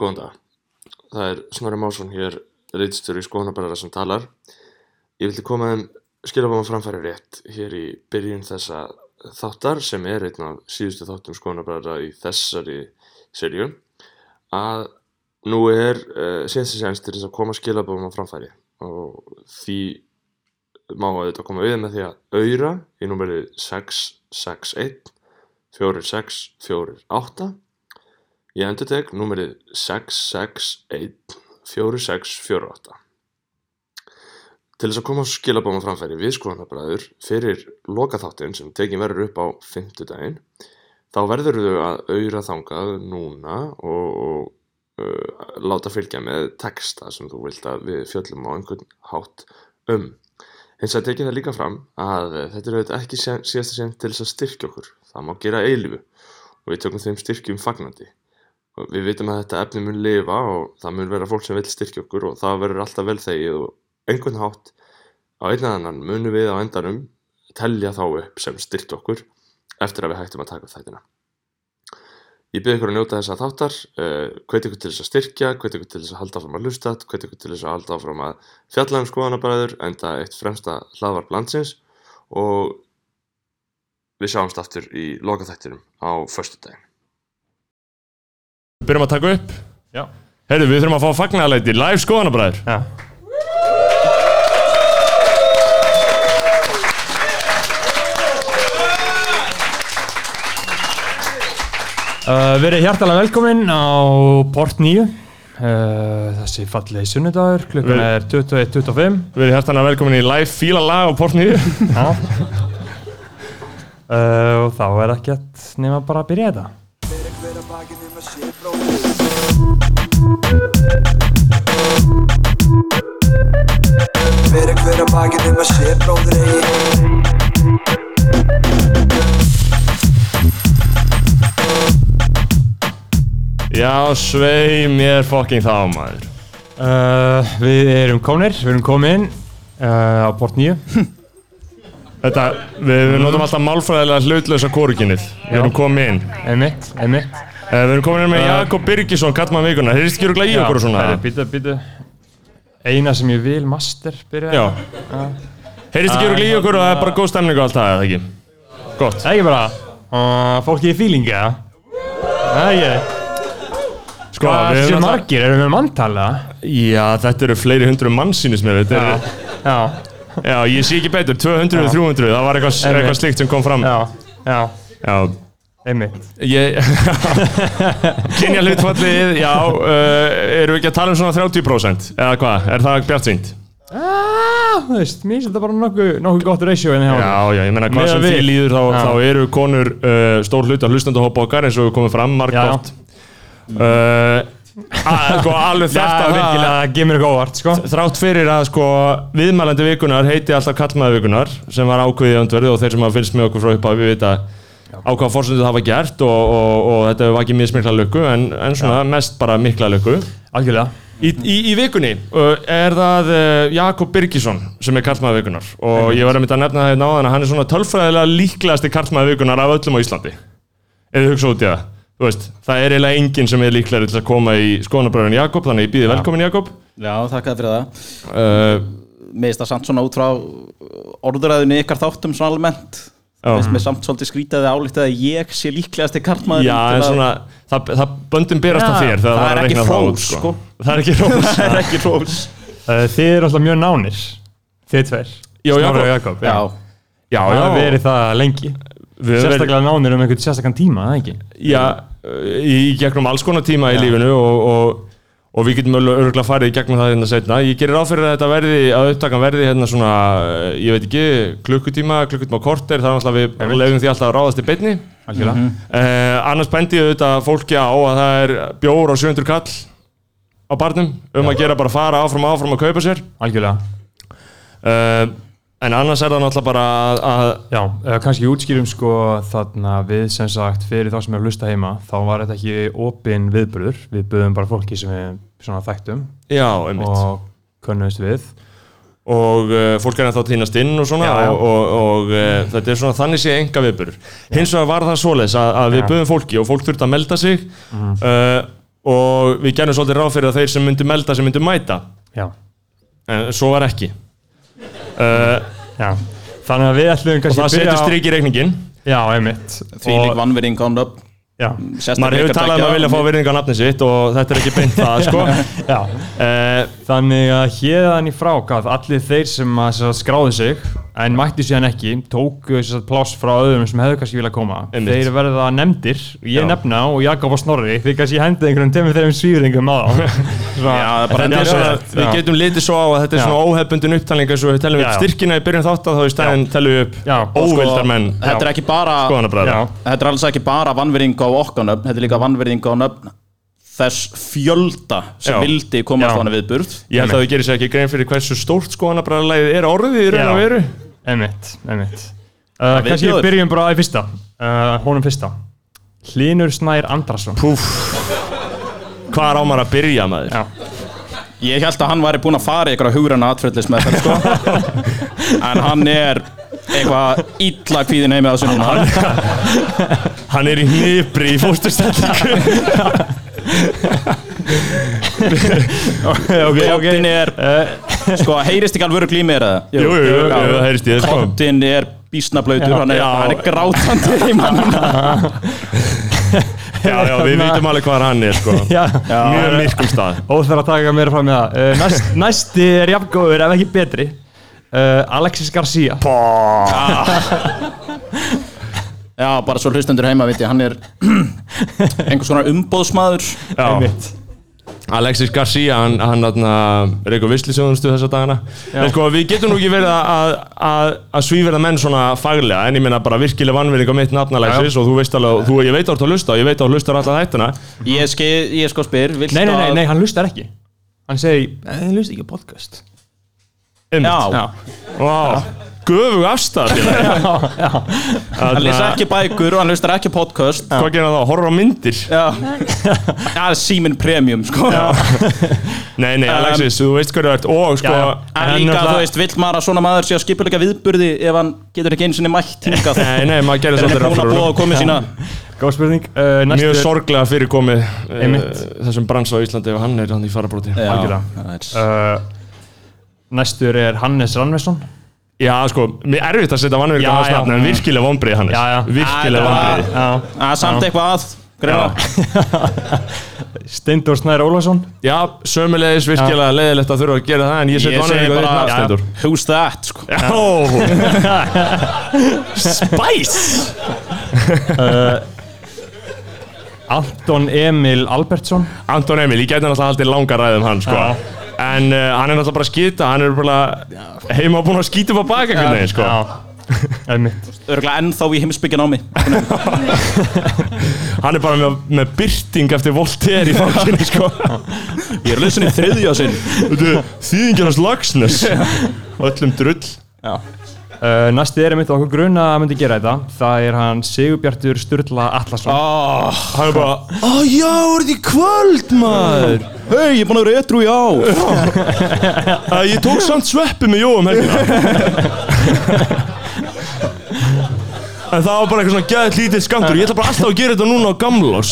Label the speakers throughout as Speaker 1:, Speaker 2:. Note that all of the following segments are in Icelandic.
Speaker 1: Góðan dag. Það er Snorri Másson hér, reitstjóri Skoðanabræðra sem talar. Ég vildi koma þeim skilabáma framfæri rétt hér í byrjun þessa þáttar sem er einn af síðustu þáttum Skoðanabræðra í þessari serju að nú er uh, síðansi séns til þess að koma skilabáma framfæri og því má að þetta koma við með því að auðra í númerið 661 4648 Ég endur teg númerið 661-4648. Til þess að koma á skilabáma framfæri við skoðanabræður fyrir lokaþáttinn sem tekin verður upp á fimmtudaginn, þá verður þau að auðra þangað núna og, og uh, láta fylgja með texta sem þú vilt að við fjöllum á einhvern hátt um. Hins að tekið það líka fram að þetta er auðvitað ekki sé- síðasta sem til þess að styrkja okkur. Það má gera eilifu og við tökum þeim styrkjum fagnandi. Og við vitum að þetta efni mun lifa og það mun vera fólk sem vil styrkja okkur og það verður alltaf vel þegið og einhvern hátt á einn eða annan munum við á endanum telja þá upp sem styrkja okkur eftir að við hættum að taka upp þættina. Ég byrði ykkur að njóta þessa þáttar, uh, hveti ykkur til þess að styrkja, hveti ykkur til þess að halda áfram að hlusta, hveti ykkur til þess að halda áfram að fjalla um skoðanabræður, enda eitt fremsta hlaðvarp landsins og við sjáumst aftur í lokaþættinum á föstudaginn.
Speaker 2: Byrjum að taka upp
Speaker 3: Já.
Speaker 2: Herru, við þurfum að fá fagnaðarleiti Live skoðanabræður
Speaker 3: Já. Uh, verið hjartalega velkomin á Port 9 uh, Þessi fallegi sunnudagur, klukkan
Speaker 2: Verið-
Speaker 3: er 21.25
Speaker 2: Við erum hjartanlega velkomin í Live fíla lag á portnýju
Speaker 3: Já. uh, Og þá er ekkert nema bara að byrja þetta
Speaker 4: Fyrir hver að bakið um að sé bróður eigi
Speaker 2: Já, svei mér fucking þá maður
Speaker 3: uh, Við erum komnir, við erum komin uh, á Port 9
Speaker 2: Þetta, við, við notum alltaf málfræðilega hlutlösa kórukinnið Við erum komin inn uh,
Speaker 3: Einmitt, einmitt
Speaker 2: Við erum komin inn með
Speaker 3: Uh,
Speaker 2: Jakob Birgisson, kallmann vikuna Þeir skýr okkur í okkur og svona
Speaker 3: Herri, býta, býta Eina sem ég vil, master, byrja
Speaker 2: Já Heyrist
Speaker 3: Ah,
Speaker 2: ekki okkur í okkur og það er bara góð stemning og allt það, eða ekki? Gott
Speaker 3: Ekki bara uh, Fólki í fílingi, eða? Nei, ég
Speaker 2: Sko,
Speaker 3: Hvað
Speaker 2: við
Speaker 3: er
Speaker 2: erum alltaf
Speaker 3: margir? Erum við manntala?
Speaker 2: Já, þetta eru fleiri hundru mannsýnis mér Þetta eru
Speaker 3: Já,
Speaker 2: Já, ég sé ekki betur, 200, 300, það var eitthvað,
Speaker 3: Einmitt.
Speaker 2: eitthvað slikt sem kom fram.
Speaker 3: já, já
Speaker 2: Já.
Speaker 3: Einmitt
Speaker 2: Ég, kynja hlutfallið, já, uh, erum við ekki að tala um svona 30%, eða hvað, er það bjartvínt?
Speaker 3: ah, Þú veist, mér finnst þetta bara nokkuð nokku gott ratio en hjá
Speaker 2: Já, já, ég meina hvað
Speaker 3: Miðað
Speaker 2: sem
Speaker 3: við.
Speaker 2: því líður þá,
Speaker 3: Já.
Speaker 2: þá eru konur uh, stór hluti af hlustandahópa okkar eins og við komum fram
Speaker 3: Já.
Speaker 2: margótt. Uh, að- sko, alveg þetta
Speaker 3: Þetta virkilega gemur ekki óvart, sko
Speaker 2: þrátt fyrir að sko viðmælandi vikunar heiti alltaf kallmaði vikunar sem var ákveðið öndverði og þeir sem hafa fylgst með okkur frá upp að við vita á hvaða fórsöndu það hafa gert og, og, og þetta hefur vakið mjög mikla lukku en, en svona mest bara mikla lukku
Speaker 3: Algjörlega
Speaker 2: Í, í, í vikunni uh, er það uh, Jakob Birgisson sem er kallmaði vikunar og ég var að mynda að nefna það hérna á þannig að hann er svona tölfræðilega líklegasti kallmaði vikunar af öllum á Íslandi eða hugsa út í það Þú veist, það er eiginlega enginn sem er líklegri til að koma í skoðanabröðun Jakob, þannig ég býði velkomin Jakob
Speaker 5: Já, þakka þér fyrir það.
Speaker 2: uh,
Speaker 5: Mér finnst það samt svona út frá orðuræðinu ykkar þáttum svona almennt.
Speaker 2: Já.
Speaker 5: Mér finnst samt svolítið skrítið að álítið að ég sé líklegast í kartmaður.
Speaker 2: Já, en svona, það, það böndum berast að
Speaker 3: Já,
Speaker 2: þér þegar
Speaker 5: það
Speaker 2: það
Speaker 5: er
Speaker 2: var að
Speaker 5: ekki
Speaker 2: reikna það
Speaker 5: hrós,
Speaker 2: út, sko.
Speaker 5: sko.
Speaker 2: Það er ekki hrós.
Speaker 5: Það er ekki hrós.
Speaker 3: uh, Þið eru alltaf mjög nánir Þið tveir
Speaker 2: Já,
Speaker 3: Snorri
Speaker 2: Jakob.
Speaker 3: og Jakob
Speaker 5: Já,
Speaker 3: já.
Speaker 2: já,
Speaker 3: Það
Speaker 2: já,
Speaker 3: hefur verið það lengi
Speaker 2: við höfum verið,
Speaker 3: Sérstaklega nánir um einhvern sérstakann tíma, það ekki?
Speaker 2: já, í í gegnum alls konar tíma í lífinu og, og, og við getum örgulega farið í gegnum það hérna setna. Ég gerir ráð fyrir að þetta verði, að upptakan verði hérna svona, eh, ég veit ekki, klukkutíma, klukkutíma korter, það er alltaf við lefum því alltaf að ráðast í beinni.
Speaker 3: Algjörlega
Speaker 2: Uh, annars bendi ég auðvitað fólki á að það er bjór á 700 kall á barnum um að gera bara að fara áfram og áfram að kaupa sér.
Speaker 3: Algjörlega
Speaker 2: uh, En annars er það náttúrulega bara að, að
Speaker 3: Já, uh, kannski útskýrum sko þarna við sem sagt fyrir þá sem hefur hlusta heima þá var þetta ekki opin viðbröður við buðum bara fólki sem við svona þekktum
Speaker 2: Já, einmitt Og,
Speaker 3: og könnumst við
Speaker 2: uh, fólk er ennþá týnast inn og svona
Speaker 3: Já, já.
Speaker 2: Og, og, og uh, þetta er svona þannig sé enga viðburður Hins vegar var það svoleiðis að, að við
Speaker 3: Já.
Speaker 2: buðum fólki og fólk þurfti að melda sig uh, Og og við gerum svolítið ráð fyrir að þeir sem myndu melda sem myndu mæta
Speaker 3: Já.
Speaker 2: en svo var ekki uh,
Speaker 3: Já. Þannig að við ætlum
Speaker 2: og
Speaker 3: kannski
Speaker 2: það setur strik í reikningin
Speaker 3: Já, einmitt.
Speaker 5: Því lík vannverðing án upp
Speaker 3: Já.
Speaker 2: maður hefur talað um að vilja fá virðinga á nafni sitt og þetta er ekki beint það sko
Speaker 3: Já. Eh,
Speaker 2: uh,
Speaker 3: Þannig að hérðan í frákað allir þeir sem að, sem að skráðu sig en mættu síðan ekki, tóku sem sagt, pláss frá öðrum sem hefðu kannski viljað koma
Speaker 2: Einmitt.
Speaker 3: þeir verða nefndir, ég
Speaker 2: Já.
Speaker 3: nefna og Jakob og Snorri, því kannski ég hendið einhverjum tveimur þeirrum svíringum á þá Svona-
Speaker 5: Já,
Speaker 2: Þetta
Speaker 5: bara
Speaker 2: er
Speaker 3: alveg
Speaker 2: svona,
Speaker 3: rétt,
Speaker 2: við
Speaker 3: já.
Speaker 2: getum litið svo á að þetta er
Speaker 3: Já.
Speaker 2: svona óhefbundin upptalning eins og við telum
Speaker 3: Já,
Speaker 2: upp
Speaker 3: já.
Speaker 2: styrkina í byrjun þátt að þá í stæðin telum við
Speaker 3: Já,
Speaker 2: upp
Speaker 3: og
Speaker 2: óvildar menn
Speaker 5: Þetta er ekki bara
Speaker 2: skoðanabræður
Speaker 3: Já.
Speaker 5: Þetta er alls ekki bara vannverðing á okkar nöfn Þetta er líka vannverðing á nöfn þess fjölda sem
Speaker 2: Já.
Speaker 5: vildi komast
Speaker 3: Já.
Speaker 5: þannig viðburð
Speaker 2: Ég held að við gerum sér ekki grein fyrir hversu stórt skoðanabræðarlæðið er orðið í raun
Speaker 3: Já.
Speaker 2: og veru
Speaker 3: Einmitt, einmitt uh,
Speaker 5: veit
Speaker 3: Kannski við
Speaker 5: ég það.
Speaker 3: byrjum bara í fyrsta uh, Honum fyrsta Hlynur Snær Andrason
Speaker 2: Púf Hvar á maður að byrja maður?
Speaker 3: Já.
Speaker 5: Ég held að hann væri búinn að fara í eitthvað hugræna atferðlis með þetta sko En hann er eitthvað illa kvíðin heimi á þessu núna Hann-
Speaker 2: Hann er í hnipri í fósturstættingu
Speaker 3: Ok, ok
Speaker 5: Koddinn er, sko, heyrist ekki alveg glímið er það?
Speaker 2: Eh. Jú, jú, jú, jú, það heyrist í þér, sko.
Speaker 5: Koddinn er bísnablautur, hann er,
Speaker 2: Já.
Speaker 5: hann er grátandi í mannuna
Speaker 2: Já, já, við vitum alveg hvar hann er sko
Speaker 3: Já,
Speaker 2: Mjög myrkum stað
Speaker 3: óþar að taka meira fram með það uh, næst, Næsti er jafngóður ef ekki betri uh, Alexis Garcia
Speaker 5: Já, bara svo hlustendur heima, veit ég, hann er einhvers konar umbóðsmaður
Speaker 2: Já,
Speaker 3: Einmitt.
Speaker 2: Alexis Garcia, hann, hann atna, er eitthvað visslísjóðunstu þessa dagana en sko við getum nú ekki verið að, að, að, að svíverða menn svona faglega en ég meina bara virkilega vannverðing á mitt nafn Alexis og þú veist alveg, og þú, ég veit að þú ert að hlusta og ég veit að þú hlustar alltaf þættina
Speaker 5: Ég, ski, ég sko spyr, viltu
Speaker 3: Nei, nei, nei,
Speaker 5: að-
Speaker 3: nei, hann lustar ekki Hann segir, hann lustar Eh, ekki á podcast
Speaker 2: Einmitt.
Speaker 5: Já,
Speaker 2: Vá, Göfug afstæð
Speaker 5: hann lýsa
Speaker 2: Hvað
Speaker 5: ekki bækur og hann hlustar ekki podcast
Speaker 2: gerir hann þá? Horfur á myndir?
Speaker 5: Já, það er síminn premium, sko
Speaker 2: Nei, nei, Alexis, þú veist hverju þú ert og sko,
Speaker 3: Já, já.
Speaker 5: En
Speaker 3: En
Speaker 5: líka,
Speaker 3: náttúrulega-
Speaker 5: þú veist, vill maður að svona maður sé að skipuleika viðburði ef hann getur ekki einu sinni mætt hingað
Speaker 2: Nei, nei, maður gerir
Speaker 5: Er hann
Speaker 2: svolítið ráð fyrir
Speaker 5: ekki búin að búa
Speaker 2: honum.
Speaker 5: að koma sína
Speaker 3: Góð spurning uh, Næsti
Speaker 2: Mjög sorglega fyrir komið uh,
Speaker 3: Einmitt.
Speaker 2: þessum bransa á Íslandi og hann er hann í farabróti
Speaker 5: Já,
Speaker 3: Algjörlega.
Speaker 5: það er-
Speaker 3: uh, Næstur er Hannes Rannveson
Speaker 2: Já, sko, mér er erfitt að setja vannverk á
Speaker 3: Já,
Speaker 2: hans
Speaker 3: já.
Speaker 2: nafn, en virkilega vonbrið hann
Speaker 3: Já, já.
Speaker 2: Virkilega
Speaker 5: Æ,
Speaker 2: vonbrið
Speaker 3: uh,
Speaker 5: Það er Ah, samt eitthvað að Greina
Speaker 3: Steindor Snær Ólafsson
Speaker 2: Já, sömulegis virkilega leiðilegt að þurfa að gera það, en ég setja
Speaker 5: Ég segi
Speaker 2: vannverk á þitt
Speaker 5: bara
Speaker 2: nafn, Stendur
Speaker 5: Who's that sko.
Speaker 2: Já Spice
Speaker 3: Anton Emil Albertsson
Speaker 2: Anton Emil, ég gæti náttúrulega haldið langa ræði um hann sko.
Speaker 3: Já.
Speaker 2: En uh, hann er náttúrulega bara að skýta Hann er bara heima búin að skýta upp á baka einhvern veginn sko.
Speaker 3: Einmitt
Speaker 5: Örgulega ennþá í heimsbyggjan á mig
Speaker 2: Hann er bara með, með byrting eftir Voltaire í fanginu sko.
Speaker 5: Ég er lausin í þriðja sinn
Speaker 2: Þýðingarnas lagsnes Öllum drull
Speaker 5: Já.
Speaker 3: uh, Næsti er einmitt og okkur gruna að myndi gera þetta Það er hann Sigurbjartur Sturla Allarsson
Speaker 2: Ah,
Speaker 5: oh,
Speaker 2: Hann er bara Ó já, er því kvöld maður
Speaker 5: Hei, ég er búin að vera etru í ár
Speaker 2: uh, Ég tók samt sveppi með Jóum helgina En það var bara eitthvað svona gæðið lítið skamtur Ég ætla bara alltaf að gera þetta núna á gamlás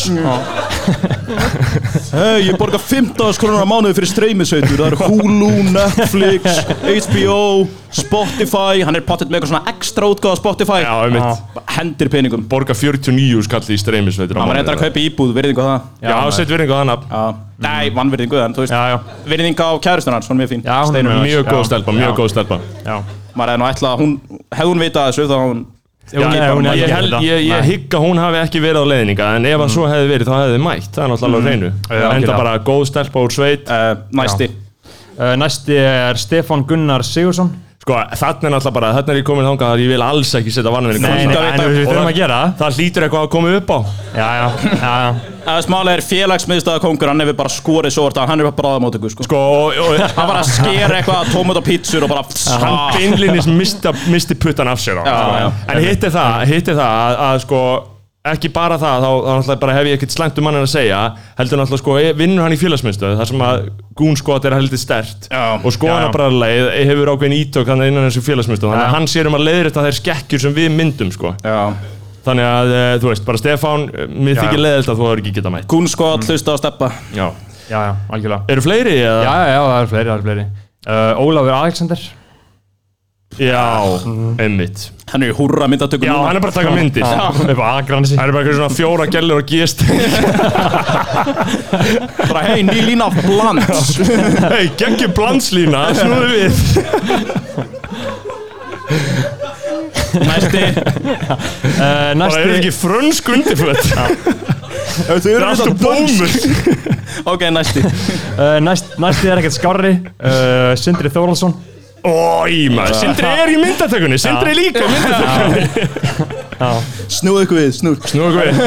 Speaker 5: Hei, ég borga 15 krónar á mánuði fyrir streymisveitur Það eru Hulu, Netflix, HBO, Spotify Hann er pottet með eitthvað svona ekstra útgáð á Spotify
Speaker 2: Já, einmitt
Speaker 5: Hendir peningum
Speaker 2: borga 49 skall í streymisveitur á
Speaker 5: Hann var
Speaker 2: mánuði.
Speaker 5: reyndar að kaupa íbúð, virðingu á það
Speaker 2: Já, já sett verðingu á þannig
Speaker 5: Já. Nei, vannvirðingu en þú veist
Speaker 3: Já, já.
Speaker 5: Virðingu á kæristunar, svona mjög fín
Speaker 3: Já, hún er
Speaker 5: Steinunn.
Speaker 3: mjög-
Speaker 2: Mjög
Speaker 3: Já.
Speaker 2: góð stelpa, mjög
Speaker 3: Já.
Speaker 2: góð stelpa
Speaker 3: Já
Speaker 5: Maður hefði nú ætlað að hún, hefði hún vitað þessu þá hefði hún
Speaker 3: Já,
Speaker 2: Já,
Speaker 3: hún er-
Speaker 2: Ég, held, ég, ég
Speaker 3: Nei.
Speaker 2: hygg að hún hafi ekki verið á leiðninga En ef að svo hefði verið, þá hefði þið mætt Það er náttúrulega alveg
Speaker 3: Já,
Speaker 2: hreinu Enda
Speaker 3: algjörlega.
Speaker 2: bara góð stelpa úr sveit
Speaker 5: uh, næsti
Speaker 3: Uh, Næsti er Stefan Gunnar Sigursson
Speaker 2: Sko, þarna er náttúrulega bara, þarna er ég komin þangað að Ég vil alls ekki setja vannverðingu
Speaker 5: Nei, nei,
Speaker 3: en við þurfum að gera það.
Speaker 2: Það hlýtur eitthvað að koma upp á
Speaker 3: Já, já, já, já.
Speaker 5: Það smálega Eh, er félagsmiðstöða kongur Hann hefur bara skorið svo orta Hann er bara bráðamótöku sko.
Speaker 2: Sko, og, og
Speaker 5: Hann var að skera eitthvað að tómut og pítsur og bara
Speaker 2: hann
Speaker 5: Ah.
Speaker 2: beinlinis mista, misti puttan af sér á,
Speaker 5: Já,
Speaker 2: sko.
Speaker 5: já.
Speaker 2: en hitt er það, hitt er það að, að sko ekki bara það, þá, þá náttúrulega bara hef ég ekkert slæmt um mannin að segja, heldur náttúrulega sko eh, vinnur hann í félagsmyndstöðu, þar sem að gúnskot er heldur stert
Speaker 5: Já.
Speaker 2: og skoðanabræðarlegið e, hefur ákveðin ítök þannig innan þessu félagsmyndstöðu, þannig að hann sér um að leiðrétta þær skekkjur sem við myndum sko
Speaker 5: Já.
Speaker 2: þannig e, að, eh, þú veist, bara Stefán eh, mér þykir leiðilt að þú hefur ekki geta mætt
Speaker 5: Gún sko að hlusta á steppa
Speaker 2: Já
Speaker 3: já, já, algjörlega
Speaker 2: Eru fleiri?
Speaker 3: Já,
Speaker 2: Eða?
Speaker 3: já, já, það eru fleiri, það eru fleiri uh, Ólafur Alexander
Speaker 2: Já, einmitt
Speaker 5: Hann er í húrra myndatökum
Speaker 2: Já, hann er bara að taka myndir Það
Speaker 3: upp á Akransi
Speaker 2: eru bara eitthvað svona fjóra gellur og gist
Speaker 5: bara hei, ný lína af bland
Speaker 2: Hei, geggjum blandslína, snúðu við
Speaker 5: Næsti
Speaker 3: uh,
Speaker 2: Bara eru
Speaker 3: Næsti
Speaker 2: ekki frönsk undirföt Það
Speaker 5: Það
Speaker 2: er alltaf bómur
Speaker 5: Ok, næsti
Speaker 3: uh, næst, Næsti er ekkert skarri uh, Sindri Þóralsson
Speaker 2: Ói, maður, Sindri er í myndatökunni Sindri er líka í myndatökunni
Speaker 5: Snúðu ykkur við, snúðu
Speaker 2: Nú okkur við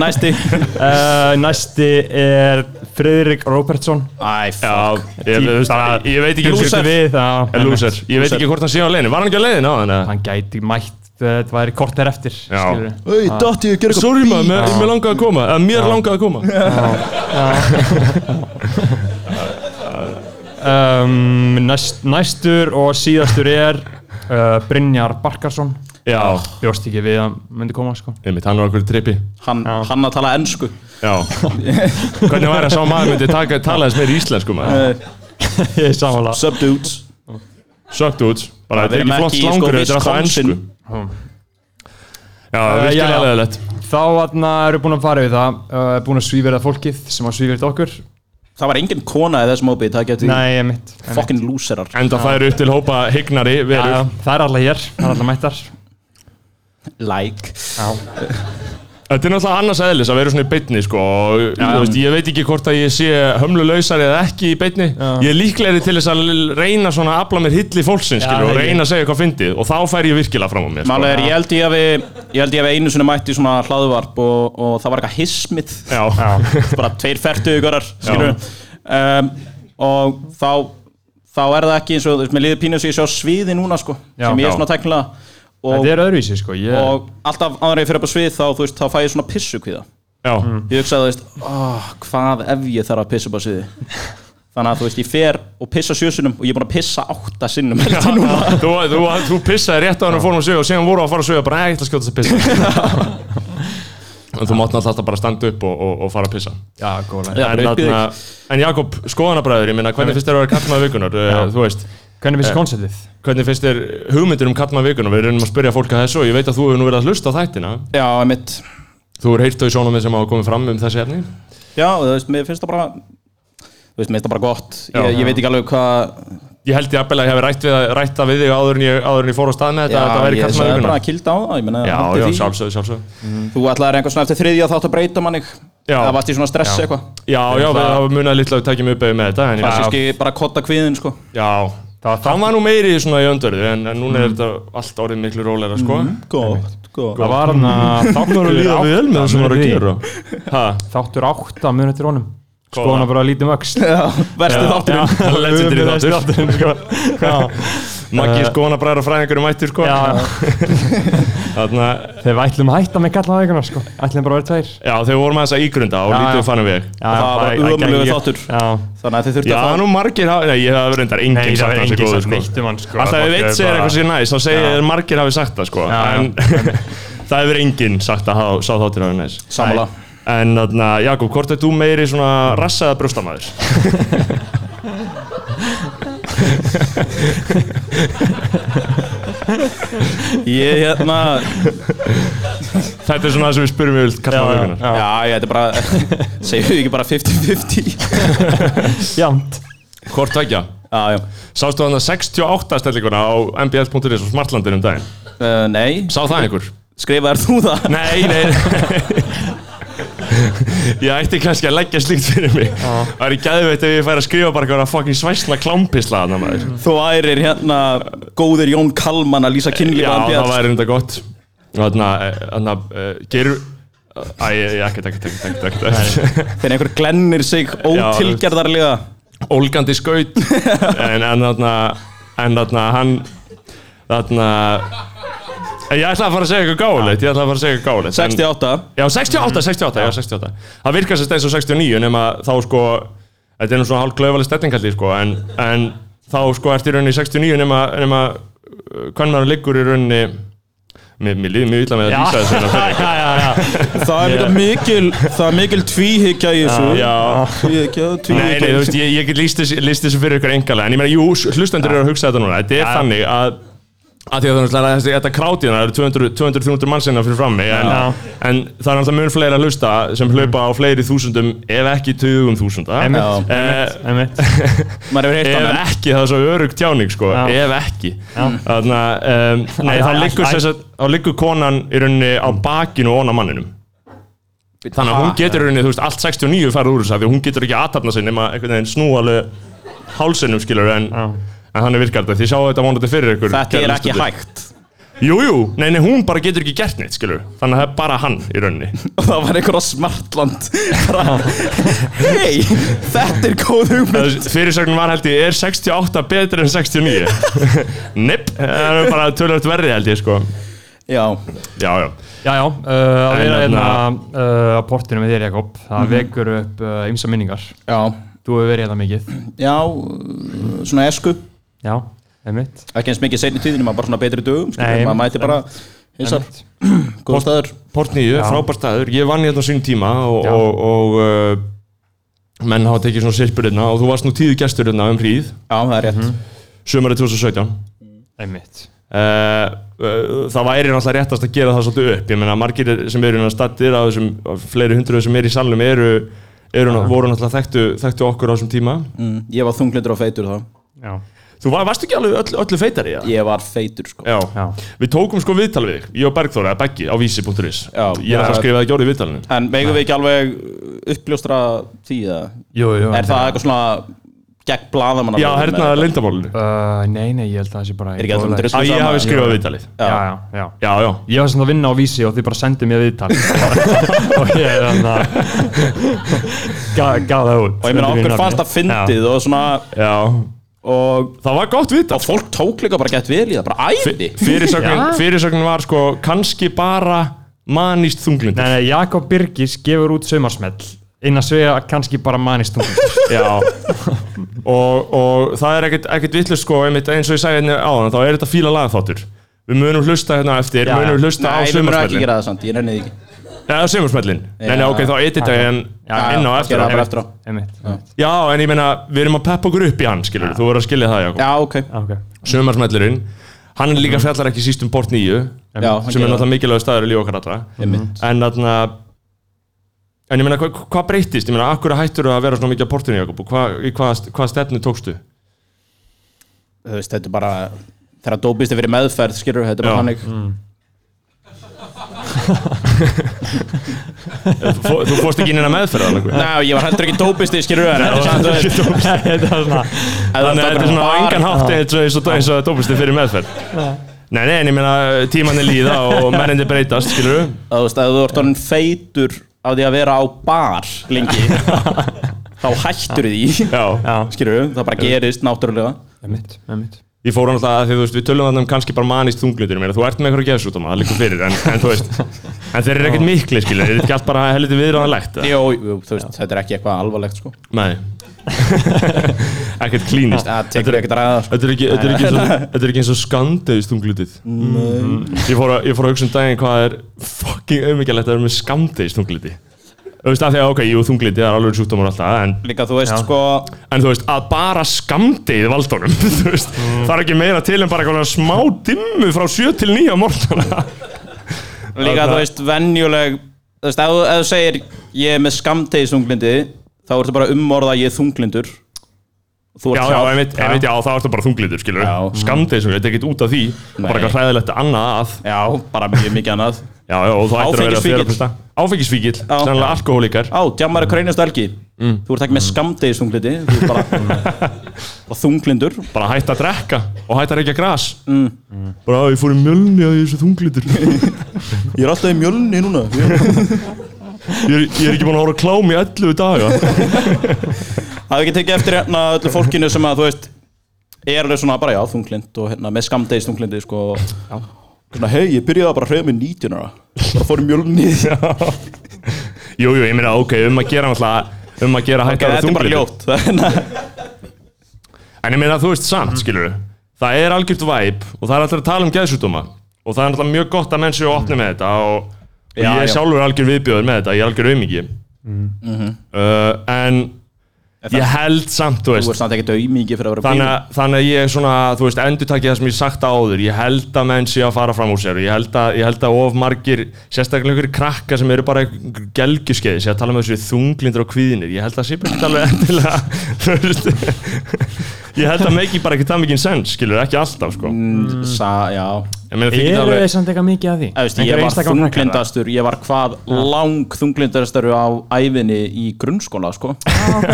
Speaker 5: Næsti
Speaker 3: uh, Næsti er Friðrik Róbertsson
Speaker 5: Æ,
Speaker 2: Já, ég, þú veist, ég, ég veit ekki
Speaker 3: Lúser við, já,
Speaker 2: En Lúser, ég veit
Speaker 5: Lúser.
Speaker 2: ekki hvort hann sé á leiðinu Var hann ekki á leiðinu á þannig?
Speaker 3: Hann gæti mætt, uh, það væri korter eftir skilurðu.
Speaker 5: Þau, dott ég að gera
Speaker 2: Sorry maður, mér- mér langaði að koma Eða mér langaði að koma
Speaker 3: um, næst, Næstur og síðastur er uh, Brynjar Barkarsson
Speaker 2: Já,
Speaker 3: Bjóst ekki við að myndi koma sko
Speaker 2: einmitt, hann var okkur trippi
Speaker 5: Hann, hann að tala ennsku
Speaker 2: Já Hvernig væri að sá maður myndi taka, tala þess meir íslensku maður
Speaker 3: Ég er samanlega
Speaker 5: Subdudes
Speaker 2: Sökt út Bara
Speaker 5: við
Speaker 2: þetta er
Speaker 5: erum
Speaker 2: ekki flott
Speaker 5: ekki í, sko,
Speaker 2: slangur, þetta er alltaf
Speaker 5: Wisconsin.
Speaker 2: ennsku Já, það er
Speaker 3: Eh, já, já.
Speaker 2: virkilega leðilegt
Speaker 3: Þá þarna eru búin að fara við það, uh, búin að svíverða fólkið sem að svíverða okkur.
Speaker 5: Það var engin kona í þessum hópi, það getur
Speaker 3: Nei, ég mitt.
Speaker 5: Fucking lúserar
Speaker 2: Enda þær upp til hópa hignari veru
Speaker 3: Það er allar hér, það er allar mættar.
Speaker 5: Like
Speaker 2: Þetta er náttúrulega annars eðlis að vera svona í beitni sko og þú veist, ég veit ekki hvort að ég sé hömlulausari eða ekki í beitni Ég er líklegri til þess að l- reyna svona að afla mér hilli fólksins skilur og
Speaker 3: hei.
Speaker 2: reyna að segja hvað fyndið og þá fær ég virkilega fram á mér sko.
Speaker 5: Málega er, ég held ég að við Ég held ég að við einu sinni mætti í svona hlaðvarp og, og það var eitthvað hismið
Speaker 2: Já,
Speaker 5: bara tveir færtugu görar skilur um, og þá þá er það ekki eins og þú veist, mér líður pínu sem ég sé á sviði núna sko,
Speaker 3: Já.
Speaker 5: sem ég
Speaker 2: Já.
Speaker 5: er svona tæknilega og,
Speaker 3: Þetta er öðruvísi, sko. Ég,
Speaker 5: og alltaf áður en ég fyrir upp á svið þá, þú veist, þá fæ ég svona pissu kvíða
Speaker 2: já,
Speaker 3: Mm.
Speaker 5: ég hugsaði, þú veist, oh, hvað ef ég þarf að pissa upp á sviði þannig að þú veist, ég fer og pissa sjösunum og ég er búin að pissa átta sinnum held ég núna.
Speaker 2: þú, þú, þú pissaði rétt á hann og fórum að sögja og síðan voru að fara að sögja bara "Nei, ég ætla að skjóta þess að pissa En þú mátt náttúrulega bara standa upp og, og, og fara að pissa
Speaker 3: já, góðlega.
Speaker 5: Já,
Speaker 2: En,
Speaker 5: bara uppið
Speaker 2: þarna, en Jakob, skoðanabræður, ég minna, hvernig finnst þér að vera kallmaður vikunar, eh, þú veist
Speaker 3: Hvernig
Speaker 5: Eh,
Speaker 3: finnst konseptið?
Speaker 2: Hvernig finnst þér hugmyndir um kallmann vikunar? Við reynum að spyrja fólk að þessu og ég veit að þú hefur nú verið að hlusta á þættina.
Speaker 5: já, mitt
Speaker 2: Þú hefur heyrt þau sjónamið sem hafa komið fram um þessi efni.
Speaker 5: já, þú veist, mér finnst það bara þú veist, mér finnst það bara gott ég,
Speaker 2: Já.
Speaker 5: ég veit ekki alveg hvað
Speaker 2: Ég held ég að ég hef rætt, við, að- rætt það við þig áður en ég, áður en ég fór á stað með þetta að þetta væri
Speaker 5: ég
Speaker 2: kallmann
Speaker 5: sagði bara
Speaker 2: vikunar.
Speaker 5: að kilda á það ég meina,
Speaker 2: Já,
Speaker 5: haldi
Speaker 2: já,
Speaker 5: því.
Speaker 2: sjálfsögðu, sjálfsögðu.
Speaker 5: Þú ætlaðir einhvern svona eftir þriðja þátt að breyta mannig
Speaker 2: Já.
Speaker 5: Það varst í svona stress
Speaker 3: Já.
Speaker 5: eitthvað
Speaker 2: Já, já, við hafa munið litla að við tekjum uppeyfi með þetta. En ég,
Speaker 5: Klassíski bara kotta kviðin sko
Speaker 2: já, það, það var nú meiri svona í öndverðu en, en núna
Speaker 5: Mm.
Speaker 2: er þetta allt orðið miklu róleira, sko.
Speaker 5: Gott, gott
Speaker 3: Það var hann að þáttur átta munur í-
Speaker 2: Ha,
Speaker 3: Þáttur átta munið til honum.
Speaker 2: Góða.
Speaker 3: Skoðan að bara lítið um öxl.
Speaker 5: Verstu þátturinn
Speaker 2: já, legendary
Speaker 3: Versti
Speaker 2: þáttur.
Speaker 3: þátturinn, sko. Já, Eh.
Speaker 2: Maggi skoðanabræður og fræðingur mættur, sko.
Speaker 3: já, já.
Speaker 2: Þarna,
Speaker 3: Þegar við ætlum að hætta með gallaða vikunar, sko. Ætlum bara að vera tveir.
Speaker 2: já, þau vorum aðeins að ígrunda og
Speaker 3: Já,
Speaker 2: lítið
Speaker 3: já.
Speaker 2: við fannum við.
Speaker 3: Já,
Speaker 5: Það var
Speaker 3: bara-
Speaker 5: ömurlegur
Speaker 3: ég-
Speaker 5: þáttur.
Speaker 3: Já.
Speaker 5: Þannig að þið þurftu
Speaker 2: Já,
Speaker 5: að
Speaker 2: nú margir hafa, nei, ég hef reyndar enginn
Speaker 3: Nei, það
Speaker 2: sagt
Speaker 3: er
Speaker 2: hans er
Speaker 3: enginn
Speaker 2: góður,
Speaker 3: sagt
Speaker 2: sko.
Speaker 3: neitt um hann, sko.
Speaker 2: Alltaf ef
Speaker 3: Fólk
Speaker 2: eitt
Speaker 3: er
Speaker 2: segir
Speaker 3: bara-
Speaker 2: eitthvað sér næst, þá segir þeir margir hafi sagt það, sko.
Speaker 3: Já, já.
Speaker 2: en það hefur enginn sagt að hafa- sá þáttir hafi næst.
Speaker 5: fá sammála
Speaker 2: En, þarna, Jakob, hvort er þú meiri svona rassaða brjóstamæður?
Speaker 5: Ég hérna
Speaker 2: Þetta er svona það sem við spurum yfir kallar
Speaker 3: já,
Speaker 2: vökunar.
Speaker 5: Já, ég þetta er bara Segjum við ekki bara 50-50
Speaker 3: Jæmt.
Speaker 2: Hvort tækja?
Speaker 5: Já, já
Speaker 2: Sástu þannig 68 stellinguna á mbl.is og smartlandir um daginn.
Speaker 5: Uh, Nei,
Speaker 2: Sá það einhver?
Speaker 5: skrifaðir þú það?
Speaker 2: Nei, nei Ég ætti kannski að leggja slíkt fyrir mig Það væri gæðveitt ef ég færi að skrifa bara eitthvað fucking svæsla klámpisla þarna maður
Speaker 5: Þú ærir hérna góðir Jón Kalman að lýsa kynlíf
Speaker 2: Já,
Speaker 5: á NBA.
Speaker 2: það væri reynda gott Og þarna, eh, þarna, uh, gerur Æ, ég, ég, ekkert, ekkert, ekkert, ekkert, ekkert
Speaker 5: Þegar einhver glennir sig ótilgerðarlega
Speaker 2: Ólgandi skaut En, en þarna, en þarna, hann Þarna Eh, Ég ætla að fara að segja eitthvað gáleitt Ég ætla að fara að segja eitthvað gáleitt en-
Speaker 5: 68
Speaker 2: Já, 68, 68, já, 68 Það virkar sérst eins og 69 nema þá sko Þetta er nú svona hálf klaufaleg stettingalli sko en, en þá sko ert í rauninni í 69 nema, nema uh, hvernig liggur í rauninni Mér, mér líður mjög illa með að lýsa þessu hérna fyrir ykkur.
Speaker 5: Það er yeah. mikil, það er mikil tvíhyggja í þessu
Speaker 2: Já,
Speaker 5: Tvíhyggja,
Speaker 2: Nei, nei,
Speaker 5: tvíhyggja
Speaker 2: þú veist, ég, ég get líst þessu, líst þessu fyrir ykkur engalega En ég meina, jú, hlustendur eru að hugsa þetta núna Þetta er þannig að að því að það er þetta krátíðan það eru 200 200-300 mannsina hérna fyrir frammi en, en það er alltaf mun fleiri að hlusta sem hlaupa á fleiri þúsundum ef ekki tugum þúsunda
Speaker 3: Einmitt,
Speaker 2: Eh,
Speaker 3: einmitt.
Speaker 5: Maður hefur heyrt
Speaker 2: ef
Speaker 5: annað
Speaker 2: ekki, það er svo örug tjáning sko,
Speaker 3: Já.
Speaker 2: ef ekki þannig að um, nei,
Speaker 3: Æ,
Speaker 2: þá
Speaker 3: æ,
Speaker 2: liggur,
Speaker 3: æ.
Speaker 2: sem sagt- þá liggur konan í rauninni á bakinu og ona manninum þannig að hún getur í rauninni, þú veist, allt 69 farið úr þess að því að hún getur ekki aðtapna sig nema einhvern veginn snúaleg hálsinnum skilur en, en hann er virkar þetta, því sjáu þetta vonandi fyrir ykkur
Speaker 5: Þetta
Speaker 2: kæru
Speaker 5: er ekki
Speaker 2: hlustendur.
Speaker 5: hægt
Speaker 2: Jú, jú, nei, nei, hún bara getur ekki gert neitt skilur, þannig að það er bara hann í rauninni
Speaker 5: og það var einhver á smartland bara, hei, þetta er góð hugmynd
Speaker 2: fyrirsögnum var held ég, er 68 betri en 69 Nipp, það er bara tölvöld verri held ég sko
Speaker 5: já,
Speaker 2: Já, já
Speaker 3: Já, já, uh, að
Speaker 2: En
Speaker 3: vera
Speaker 2: hérna-
Speaker 3: hérna Mhm. uh, á portinu með þér, Jakob, það vekur upp uh, ymsa minningar.
Speaker 5: já,
Speaker 3: Þú hefur verið hérna mikið.
Speaker 5: já svona esku,
Speaker 3: Já, einmitt.
Speaker 5: ekki eins mikið seinni tíðinu, maður bara svona betri dögum, skilur,
Speaker 3: Nei,
Speaker 5: maður mæti bara hinsar,
Speaker 3: einmitt.
Speaker 5: góð staður
Speaker 2: Port 9, frábær staður, ég vann hérna á sínum tíma og,
Speaker 3: Já.
Speaker 2: og, og uh, menn hafa tekið svona silpur hérna og þú varst nú tíðu gestur hérna um hríð
Speaker 5: já, það er rétt,
Speaker 2: sömari 2017 uh,
Speaker 3: Einmitt.
Speaker 2: uh, það væri náttúrulega réttast að gera það svolítið upp ég meina margir sem eru hérna stattir á þessum af fleiri hundruð sem eru í salnum eru, eru, voru náttúrulega þekktu, þekktu okkur á þessum tíma
Speaker 5: mm, ég var þunglindur og feitur þá
Speaker 3: Já,
Speaker 2: þú var, varst ekki alveg öll, öllu feitari ja?
Speaker 5: ég var feitur, sko
Speaker 2: Já.
Speaker 3: já.
Speaker 2: við tókum sko viðtal við þig, ég og Bergþóra, eða Beggi á vísi.is ég
Speaker 5: Já.
Speaker 2: er það skrifaði ekki orðið í viðtalinu
Speaker 5: en megum við ekki alveg uppljóstra því það,
Speaker 3: Jú, jú.
Speaker 5: er það eitthvað svona gegn blaðamann
Speaker 2: já, hérna, hernaða leyndamálinu
Speaker 3: Uh, nei, nei, ég held að það sé bara...
Speaker 5: Er ekki um allir undir þessu?
Speaker 2: að ég
Speaker 5: Sama-
Speaker 2: hafi skrifað viðtalið
Speaker 3: Já, já, já.
Speaker 2: Já, já,
Speaker 3: Ég var svona að vinna á vísi og þið bara sendið mér viðtal og ég er þannig að gaf það út
Speaker 5: og ég meina okkur fannst það fyndið og svona
Speaker 2: já
Speaker 5: og,
Speaker 2: Það var gott viðtal
Speaker 5: og fólk tók líka bara gett vel í það, bara æði
Speaker 2: Fyrirsögnin,
Speaker 3: Já.
Speaker 2: fyrirsögnin var sko kannski bara manist þunglindur
Speaker 3: Nei, nei, Jakob Birgis gefur út saumarsmell innan svega kannski bara manist hún
Speaker 2: Já og, og það er ekkert, ekkert vittlust sko einmitt eins og ég sagði hérna áðan þá er þetta fíla lagþáttur Við munum hlusta hérna á eftir,
Speaker 3: Já,
Speaker 2: munum
Speaker 3: já.
Speaker 2: hlusta
Speaker 5: Nei,
Speaker 2: á
Speaker 5: við verðum ekki að
Speaker 2: sumarsmellin
Speaker 5: gera það samt, ég nenni því ekki
Speaker 2: Eða sumarsmellin Nei, nei,
Speaker 5: Já.
Speaker 2: ok, þá edita ég hann inn á
Speaker 5: já,
Speaker 2: eftir
Speaker 5: gera það bara
Speaker 2: á.
Speaker 5: eftir á
Speaker 3: Einmitt, einmitt.
Speaker 2: Já, en ég meina, við erum að peppa okkur upp í hann, skilur Þú verður að skilja það, Jakob
Speaker 5: Já, ok
Speaker 3: Já, Ah, ok.
Speaker 2: Sumarsmellurinn, hann líka
Speaker 5: Mhm.
Speaker 2: fjallar ekki síst um Port 9
Speaker 5: Já, hann
Speaker 2: sem er
Speaker 5: gerir það.
Speaker 2: náttúrulega mikilvægur staður í lífi okkar allra
Speaker 5: Einmitt.
Speaker 2: en þarna en ég meina hva- hvað breytist, ég meina akkur hættur að vera svona mikið á portinu Jakob og hvað hva, hva stefnu tókstu
Speaker 5: Þú veist, þetta er bara Þegar dópist er fyrir meðferð, skilur þetta er
Speaker 2: Já. Mm.
Speaker 5: bara hannig
Speaker 2: Fó, þú fórst ekki inn í að meðferða þannig
Speaker 5: Ná, ég var heldur ekki dópist, skilur en þetta er samt að- Ef
Speaker 3: Þetta var svona
Speaker 2: að
Speaker 5: þú ert
Speaker 2: þetta er
Speaker 5: bara
Speaker 2: svona á
Speaker 5: bar-
Speaker 2: engan hátt eins og, eins og, eins og dópusti fyrir meðferð nei, nei, en ég meina tímanni líða og mennindi breytast, skilur
Speaker 5: Þú veist, ef þú ert orðin feitur af því að vera á bar lengi þá hættur því
Speaker 2: já,
Speaker 5: skilur, það bara gerist náttúrulega
Speaker 3: Einmitt, einmitt
Speaker 2: ég fór hann alltaf að því þú veist, við tölum þannig um kannski bara manist þunglindur, ég meina þú ert með einhverja geðsútum það liggur fyrir, en, en þú veist en þeir eru ekkert mikli, skilur, er þetta ekki allt bara helviti viðræðanlegt? eða?
Speaker 5: Jó, jú, þú veist, þetta er ekki eitthvað alvarlegt, sko
Speaker 2: Nei Ekkert klínist
Speaker 5: Það tekur ekkert að ræða, sko
Speaker 2: Þetta er ekki, þetta er ekki, eins, og, þetta er ekki eins og skandeis tunglitið ég, fór að- ég fór að hugsa um daginn hvað er fucking auðmyggjulegt að vera með skandeis tungliti Þú veist að því að ok, jú tungliti það er alveg sjúkdómur alltaf en,
Speaker 5: Líka, þú veist, sko
Speaker 2: en þú veist að bara skamdeið valdónum þú veist, það er ekki meira til en bara eitthvað smá dimmu frá 7 til 9 á morgunna
Speaker 5: Líka, þú veist, venjuleg Þú veist, ef þú- ef þú segir ég er með skamtegisþunglindi þá ertu bara að umorða að ég er þunglindur Þú
Speaker 2: Já,
Speaker 5: ert
Speaker 2: já,
Speaker 5: hjá-
Speaker 2: einmitt, einmitt, já, þá ertu bara þunglitur, skilur
Speaker 5: Já.
Speaker 2: Skamdeis, þetta er ekkert út af því Bara
Speaker 5: Nei.
Speaker 2: eitthvað hræðilegt annað að
Speaker 5: Já, bara mjög mikið annað
Speaker 2: Já, já, og þú ættir að vera
Speaker 5: Áfengisfíkill.
Speaker 2: þerapista Áfengisfíkil, sannlega alkohólikar
Speaker 5: Á, djammar er krænast elgi
Speaker 2: Mm.
Speaker 5: Þú ert ekki með skamdegisþunglindi Þú ert bara Og þunglindur
Speaker 2: Bara hætt að drekka og hætt að reykja gras mm. Bara, "Á, ég fór í mjölni að ég er svo þunglitur ég,
Speaker 5: Ég er alltaf í mjölni núna Það
Speaker 2: er, ég er ekki búin að horfa á klám í 11 daga
Speaker 5: er ekki tekið eftir hérna öllu fólkinu sem að þú veist Er alveg svona bara já, þunglind Og hérna með skamdegisþunglindi sko Svona, hei, ég byrjaði bara að hreyfa mig 19 ára Bara fór í mjölni okay,
Speaker 2: Jú, jú, ég meina, ok, um að gera náttúrulega Um að gera hætt að
Speaker 5: Þetta
Speaker 2: vera þunglitur
Speaker 5: er hérna- bara ljótt Þannig að- Mhm.
Speaker 2: En ég meina, þú veist samt, skilur Það er algjört væp og það er alltaf að tala um geðsjúdóma og það er náttúrulega mjög gott að menn séu opni með þetta og, og
Speaker 5: Já,
Speaker 2: ég er
Speaker 5: já.
Speaker 2: sjálfur algjör viðbjóður með þetta, ég er algjör aumingi
Speaker 5: Mhm.
Speaker 2: uh, en ég held samt, þú
Speaker 5: Þú
Speaker 2: veist
Speaker 5: ert samt ekkert auðmingi fyrir að vera
Speaker 2: þannig,
Speaker 5: bíl
Speaker 2: að- þannig að ég svona, þú veist, endurtakja það sem ég hef sagt áður ég held að menn séu að fara fram úr sér ég held að, ég held að of margir sérstaklega einhverjir krakka sem eru bara gelgjuskeiði, sé að tala með þessu þunglindur og kvíðinir, ég held að sé bara ekki alveg endilega þú veist ég held að meki bara ekki það mikið sens skilur, ekki alltaf, sko
Speaker 5: Mm. Sa, já
Speaker 2: ég meina, þið
Speaker 3: Eru
Speaker 2: geta
Speaker 3: þeir
Speaker 2: alveg
Speaker 3: samt eitthvað mikið að því?
Speaker 5: Æ, veist, Ég
Speaker 3: Einhverja
Speaker 5: var
Speaker 3: einstaka krakkar,
Speaker 5: þunglindastur, ég var hvað lang þunglindastaru á æfinni í grunnskóla sko.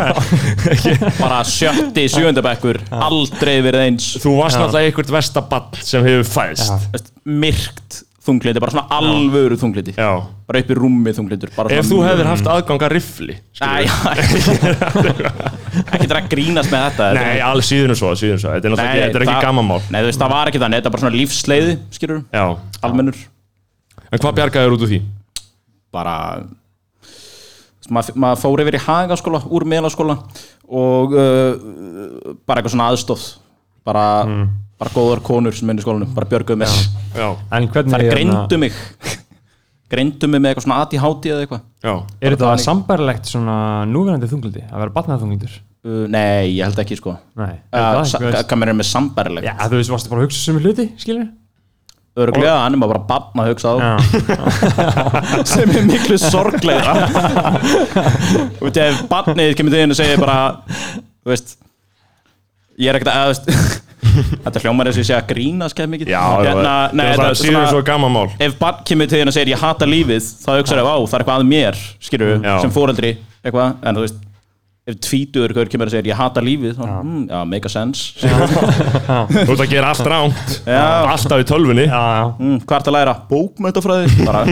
Speaker 5: bara sjötti, sjöunda bekkur aldrei verið eins
Speaker 2: þú varst náttúrulega einhvert vestabann sem hefur fæðst
Speaker 5: Veist, myrkt þunglindi, bara svona alvöru þunglindi
Speaker 2: já.
Speaker 5: bara upp í rúmi þunglindur bara
Speaker 2: ef
Speaker 5: svona
Speaker 2: þú
Speaker 5: mjög-
Speaker 2: hefur haft aðganga rifli
Speaker 5: Æ, já, ekki það að grínast með þetta þetta
Speaker 2: nei,
Speaker 5: er-
Speaker 2: alls síðan svo, síðan svo þetta er náttúrulega ekki, þetta er
Speaker 5: það-
Speaker 2: ekki gamanmál
Speaker 5: Nei, þú veist, það var ekki þannig, þetta er bara svona lífsleiði, skilur
Speaker 2: já,
Speaker 5: almennur
Speaker 2: en hvað bjargaður út úr því?
Speaker 5: bara Þú veist, maður mað fór yfir í hagaskóla úr meðlaskóla og uh, bara eitthvað svona aðstóð bara, bara góðar konur sem minni skólanum, bara björguðu mér
Speaker 2: Mm. já,
Speaker 3: En hvernig
Speaker 5: þar
Speaker 3: hérna,
Speaker 5: greindu mig greindu mig með eitthvað svona ADHD eða eitthvað
Speaker 2: já,
Speaker 3: Er þetta sambærilegt svona núverandi þunglindi? Að vera batnaðþunglundur?
Speaker 5: uh, nei, ég held ekki sko
Speaker 3: Nei
Speaker 5: Uh,
Speaker 3: er það ekki-
Speaker 5: hvað mér er með sambærilegt
Speaker 3: Já, þú veist, varstu bara að hugsa sem hluti, skilur?
Speaker 5: örglega, hann er maður bara bann að hugsa á sem er miklu sorgleira og veit ef bannið kemur til þín og segir bara þú veist ég er ekkert að, þú veist þetta hljómar eins og ég sé að grína skeið mikið
Speaker 2: já
Speaker 5: hérna, nei, þetta er
Speaker 2: síður svo
Speaker 5: svona
Speaker 2: gamanmál
Speaker 5: ef bann kemur til þín og segir ég hata lífið þá hugsaðu, á, það er eitthvað að mér skilur
Speaker 2: Já.
Speaker 5: sem foreldri, eitthvað en þú veist, ef tvítur gaur kemur og segir ég hata lífið, þá, mm, já, make a sense skilurðu.
Speaker 2: þú ert að gera allt ránt
Speaker 5: Já.
Speaker 2: alltaf í tölvunni
Speaker 3: Já, já
Speaker 5: mm, hvað ertu að læra? Bókmöntafræði bara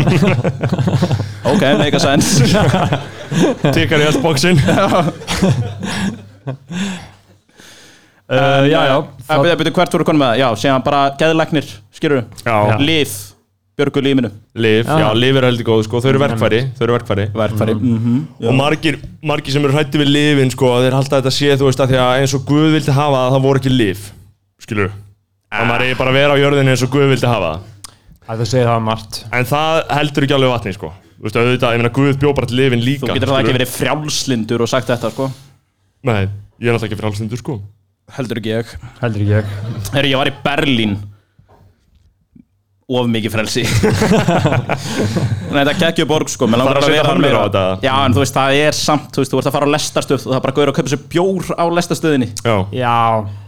Speaker 5: ok, make a sense
Speaker 2: tikkar í allt bóksinn
Speaker 3: uh, Já, já
Speaker 5: Það Eh, byrja, byrja, hvert voru konum með það? Já, síðan bara geðlegnir, skilur
Speaker 2: Já.
Speaker 5: Líf, björgu lífinu
Speaker 2: lif, já, lif er heldur góð sko, þau eru verkfæri þau eru verkfæri
Speaker 5: Verkfæri mm -hmm.
Speaker 2: og margir, margir sem eru hrætti við lifin sko, þeir halda að þetta sé, þú veist, að því að eins og Guð vildi hafa það, það voru ekki lif skilur, að maður eigi bara að vera á jörðinu eins og Guð vildi hafa það
Speaker 3: Það segir það um margt
Speaker 2: en það heldur ekki alveg vatni sko þú veist, auðvitað, ég meina Guð bjó bara til lifin líka
Speaker 5: Þú getur það
Speaker 2: skilurðu.
Speaker 5: ekki verið frjálslindur og sagt þetta, sko
Speaker 2: nei, ég er alltaf ekki fyrir allstundur sko
Speaker 5: Heldur ekki ég
Speaker 3: Heldur ekki ég
Speaker 5: Herri, ég var í Berlín Of mikið frelsi Nei, þetta gekkju borg, sko Mér langar
Speaker 2: Þarf að
Speaker 5: að
Speaker 2: setja
Speaker 5: vera
Speaker 2: hömlur á
Speaker 5: meira-
Speaker 2: þetta?
Speaker 5: Já, en þú veist, það er samt Þú veist, þú ert að fara á lestastöð og það er bara gauður að kaupa sér bjór á lestastöðinni
Speaker 2: já.
Speaker 3: Já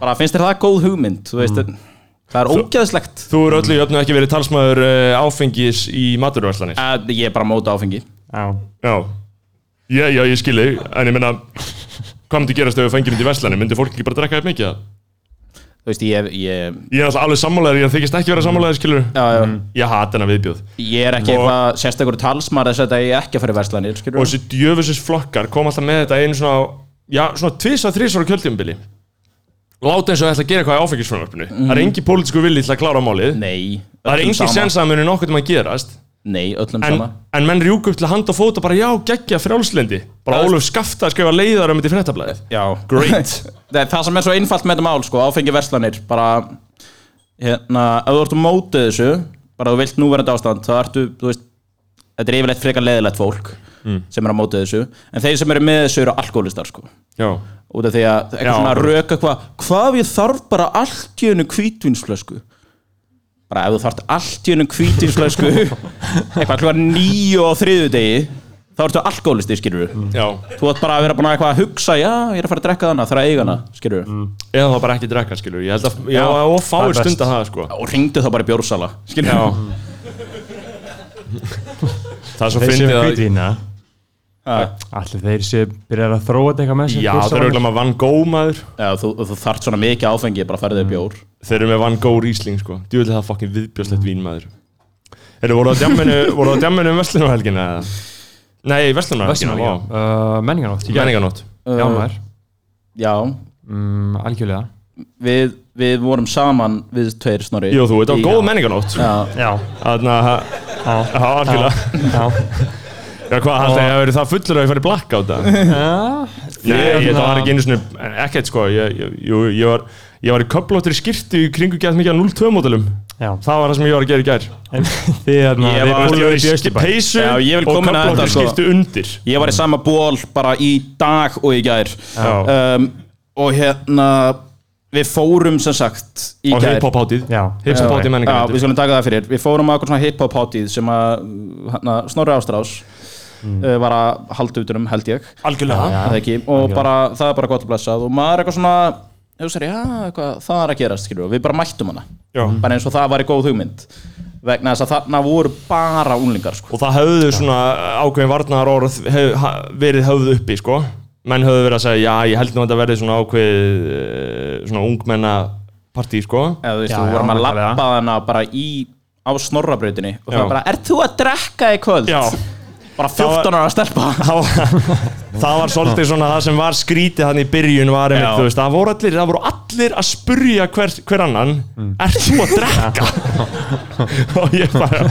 Speaker 5: Bara, finnst þér það góð hugmynd? Þú veist, það er ógeðslegt
Speaker 2: Mm. Þú eru öllu jöfnu ekki verið talsmaður uh, áfengis í maturværslanir
Speaker 5: Að Ég er bara móta áfengi
Speaker 3: Já
Speaker 2: Já Já, já, ég skil þig, en ég meina Hvað myndi gerast ef við fengjum þetta í verslanir? Myndi fólk ekki bara drekka upp mikið? það?
Speaker 5: Þú veist, ég, ég
Speaker 2: Ég er alltaf alveg sammálaður, ég þykist ekki vera sammálaður, skilur
Speaker 5: Já, já.
Speaker 2: Ég hata hennar viðbjóð
Speaker 5: Ég er ekki
Speaker 2: Mm. Og-
Speaker 5: eitthvað sérstakur talsmaður þess að þetta ég ekki að fara í verslanir, skilur
Speaker 2: Og þessi djöfusins flokkar kom alltaf með þetta einu svona Já, svona tvisa, þrísvara kjöldjumbili Láta eins og þetta gera eitthvað í áfengisfrumvarpinu Það er engi pólitísku vilji til að klára málið
Speaker 5: Mm. Nei,
Speaker 2: Það er
Speaker 5: öllum
Speaker 2: engi sens að muni nokkuð um að gerast
Speaker 5: Nei, öllum
Speaker 2: en,
Speaker 5: sama
Speaker 2: en menn rjúk upp til að handa og fóta bara já, geggja frjálslendi bara Óluf Skafta að skrifa leiðar um þetta í fréttablaðið
Speaker 5: Já
Speaker 2: Great.
Speaker 5: það, er það sem er svo einfalt með þetta mál, sko, áfengi verslanir bara, hérna, ef þú ert á mótið þessu bara þú vilt núverandi ástand, þá ertu, þú veist þetta er yfirleitt frekar leðilegt fólk sem er á mótið þessu, en þeir sem eru með þessu eru alkoholistar, sko
Speaker 2: já,
Speaker 5: út af því að eitthvað
Speaker 2: Já.
Speaker 5: svona rök eitthvað hvað ef ég þarf bara allt í hennu kvítvinsflösku bara ef þú þarf allt í hennu kvítvinsflösku eitthvað klúar nýju og þriðu degi þá ertu alkoholisti skilur við
Speaker 2: já
Speaker 5: þú ætti bara að vera búin að eitthvað að hugsa já, ég er að fara að drekka þannig þarf að eiga hana skilur við
Speaker 2: eða það bara ekki drekka skilur ég held að já, og
Speaker 3: það er
Speaker 2: fáir
Speaker 3: best.
Speaker 2: stund að það sko
Speaker 5: og ringdu þá bara í bjórsala skilur
Speaker 2: já
Speaker 5: við
Speaker 2: það er svo
Speaker 3: Þeir séu
Speaker 2: fyndið að
Speaker 3: kvítína
Speaker 5: Já.
Speaker 3: Allir þeir séu byrjar að þróa þetta eitthvað með sér
Speaker 2: já,
Speaker 3: bjórsala.
Speaker 2: þeir eru örugglega með Van Gogh maður
Speaker 5: Já, þú, þú þarft svona mikið áfengi bara
Speaker 2: Mm.
Speaker 5: færðu þig bjór
Speaker 2: þeir eru með Van Gogh Riesling sko djúvill það fokkin viðbjörslegt vín maður eru voru það djamminu voru það djamminu um Vestlunarhelgina eða? nei,
Speaker 3: Vessunar,
Speaker 2: Vestlunarhelgina,
Speaker 3: já
Speaker 2: vá
Speaker 3: uh, Menningarnótt í gær.
Speaker 2: menninganót
Speaker 3: Já
Speaker 5: Uh.
Speaker 3: maður
Speaker 5: já,
Speaker 3: mm, Algjörlega
Speaker 5: við, við vorum saman við tveir snorri
Speaker 2: jú, þú veit á
Speaker 5: Í-
Speaker 2: góð menninganót
Speaker 5: Já.
Speaker 3: Já
Speaker 2: þarna,
Speaker 3: Já
Speaker 2: já, algjörlega
Speaker 3: Já
Speaker 2: Já, hvað, haldið ég að verið það fullur að ég færi blakk á það? Nei, ég, það
Speaker 5: Hérna-
Speaker 2: var ekki einu svona, ekkert sko, ég, ég, jú, ég, var, ég var í köflóttir skirtu í kringu gætt mikið að 0-2 módulum.
Speaker 3: Já.
Speaker 2: Það var það sem ég var að gera í gær.
Speaker 3: Þið hérna,
Speaker 5: Ég
Speaker 2: Ég
Speaker 3: þið búið
Speaker 5: var-
Speaker 2: var
Speaker 3: upp í
Speaker 2: í
Speaker 3: Östurbæ
Speaker 2: peysu
Speaker 5: Já, ég vil
Speaker 2: og
Speaker 5: koma inn á þetta,
Speaker 2: köflóttir
Speaker 5: sko.
Speaker 2: skirtu undir.
Speaker 5: Ég var í sama ból bara í dag og í gær um, Og hérna Við fórum sem sagt í
Speaker 2: Á
Speaker 5: gær
Speaker 2: hip-hop hátíð.
Speaker 3: Já.
Speaker 2: Hip-hop hátíð
Speaker 5: Já, við
Speaker 2: menningar.
Speaker 5: skulum taka það fyrir Við fórum að eitthvað svona hip-hop hátíð sem að hana, Snorri Ástrás
Speaker 2: Mm.
Speaker 5: uh, var að halda út um held ég
Speaker 2: Algjörlega.
Speaker 5: það ekki, og bara, það er bara gott að blessað og maður er eitthvað svona hugsaður, já, eitthvað, það er að gerast, skilur við bara mættum hana,
Speaker 2: Já.
Speaker 5: bara eins og það var í góð hugmynd vegna þess að þarna voru bara unglingar, sko
Speaker 2: Og það höfðu svona ákveðin varnar orð hef, ha, verið höfðu uppi, sko. Menn höfðu verið að segja, já, ég held nú að þetta verði svona ákveð, eh, svona ungmenna partí, sko.
Speaker 5: eða þú veist,
Speaker 3: Já,
Speaker 5: þú
Speaker 3: já,
Speaker 5: vorum að
Speaker 3: nákvæmlega.
Speaker 5: lappa hana bara í á snorrabrautinni og það
Speaker 2: Já.
Speaker 5: var bara, er þú að drekka í kvöld?
Speaker 2: Já.
Speaker 5: bara 14 ára að stelpa
Speaker 2: það var, það var svolítið svona það sem var skrítið hann í byrjun var einmitt,
Speaker 5: Já.
Speaker 2: þú veist, það voru allir, það voru allir að spurja hver, hver annan ert þú að drekka? og ég bara,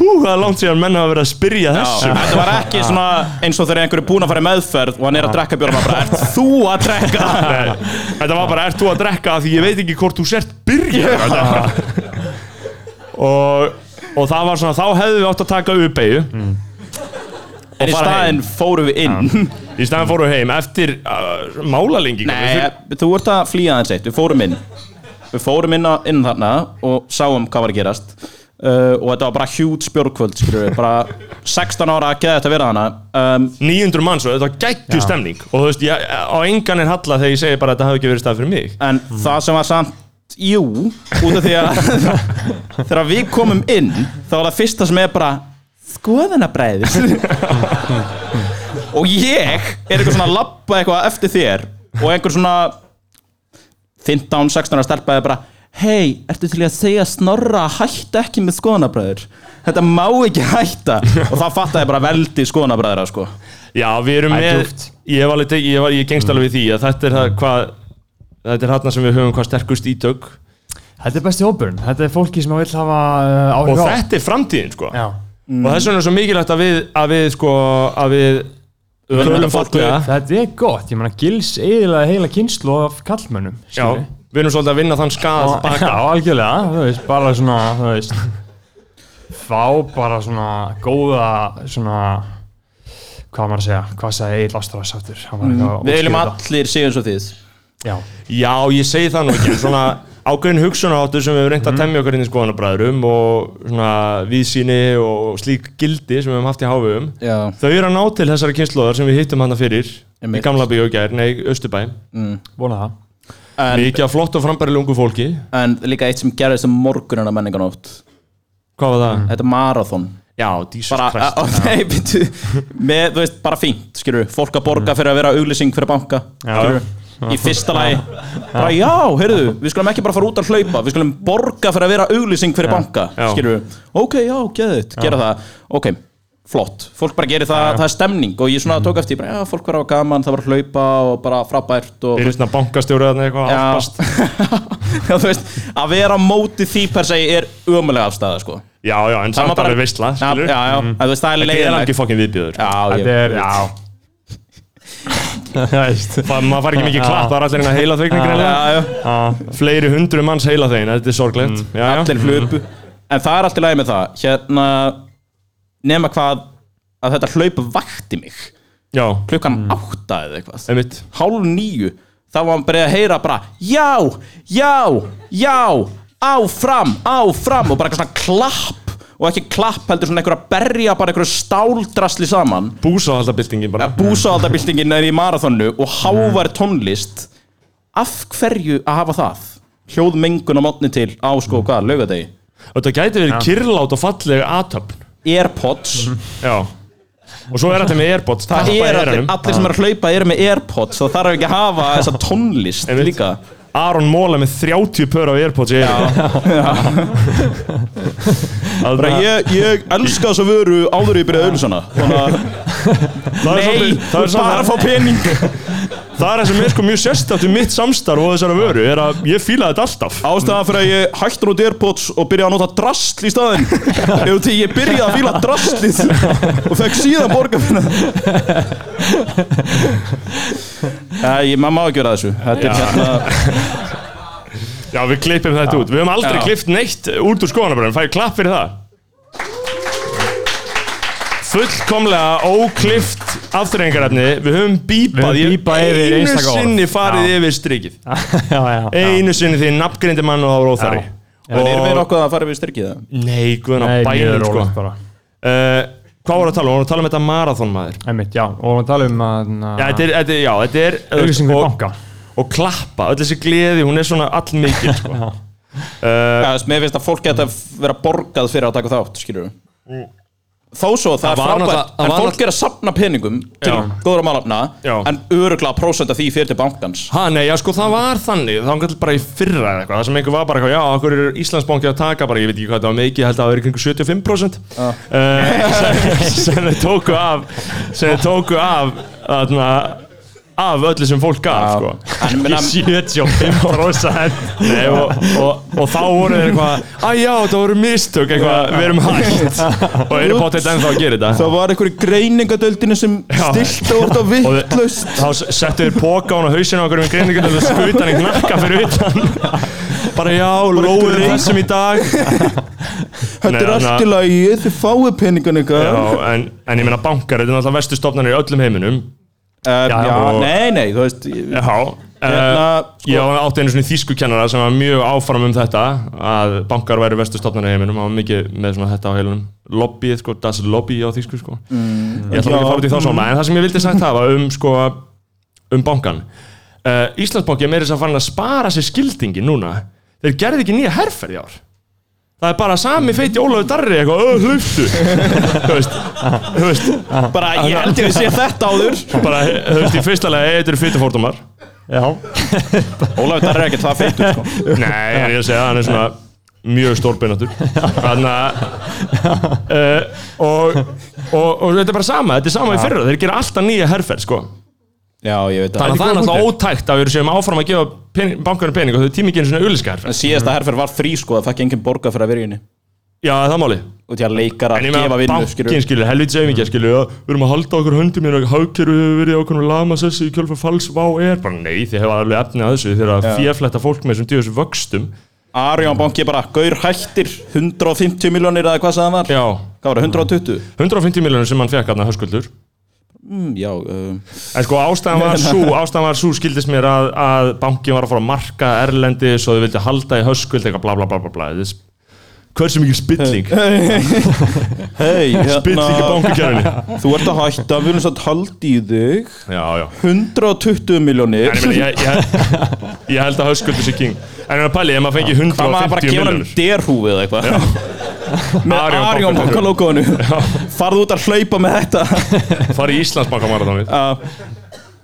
Speaker 2: pú, það er langt síðan menn hafa verið að spyrja þessu
Speaker 5: Þetta var ekki svona eins og þegar einhverju búin að fara í meðferð og hann er að drekka bjóra bara, er þú að drekka?
Speaker 2: Nei, Þetta var bara, ert þú að drekka því ég veit ekki hvort þú sért byrja að drekka og, og það var svona, þá hefðum við átt að taka uppeigju
Speaker 5: Mm. En í
Speaker 2: fara
Speaker 5: staðinn fórum við inn
Speaker 2: í staðan fórum við heim eftir uh, málalengingum
Speaker 5: Nei, eh, þú ert að flýja aðeins eitt, við fórum inn Við fórum inn, á, inn þarna og sáum hvað var að gerast uh, og þetta var bara hjút spjórkvöld skilur við, bara 16 ára að geða þetta að vera þarna um,
Speaker 2: 900 manns og þetta var geggju stemning og þú veist, ég, á engan er halla þegar ég segi bara að þetta hafi ekki verið stað fyrir mig
Speaker 5: en það sem var samt jú, út af því að þegar við komum inn þá var það fyrsta sem er bara skoðanabræðis og ég er eitthvað svona að labba eitthvað eftir þér og einhver svona 15, 16 ára stelpa er bara hei, ertu til í að segja snorra að hætta ekki með skoðanabræður þetta má ekki hætta og það fattaði ég bara veldi skoðanabræðra sko.
Speaker 2: Já, við erum
Speaker 3: Það er
Speaker 2: með
Speaker 3: djúpt. Mm.
Speaker 2: ég, var liti, ég, var, ég gengst alveg við því að þetta er það hvað þetta er hann sem við höfum hvað sterkust ítök
Speaker 3: Þetta er besti hópurinn, þetta er fólki sem vil hafa uh,
Speaker 2: og
Speaker 3: áhrif á
Speaker 2: þetta er framtíðin sko
Speaker 3: Já,
Speaker 2: og þess vegna er svo mikilvægt að við að við sko að við
Speaker 5: þetta
Speaker 2: tölum
Speaker 5: fólk
Speaker 2: fallega
Speaker 3: þetta er gott, ég meina gils eiginlega heila kynslu af kallmönnum
Speaker 2: Já,
Speaker 3: skilurðu.
Speaker 2: við erum svolítið að vinna þann skað
Speaker 3: Og- Já,
Speaker 2: baka
Speaker 3: algjörlega, þú veist, bara svona, þú veist Fá bara svona góða, svona Hvað á maður að segja, hvað segja Egil Ástrás áttur
Speaker 2: Mm.
Speaker 5: við viljum allir séu eins og þið
Speaker 3: Já,
Speaker 2: Já, ég segi það nú ekki en svona ákveðin hugsunarháttur sem við höfum
Speaker 3: Mm.
Speaker 2: reynt að temja okkur inn í skoðanabræðurum og svona víðsýni og slík gildi sem við höfum haft í háfugum
Speaker 5: Já.
Speaker 2: þau eru að ná til þessari kynnslóðar sem við hittum hana fyrir
Speaker 5: Einmitt. Mm.
Speaker 2: í gamla byggjogær, nei, Östubæ
Speaker 3: vona það
Speaker 5: en,
Speaker 2: mikið af flott og frambæri lungu fólki
Speaker 5: en líka eitt sem gerðist um morgunina menninganótt
Speaker 2: hvað var það?
Speaker 5: þetta er marathon
Speaker 2: Já, Jesus
Speaker 5: Mm. bara,
Speaker 2: Christ
Speaker 5: á, nei, býttu, með, þú veist, bara fínt skilur, fólk að borga fyrir að vera auglýsing fyrir banka skilur, í fyrsta lagi bara já, heyrðu, við skulum ekki bara fara út að hlaupa við skulum borga fyrir að vera auglýsing fyrir banka,
Speaker 2: Já.
Speaker 5: skilur, ok, já, geðið gera það, ok, flott fólk bara gerir það, það er stemning og ég svona
Speaker 2: Mm.
Speaker 5: tók eftir, bara, já, fólk verða gaman, það var að hlaupa og bara frábært og
Speaker 2: Við erum svona bankastjórið eitthvað
Speaker 5: Já.
Speaker 2: álpast.
Speaker 5: já, þú veist, að vera á móti því per se er ömulega afstæða sko.
Speaker 2: Já, já, en samt alveg veistla
Speaker 5: Já,
Speaker 2: skilur.
Speaker 5: já, já, en þú veist, það er
Speaker 2: Þetta er alveg
Speaker 5: leiðilegt
Speaker 2: fokkin viðbjöður
Speaker 5: Já,
Speaker 3: Þetta
Speaker 5: ég
Speaker 3: er, já Þú veist
Speaker 2: Það, maður fari ekki mikið klapp, það er allir hérna heila þveikningur
Speaker 5: Já, já,
Speaker 2: Fleiri hundru manns heila þegin, þetta er sorglegt Já, já.
Speaker 5: allir hlupu En það er allt í lagi með það Hérna, nema hvað að þetta hlaup vakti mig
Speaker 2: Já,
Speaker 5: klukkan átta eða eitthvað
Speaker 2: einmitt
Speaker 5: hálf nýju þá var hann bara að heyra bara já, já, já áfram, áfram og bara eitthvað svona klapp og ekki klapp heldur svona einhver að berja bara einhverju stáldrasli saman
Speaker 2: Búsa alltaf byltingin bara
Speaker 5: búsaaldabildingin er í marathonu og hávar tónlist af hverju að hafa það hljóðmengun á mótni til á sko hvað, laugadegi
Speaker 2: Og þetta gæti verið kyrlát og falleg aðtöfn
Speaker 5: Airpods
Speaker 2: Já Og svo er allir með Airpods
Speaker 5: það
Speaker 2: Mhm. tappa í
Speaker 5: er allir,
Speaker 2: eyrunum.
Speaker 5: allir sem eru að hlaupa eru með Airpods og þarf ekki að hafa þessa tónlist
Speaker 2: Einmitt.
Speaker 5: líka
Speaker 2: Aron Móla með 30 pör af Airpods í eyrunum.
Speaker 5: bara
Speaker 2: Alveg-
Speaker 5: ég, ég elska þessa vöru áður en ég byrjaði auðvilsana
Speaker 2: Það er
Speaker 5: nei,
Speaker 2: svolítið- það er
Speaker 5: bara að fá
Speaker 2: svolítið-
Speaker 5: pening
Speaker 2: það er það sem er sko mjög sérstætt við mitt samstarf og þessara vöru er að ég fíla þetta alltaf
Speaker 5: Ástæðan fyrir að ég hætti nút Airpods og byrjaði að nota drastl í staðinn Ef því ég byrjaði að fíla drastlið og fekk síðan borga fyrir það Æ, ég- maður má ekki vera að þessu Þetta er hérna
Speaker 2: Já, við klippum þetta út, við höfum aldrei
Speaker 5: Já.
Speaker 2: klippt neitt út úr skoðanabröðum, fæði klapp fyrir það Fullkomlega óklippt afturrengarefni, við höfum bípað
Speaker 3: Við höfum
Speaker 2: Ég-
Speaker 3: bípað yfir
Speaker 2: Einu
Speaker 3: einstaka orð.
Speaker 2: sinni farið
Speaker 3: Já.
Speaker 2: yfir strikið
Speaker 3: já, já, já.
Speaker 2: Einu sinni því nafngrindi mann og það var óþarri
Speaker 3: Já.
Speaker 5: En erum við nokkuð að fara við styrkið það?
Speaker 2: Nei, guðan á
Speaker 3: Nei, mjög
Speaker 2: bænum sko
Speaker 3: rólegt bara
Speaker 2: uh, Hvað voru að tala um? Voru að tala um þetta marathon maður
Speaker 3: Einmitt, já, og við talum um að na,
Speaker 2: Já, þetta er, þetta er, já, þetta er
Speaker 3: auðvisingur
Speaker 2: og,
Speaker 3: banka
Speaker 2: og klappa, öll þessi gleði, hún er svona allmikil sko.
Speaker 5: Já, þess, mér finnst að fólk geta vera borgað fyrir að taka þátt, skilur við Þó svo, það er
Speaker 2: var náttúrulega-
Speaker 5: frábært
Speaker 2: það
Speaker 5: En
Speaker 2: var
Speaker 5: fólk er að sapna peningum til
Speaker 2: Já.
Speaker 5: góðra málafna
Speaker 2: Já.
Speaker 5: En öruglega prósent af því fyrir til bankans
Speaker 2: Ha, nei, já, sko, það var þannig, það var kannski bara í fyrra eða eitthvað, það sem einhver var bara eitthvað, já, okkur er Íslandsbanki að taka bara, ég veit ekki hvað það var mikið, ég held að það var ykkur 75% uh. sem, sem þeir tóku af, sem þeir tóku af, þarna, af öllu sem fólk gaf, sko.
Speaker 5: En, menna,
Speaker 2: 75% nei, og, og, og þá voru þeir eitthvað, að já, það voru mistök, eitthvað, við erum hægt og erum potið ennþá að gera þetta.
Speaker 5: Það var einhverju greiningadöldinu sem
Speaker 2: Já.
Speaker 5: stilt og orða
Speaker 2: Og þau-
Speaker 5: vittlaust
Speaker 2: þá s- settu þér póka á hann á hausinu okkur um greiningar til að skuta hann í knakka fyrir utan bara já, lóu
Speaker 5: gleymd.
Speaker 2: reysum í dag
Speaker 5: Þetta
Speaker 2: Nei,
Speaker 5: er
Speaker 2: þarna-
Speaker 5: allt í lagi, þið fáið peningan ykkar
Speaker 2: já, en, en ég meina bankar þetta er náttúrulega vestu stofnarnir í öllum heiminum
Speaker 5: Eh,
Speaker 2: Já,
Speaker 5: já,
Speaker 2: og-
Speaker 5: nei, nei, þú veist ég-
Speaker 2: já,
Speaker 5: Hérna,
Speaker 2: uh,
Speaker 5: sko-
Speaker 2: ég á- átti einu svona þýskukennara sem var mjög áfram um þetta að bankar væri vestu stofnarnir í heiminum og mikið með svona þetta á heilunum lobbyið, sko, das lobby á þýsku sko. ég ætla nú ekki að fara út í þá svona en það sem ég vildi sagt hafa um sko, um bankan uh, Íslandsbanki er meira þess að farin að spara sér skildingi núna þeir gerði ekki nýja herferð í ár það er bara sami feiti Ólafur Darri eitthvað, öð, hluftu þú veist, þú veist
Speaker 5: bara ég held ég að sé þetta áður
Speaker 2: bara, þú veist, í fyrsta lega, þetta eru fyrir fórtumar
Speaker 3: Já,
Speaker 5: Ólafur, það er ekkert það feitur sko.
Speaker 2: Nei, en ég segi að hann er svona mjög stórbeinandur Þannig að uh, og, og, og þetta er bara sama Þetta er sama í fyrra, þeir gera alltaf nýja herferð sko.
Speaker 5: Já, ég veit
Speaker 2: Þannig að
Speaker 5: það
Speaker 2: það er náttúrulega ótækt að við séum áfram að gefa pening, bankarinn pening og þau tími ekki einu svona auðlíska herferð
Speaker 5: Síðasta herferð var frí sko, það fekk enginn borga fyrir að vera í henni
Speaker 2: Já, það er máli
Speaker 5: Út í að leikar
Speaker 2: En
Speaker 5: að
Speaker 2: ég
Speaker 5: gefa
Speaker 2: meina,
Speaker 5: vinnu Mm. skilur
Speaker 2: bankin skilur, helvítið segjum ekki skilur að Við erum að halda okkur höndum hérna Hákjöru hefur verið okkur lamasessi í kjölfa fals Vá er, bara nei, þið hefa alveg efni að þessu Þegar að fjöfletta fólk með þessum djöðs vöxtum
Speaker 5: Arjón banki bara, gaur hættir 150 miljónir eða hvað sem það var
Speaker 2: Já,
Speaker 5: Hvað var það, 120?
Speaker 2: 150 miljonur sem hann fekk aðna höskuldur
Speaker 5: Mm, já, um,
Speaker 2: En sko ástæðan var svo, ástæðan var svo skildist mér að, að bankin var að fara að marka erlendis og þau vildi halda í höskuld eitthvað bla bla bla bla bla This, Hversu mikið spilling
Speaker 5: Hérna. hei,
Speaker 2: Spilling í
Speaker 5: hérna
Speaker 2: bankakerfinu
Speaker 5: Þú ert að hætta, við erum satt haldi í þig
Speaker 2: Já, já
Speaker 5: 120 miljónir
Speaker 2: En ég, meina, ég, ég, ég held að höskuldur sé king En en pæli, ef maður fengi
Speaker 5: Það maður
Speaker 2: 150
Speaker 5: bara gefa hann
Speaker 2: miljonur
Speaker 5: derhúfið eða eitthvað Með
Speaker 2: Arion
Speaker 5: Arjón
Speaker 2: banka-
Speaker 5: banka logoinu Farðu út að hlaupa með þetta
Speaker 2: Fari í Íslandsbankamaratónið
Speaker 5: Já,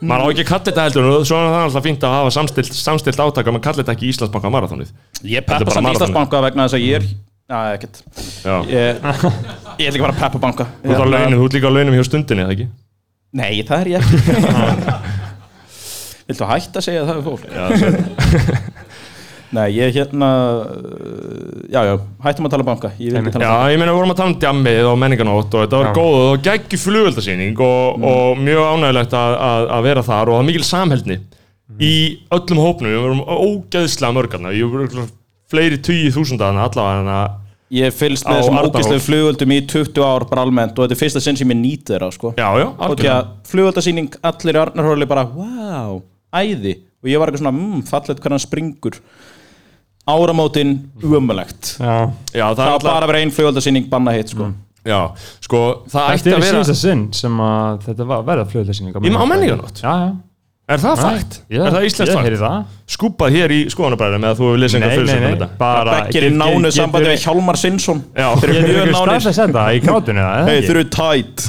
Speaker 5: Mm.
Speaker 2: Maður á ekki að kalla þetta heldur og Svo er það alltaf fínt að hafa samstilt, samstilt átaka Man kalla þetta ekki Íslandsbankamaratónið
Speaker 5: Ég
Speaker 2: Þetta er
Speaker 5: peppa
Speaker 2: bara
Speaker 5: samt
Speaker 2: marathonið.
Speaker 5: Íslandsbanka vegna þess að ég er Já, ekkert
Speaker 2: Já Þú
Speaker 5: Ég, ég ætla ekki bara að peppa banka
Speaker 2: ert á launum, þú ert líka á launum hjá stundinni, eða ekki?
Speaker 5: Nei, það er ég ekki Viltu hætta að segja það við fólk?
Speaker 2: Já, sorry.
Speaker 5: Nei, ég hérna uh, Já, já, hættum að tala um banka Ég vil ekki tala um
Speaker 2: Já, ég meina við vorum að tala um djammið og menninganótt og þetta var
Speaker 3: Já. Mm.
Speaker 2: góð og geggjur flugöldasýning og, og mjög ánægilegt að, að, að vera þar og það er mikil samheldni
Speaker 3: Mm.
Speaker 2: í öllum hópnum, við vorum ógeðslega mörgarna, ég voru fleiri tugi þúsundaðana allavega
Speaker 5: banka Ég fylgst
Speaker 2: Á
Speaker 5: með þessum
Speaker 2: Arnarhól.
Speaker 5: ógislu flugöldum í 20 ár bara almennt og þetta er fyrsta sinn sem ég nýt þeirra sko.
Speaker 2: Já, já,
Speaker 5: og því að flugöldasýning allir í Arnarhóli bara, wow, æði og ég var eitthvað svona, mmm, fallet hvernig hann springur áramótin umulegt
Speaker 3: já
Speaker 2: Já, það,
Speaker 5: það
Speaker 2: er Mm.
Speaker 5: var bara
Speaker 2: allavega,
Speaker 5: að vera einn flugöldasýning banna hitt sko.
Speaker 2: já, sko, það
Speaker 3: Þetta
Speaker 2: ætti
Speaker 3: er
Speaker 2: að vera,
Speaker 3: síðasta sinn sem að þetta var verða flugleysning
Speaker 2: Ég- á menningarnótt?
Speaker 3: Já, já
Speaker 2: er það fakt?
Speaker 3: Já,
Speaker 2: Er það íslenskt
Speaker 3: Ég
Speaker 2: fakt?
Speaker 3: heyri það
Speaker 2: Skúpað hér í skoðanabræðum eða þú hefur lesið
Speaker 3: Nei,
Speaker 2: einhver
Speaker 3: nei,
Speaker 2: fyrirsögn um
Speaker 3: nei
Speaker 2: þetta?
Speaker 3: Bara
Speaker 5: Bekkir í nánu sambandi við Hjálmar Sinsson
Speaker 2: Já,
Speaker 5: Þeir eru
Speaker 3: Ég
Speaker 5: mjög
Speaker 3: er
Speaker 5: nánir
Speaker 3: stafs að senda í krátunni það
Speaker 5: Hey,
Speaker 3: eða
Speaker 5: þeir
Speaker 3: ekki?
Speaker 5: eru tætt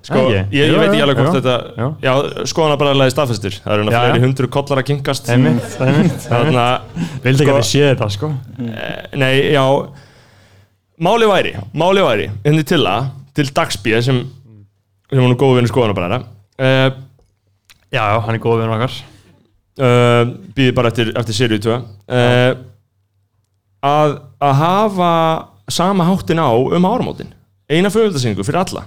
Speaker 2: Sko,
Speaker 3: Ekki?
Speaker 2: ég, ég
Speaker 3: Jú,
Speaker 2: veit ekki
Speaker 3: jú,
Speaker 2: alveg hvort
Speaker 3: jú.
Speaker 2: þetta
Speaker 3: Jú.
Speaker 2: Já, skoðanabræðarlega staðfestir Það eru
Speaker 3: Já,
Speaker 2: náttúrulega
Speaker 3: já.
Speaker 2: fleiri hundru kollar að kynkast
Speaker 3: Einmitt, einmitt
Speaker 2: Þarna,
Speaker 3: Vildi ekki
Speaker 2: sko-
Speaker 3: að þið séu þetta sko
Speaker 2: Nei, já Máli væri, máli væri hérna Henni til að, til Dagsbíð sem sem var nú góð vinur skoðanabræðara uh,
Speaker 3: Já, já, hann er góð vinnur okkar
Speaker 2: uh, býði bara eftir, eftir sériu 2 uh, að, að hafa sama háttin á um áramótin eina föguldarsýningu fyrir alla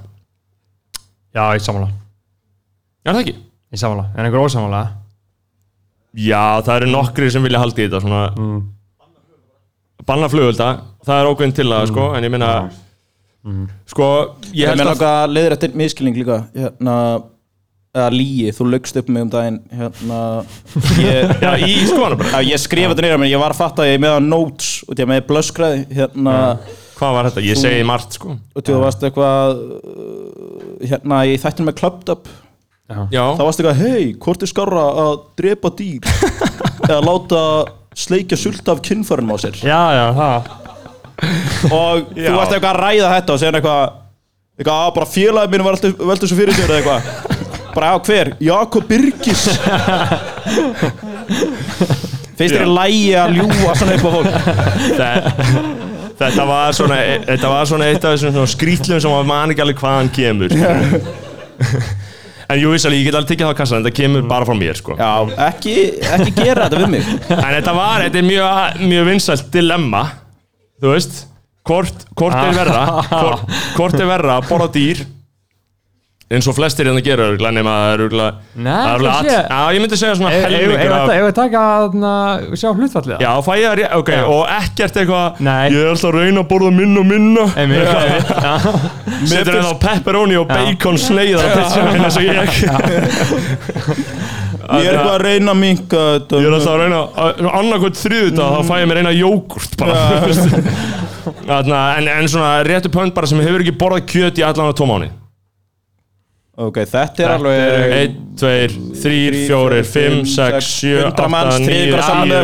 Speaker 3: Já, ég samanlega
Speaker 2: er það ekki?
Speaker 3: Ég samanlega, en einhver ósamanlega
Speaker 2: Já, það eru nokkri sem vilja haldi þetta svona banna flugölda það er ákveðin til það sko en ég meina sko ég
Speaker 5: Ég
Speaker 2: held
Speaker 5: meina
Speaker 2: að
Speaker 5: okkar leiðir eftir miskilning líka hérna, eða líi, þú lögst upp með um daginn hérna ég,
Speaker 2: Já, í skoðan bara
Speaker 5: já, ég skrifa þetta neyra, menn ég var að fatta að ég meða notes og ég meði blöskraði hérna,
Speaker 2: Hvað var þetta? Ég segi margt sko
Speaker 5: og þú varst eitthvað uh, hérna, ég þættin með Clubbed Up
Speaker 2: Já,
Speaker 5: þá varst eitthvað, hei, hvort er skarra að drepa dýr eða láta sleikja sult af kinnfærinum á sér
Speaker 3: Já, já, það
Speaker 5: og þú varst eitthvað að ræða þetta og segja eitthvað, eitthvað "Á, bara félagið mínu var alltaf veldur svo fyrir þér eða eitthvað bara á hver, Jakob Birgis finnst þér í lægi að ljúa svona upp á fólk
Speaker 2: þetta, þetta var svona e- þetta var svona eitt af þessum svona skrítlum sem maður man ekki alveg hvaðan kemur en jú, vissalega, ég get alveg tekið það á kassan en þetta kemur bara frá mér sko.
Speaker 5: já, ekki, ekki gera þetta við mig
Speaker 2: en þetta var, þetta er mjög, mjög vinsælt dilemma þú veist hvort, hvort er verra hvort, hvort er verra að borða dýr eins og flestir hérna gera örugglega, nema það er örugglega-
Speaker 3: Nei,
Speaker 2: það er örugglega
Speaker 3: það sé-
Speaker 2: all- Já, ég myndi segja svona
Speaker 3: Ef
Speaker 2: helmingur af-
Speaker 3: við taka að na, sjá hlutfallið
Speaker 2: Já, fæ ég að rétt, ok, og ekkert eitthvað
Speaker 3: Nei.
Speaker 2: Ég er alltaf að reyna að borða minna og minna
Speaker 3: Einmitt,
Speaker 2: Já.
Speaker 3: einmitt, já.
Speaker 2: Setur það á pepperoni og bacon sneiðar á pizzuna eins og ég
Speaker 5: ég er eitthvað að reyna að minka
Speaker 2: Ég er alltaf að reyna, annarkvæmt þriðuta þá fæ ég mér eina jógurt bara þú veist. Þarna, en, en svona réttu pönd bara sem hefur ekki borðað kjöt í allan á tvo mánu
Speaker 5: ok, þetta er alveg
Speaker 2: 1, 2, 3, 4, 5, 6, 7,
Speaker 5: 100
Speaker 2: 8,
Speaker 5: manns,
Speaker 2: 9,
Speaker 5: þriðjungur saman
Speaker 2: 10,
Speaker 5: eða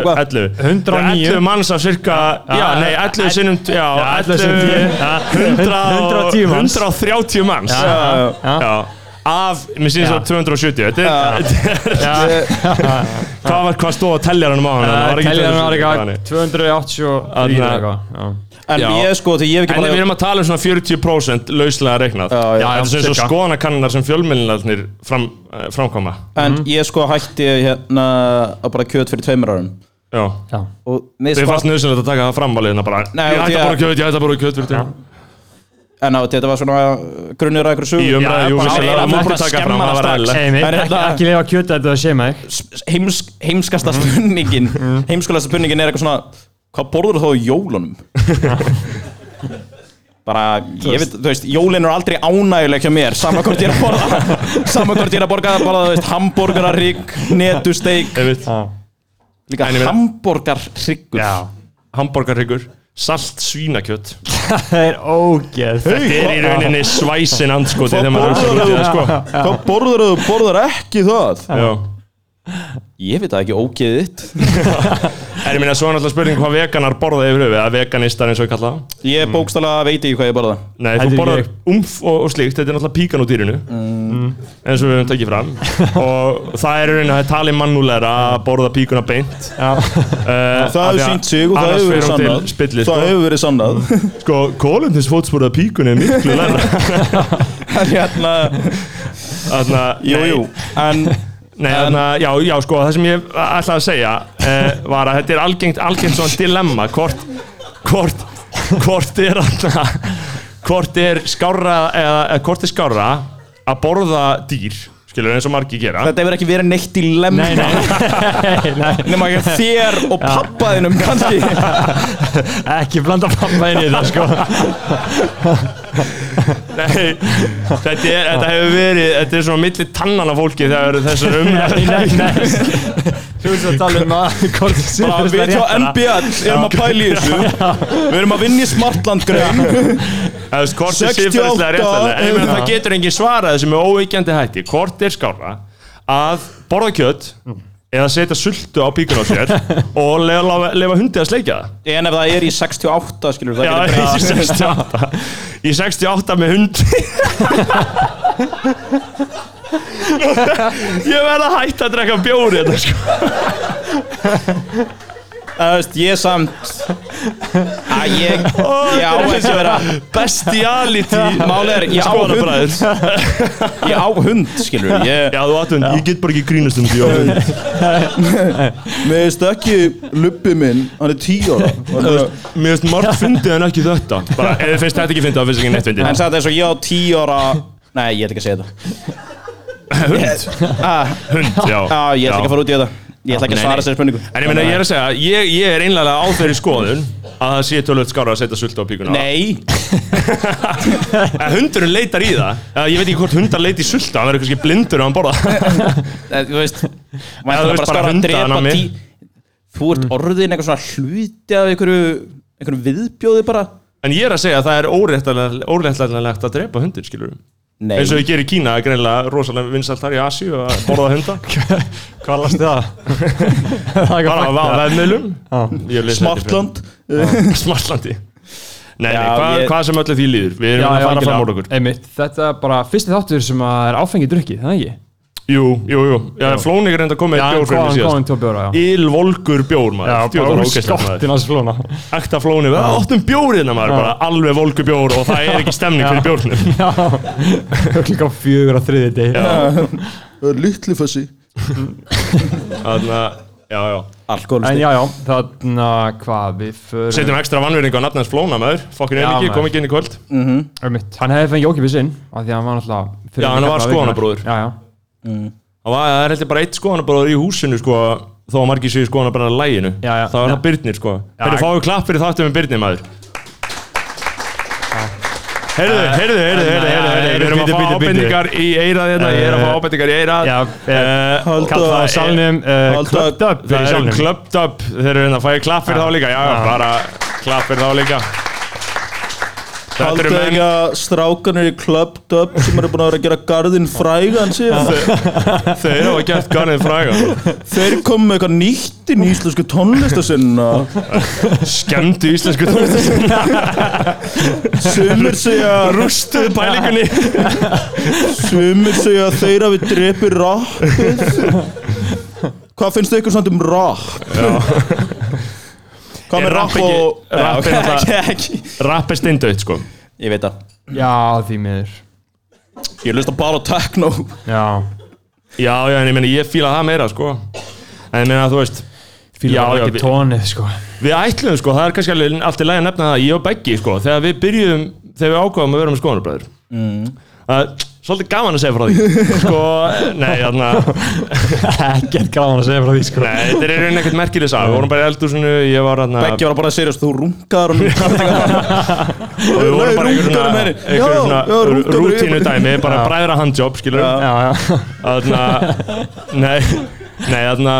Speaker 2: 11
Speaker 5: eitthvað.
Speaker 3: 109.
Speaker 2: 11 manns af cirka, já,
Speaker 3: Já,
Speaker 2: nei, 11 sinnum Já,
Speaker 3: 11 sinnum 10, já. 110
Speaker 2: 110
Speaker 3: manns.
Speaker 2: 130 manns
Speaker 5: Já,
Speaker 2: Já, af, mér sínst það 270 Þetta er, hvað var, hvað stóð að tellja hann á hann?
Speaker 3: Teljan var eitthvað 283
Speaker 2: Þarna-
Speaker 3: eitthvað já.
Speaker 5: en
Speaker 2: Já.
Speaker 5: ég sko, því ég hef ekki
Speaker 2: En við
Speaker 5: bara
Speaker 2: erum að tala um svona 40% lauslega reiknað
Speaker 5: Já,
Speaker 2: þetta er
Speaker 5: já,
Speaker 2: svona eins og
Speaker 3: cirka.
Speaker 2: skoðanakannar sem fjölmjölinarnir fram, eh, framkoma
Speaker 5: en ég sko hætti hérna að bara kjöt fyrir tveimur árum
Speaker 2: Já,
Speaker 3: Já.
Speaker 5: og mér
Speaker 2: við
Speaker 5: sko-
Speaker 2: fannst nöðsynlegt að taka það framvalið bara,
Speaker 5: Nei,
Speaker 2: Ég ætti
Speaker 5: því
Speaker 2: að
Speaker 5: að-
Speaker 2: bara kjöt, ég ætti að bara kjöt fyrir tíma
Speaker 5: en á, þetta var svona uh, grunnur að ykkur sögum
Speaker 2: Í umræðu, jú,
Speaker 5: bara
Speaker 2: vissulega,
Speaker 5: eiginlega
Speaker 2: það mátti
Speaker 5: bara
Speaker 2: taka
Speaker 5: skemma
Speaker 2: fram,
Speaker 5: hana
Speaker 2: það hérna- var
Speaker 5: strax.
Speaker 2: eðlilegt.
Speaker 3: Einmitt,
Speaker 5: Það er
Speaker 3: ekki,
Speaker 5: ekki-
Speaker 3: ekki leifa kjötið að þetta sé með þig
Speaker 5: Heims,
Speaker 2: Mhm.
Speaker 5: heimskasta spurningin heimskasta spurningin er eitthvað svona hvað borður þú þá í jólunum? bara, ég veit, þú veist, jólin eru aldrei ánægileg hjá mér, sama hvort ég er að borða sama hvort ég er að borga bara, þú veist, hambúrgararrygg, netusteik líka
Speaker 2: En ég meina-
Speaker 5: hambúrgarryggur
Speaker 3: Já
Speaker 2: Hamborgarhyggur, salt svínakjöt
Speaker 3: Það er ógeð
Speaker 2: Þetta er í rauninni svæsin andskoti þegar maður hugsar út í það sko
Speaker 5: hvað borður þú, borður ekki það?
Speaker 2: Já.
Speaker 5: ég veit það ekki, ógeðið þitt
Speaker 2: En ég minna svo er náttúrulega spurning hvað veganar borða yfir höfuð eða veganistar eins og ég kalla það
Speaker 5: ég bókstala veit ekki hvað ég borða
Speaker 2: Nei,
Speaker 3: Heldur
Speaker 2: þú borðar
Speaker 3: ég.
Speaker 2: umf og, og slíkt, þetta er náttúrulega píkan úr dýrinu
Speaker 5: Mm.
Speaker 2: eins og við höfum tekið fram og það er í rauninni að tali mannúlega að borða píkuna beint
Speaker 3: Já.
Speaker 2: uh,
Speaker 5: Það hefur sínt sig og það hefur verið sannað
Speaker 2: spilli,
Speaker 5: Það
Speaker 2: sko.
Speaker 5: hefur verið sannað
Speaker 2: sko, kólundins fótsporða píkunni er miklu læra
Speaker 5: En hérna,
Speaker 2: Þarna,
Speaker 5: Jú, jú En
Speaker 2: Nei, þarna, já, já, sko, það sem ég ætlaði að segja uh, var að þetta er algengt, algengt svona dilemma, hvort hvort, hvort er þarna hvort er skárra eða, eða hvort er skárra að borða dýr, skilur eins og margir gera
Speaker 5: þetta hefur ekki verið neitt í lemma
Speaker 3: Nei, nei, nei, nei.
Speaker 5: Nefna ekki þér og pappaðinum kannski
Speaker 3: Ekki blanda pappa inn í það sko
Speaker 2: Nei, þetta, er, þetta hefur verið þetta er svona milli tannana fólki þegar þessar
Speaker 3: Nei,
Speaker 2: umræður
Speaker 3: nei, nei Þú veist að tala um að hvort þú sér
Speaker 5: Bara Við hjá NBA erum að pæla í þessu Við erum að vinna í Smartland grein
Speaker 2: Þú veist, hvort er
Speaker 5: 68
Speaker 2: siðferðislega réttlæðilega ég meina það getur engin svarað þessu með óveikjandi hætti hvort er skára að borða kjött
Speaker 5: Mm.
Speaker 2: eða setja sultu á píkun á sér og lefa, lefa hundi að sleikja það
Speaker 5: En ef það er í 68 skilur það
Speaker 2: Já, í
Speaker 5: getur bara-
Speaker 2: 68 Í 68 með hundi hérna, Ég verð að hætta að drekka bjóri þetta sko
Speaker 5: Það veist, ég samt að ég, ég á ekki að vera
Speaker 2: Bestiality
Speaker 5: Málið er, ég á
Speaker 2: Skoðanabræður.
Speaker 5: hund Ég á hund, skilur við. ég
Speaker 2: Já, þú aðtun, ég get bara ekki grínast um því
Speaker 5: Mér veist ekki lubbi minn, hann er tíu ára En
Speaker 2: Mér finnst margt fyndið en ekki þetta Bara, ef þið finnst þetta ekki fyndið, þá finnst ekki neitt fyndið
Speaker 5: satt eins og ég á tíu ára Nei, ég ætla ekki að segja þetta Ah,
Speaker 2: Hund, já
Speaker 5: Já, ég ætla ekki að fara út í þetta Ég ætla ekki
Speaker 2: Nei,
Speaker 5: að svara
Speaker 2: nei.
Speaker 5: þessari spurningu
Speaker 2: En ég meina, ég er að segja, ég, ég er einlega á þeirri skoðun að það sé tölvöld skára að setja sulta á píkuna
Speaker 5: Nei,
Speaker 2: En hundurinn leitar í það Eh, Ég veit ekki hvort hundar leiti í sulta, hann verður kannski blindur á hann borða
Speaker 5: Eh, þú veist
Speaker 2: þú veist,
Speaker 5: Mæntalega bara
Speaker 2: bara
Speaker 5: skara að
Speaker 2: hunda
Speaker 5: drepa
Speaker 2: hana mig. Mm.
Speaker 5: tí Þú ert orðin eitthvað svona hluti af einhverju einhverjum viðbjóði bara
Speaker 2: En ég er að segja að það er óréttlætanlegt óréttlætanlegt að drepa hundur, skilur
Speaker 5: Nei,
Speaker 2: Eins og ég ger í Kína, það er greinlega rosalega vinsalt þar í Asi og að borða hunda
Speaker 3: Hvað lastu það? það er ekki
Speaker 2: Bara
Speaker 3: að
Speaker 2: á vefmiðlum
Speaker 3: Já.
Speaker 2: Ég les þetta fyrir.
Speaker 5: Smartland Ah,
Speaker 2: Smartlandi Nei, nei,
Speaker 5: Já,
Speaker 2: hvað,
Speaker 5: ég-
Speaker 2: hvað sem öllu því líður Við erum að fara fram úr okkur
Speaker 3: Einmitt, þetta er bara fyrsti þáttur sem að er áfengið drukki, það ekki?
Speaker 2: Jú, jú, jú Já, Flónik er enda komið
Speaker 3: Já,
Speaker 2: með bjór fyrir
Speaker 3: hvaðan
Speaker 2: mig
Speaker 3: kom hann
Speaker 2: síðast
Speaker 3: tvo bjóra, já.
Speaker 2: Ylvolgur bjór maður
Speaker 3: Já,
Speaker 2: Djöfull
Speaker 3: bara
Speaker 2: var
Speaker 3: úr
Speaker 2: ógeðslegt, maður.
Speaker 3: skottin hans flóna.
Speaker 2: Ekta flóni Við áttum bjórina maður bara Alveg volgur bjór Og það er ekki stemning fyrir bjórnum
Speaker 3: Já, klukkan fjögur á þriði degi.
Speaker 5: Luttlifessi
Speaker 2: Þannig að Já, já
Speaker 5: Alkoholist
Speaker 3: En já, já, þannig að hvað við förum...
Speaker 2: Setjum ekstra vannverðingu á nafnans flóna maður Fokkin
Speaker 3: Já,
Speaker 2: er ekki
Speaker 3: maður.
Speaker 2: Kom ekki inn í kvöld
Speaker 3: Einmitt, hann hefði fengið ókipið sinn, af því að hann var náttúrulega... fyrir
Speaker 2: Já, hann
Speaker 3: mig
Speaker 2: var
Speaker 3: alla vikuna.
Speaker 2: skoðanabróðir.
Speaker 3: Já, já.
Speaker 2: Það var- það er heldur bara eitt skoðanabróður í húsinu sko Þó að margir séu skoðan bara læginu
Speaker 3: Já, já.
Speaker 2: Það var það Byrnir sko Herru, fáum við klapp fyrir þáttum með Byrnir maður Herðu, herðu, herðu, herðu, herðu, herðu Við erum að
Speaker 3: bíddu,
Speaker 2: fá
Speaker 3: bíddu, bíddu.
Speaker 2: ábendingar í eirað hérna Ég er að fá ábendingar í eirað
Speaker 3: Já, eh,
Speaker 2: Eh,
Speaker 3: kalla það á salnum, eh,
Speaker 5: Halda-
Speaker 3: klöpt upp
Speaker 2: Það
Speaker 3: fyrir
Speaker 2: er
Speaker 3: salnum.
Speaker 2: klöpt upp Þeir eru hérna að fæja klapp fyrir þá líka Já, bara klapp fyrir þá líka Þetta eru
Speaker 5: Haldu
Speaker 2: menn
Speaker 5: ekki að strákanir í Club Dub sem eru búin að vera að gera garðin frægan síðan
Speaker 2: Þeir hafa gert garnið fræga
Speaker 5: Þeir komu með eitthvað nýtt inn í íslensku tónlistasinna
Speaker 2: Skemdi íslensku tónlist
Speaker 5: Sumir segja
Speaker 2: Rústu pælingunni
Speaker 5: Sumir segja að þeir hafi drepi rappið Hvað finnst þau ykkur samt um rapp?
Speaker 2: Er
Speaker 5: Hvað með
Speaker 2: rapp
Speaker 5: rapp
Speaker 2: ekki-
Speaker 5: og
Speaker 2: rapp er
Speaker 5: Já,
Speaker 2: það-
Speaker 5: ekki, ekki.
Speaker 2: Rapp er steindauð sko
Speaker 5: Ég veit það
Speaker 3: Já, því miður.
Speaker 5: Ég hlusta bara á techno
Speaker 3: Já.
Speaker 2: Já, já, en ég meina ég fíla það meira sko En ég meina þú veist
Speaker 3: Fílar
Speaker 2: Já,
Speaker 3: bara
Speaker 2: já,
Speaker 3: ekki
Speaker 2: við-
Speaker 3: tónið, sko.
Speaker 2: Við ætlum sko, það er kannski alveg allt í lagi að nefna það Ég og Beggi sko, þegar við byrjuðum Þegar við ákváðum að vera með skoðanabræður Það er svolítið gaman að segja frá því Sko, nei, þarna
Speaker 3: Ekkert gaman að segja frá því, sko.
Speaker 2: Nei, þetta er í rauninni ekkert merkileg sag Við vorum bara í eldúsinu, ég var þarna
Speaker 5: Beggi var bara að segja þú rungaðar og
Speaker 2: og Við vorum bara í einhverjum
Speaker 5: rungaðar
Speaker 2: svona,
Speaker 5: með henni.
Speaker 2: einhver
Speaker 5: Já, já,
Speaker 2: svona
Speaker 5: rungaðar með
Speaker 2: rútínu dæmi Bara bræðra handjob, skilur
Speaker 3: Já, já.
Speaker 2: Þarna, nei, nei, þarna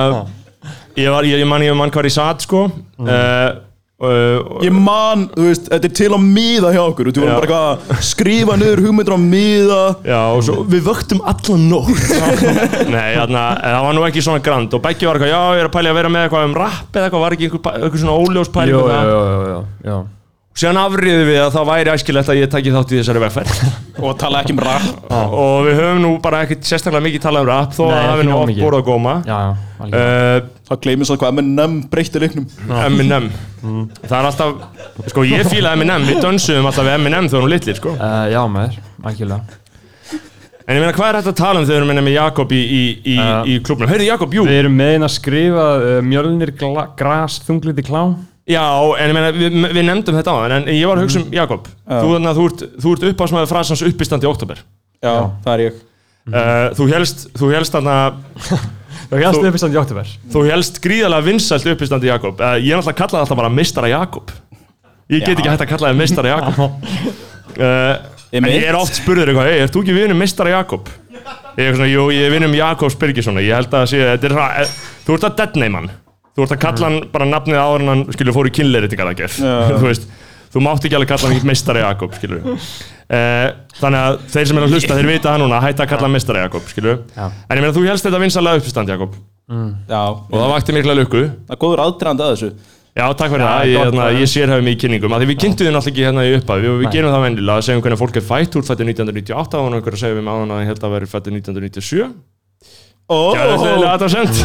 Speaker 2: Ég var, ég, ég man, ég man hvar ég satt sko uh, uh,
Speaker 5: Ég man, þú veist, þetta er til á miða hjá okkur
Speaker 2: Já.
Speaker 5: Þú vorum bara eitthvað að skrifa niður hugmyndir á miða
Speaker 2: Já, og svo við vöktum allan nótt Nei, þarna, en það var nú ekki svona grand og Beggi var eitthvað, já, ég er að pæli að vera með eitthvað um rapp eða eitthvað, var ekki einhver, pæ- einhver svona óljós pæli
Speaker 3: Jú, jú, jú, jú, jú.
Speaker 2: Síðan afriði við að það væri æskilegt að ég taki þátt í þessari vegferð
Speaker 5: Og tala ekki um rapp
Speaker 2: og við höfum nú bara ekkert sérstaklega mikið talað um rapp þó að
Speaker 3: Nei,
Speaker 2: það
Speaker 3: ekki
Speaker 2: hafi nú
Speaker 3: nóg
Speaker 2: oft
Speaker 3: mikið.
Speaker 2: búið að góma
Speaker 3: Já, já, algjörlega.
Speaker 2: uh,
Speaker 5: Það gleymist að hvað M&M breytti leiknum
Speaker 2: Eminem Það er alltaf, sko ég fíla Eminem við dönsuðum alltaf við Eminem þegar hún litlir sko.
Speaker 3: Uh, já, maður, algjörlega.
Speaker 2: en ég meina hvað er þetta að tala um þegar við erum með Jakob í, í, í,
Speaker 3: Eh.
Speaker 2: í klubnum Heyrðu Jakob, jú,
Speaker 3: Við erum með einn að skrifa uh, Mjölnir gla, Gras Þungliti Klám.
Speaker 2: já en ég meina við, við nefndum þetta á en ég var að hugsa um Jakob þú, þarna, þú ert, þú ert uppásmaður frasans uppistandi í oktober
Speaker 5: Já, það er ég
Speaker 2: uh, þú helst, þú helst þarna
Speaker 3: Já,
Speaker 2: Þú-
Speaker 3: ég stuði fyrst hann í oktober.
Speaker 2: þú helst gríðarlega vinsælt uppistandi Jakob uh, ég er alltaf að kalla það alltaf bara mistara Jakob ég get ekki hægt að kalla það mistara Jakob uh, En ég er oft spurður eitthvað, hei, ert þú ekki vinum mistara Jakob? Ég er svona, jú, ég er vinum Jakobs Birgisson Ég held að það sé, þetta er svona eh, Þú ert að deadname hann Þú ert að kalla hann bara nafnið áður en hann skilur fór í kynleiritingar að gerð Þú veist, þú mátt ekki alveg kalla hann mistara Jakob, skilur eh, Þannig að þeir sem er að hlusta, þeir vita það núna Hætta að kalla hann mistara Jakob, skilur
Speaker 3: Já.
Speaker 2: En ég meina, þú helst þetta vinsalega uppstand, Jakob Og
Speaker 5: Já,
Speaker 2: það vakti mikla lukku
Speaker 5: það er góður aðdraðandi að þessu
Speaker 2: Já, takk fyrir það, ég,
Speaker 3: gott,
Speaker 2: hérna,
Speaker 3: já.
Speaker 2: ég sérhæfum í kynningum af Því við kynntum þið náttúrulega ekki hérna í upphafi og við gerum það venjulega að segjum hvernig fólk er fætt úr fættu 1998 og einhver að segja við með áðan að ég held að vera fættu 1997
Speaker 5: Ó,
Speaker 2: Gæðislega aðdáðsend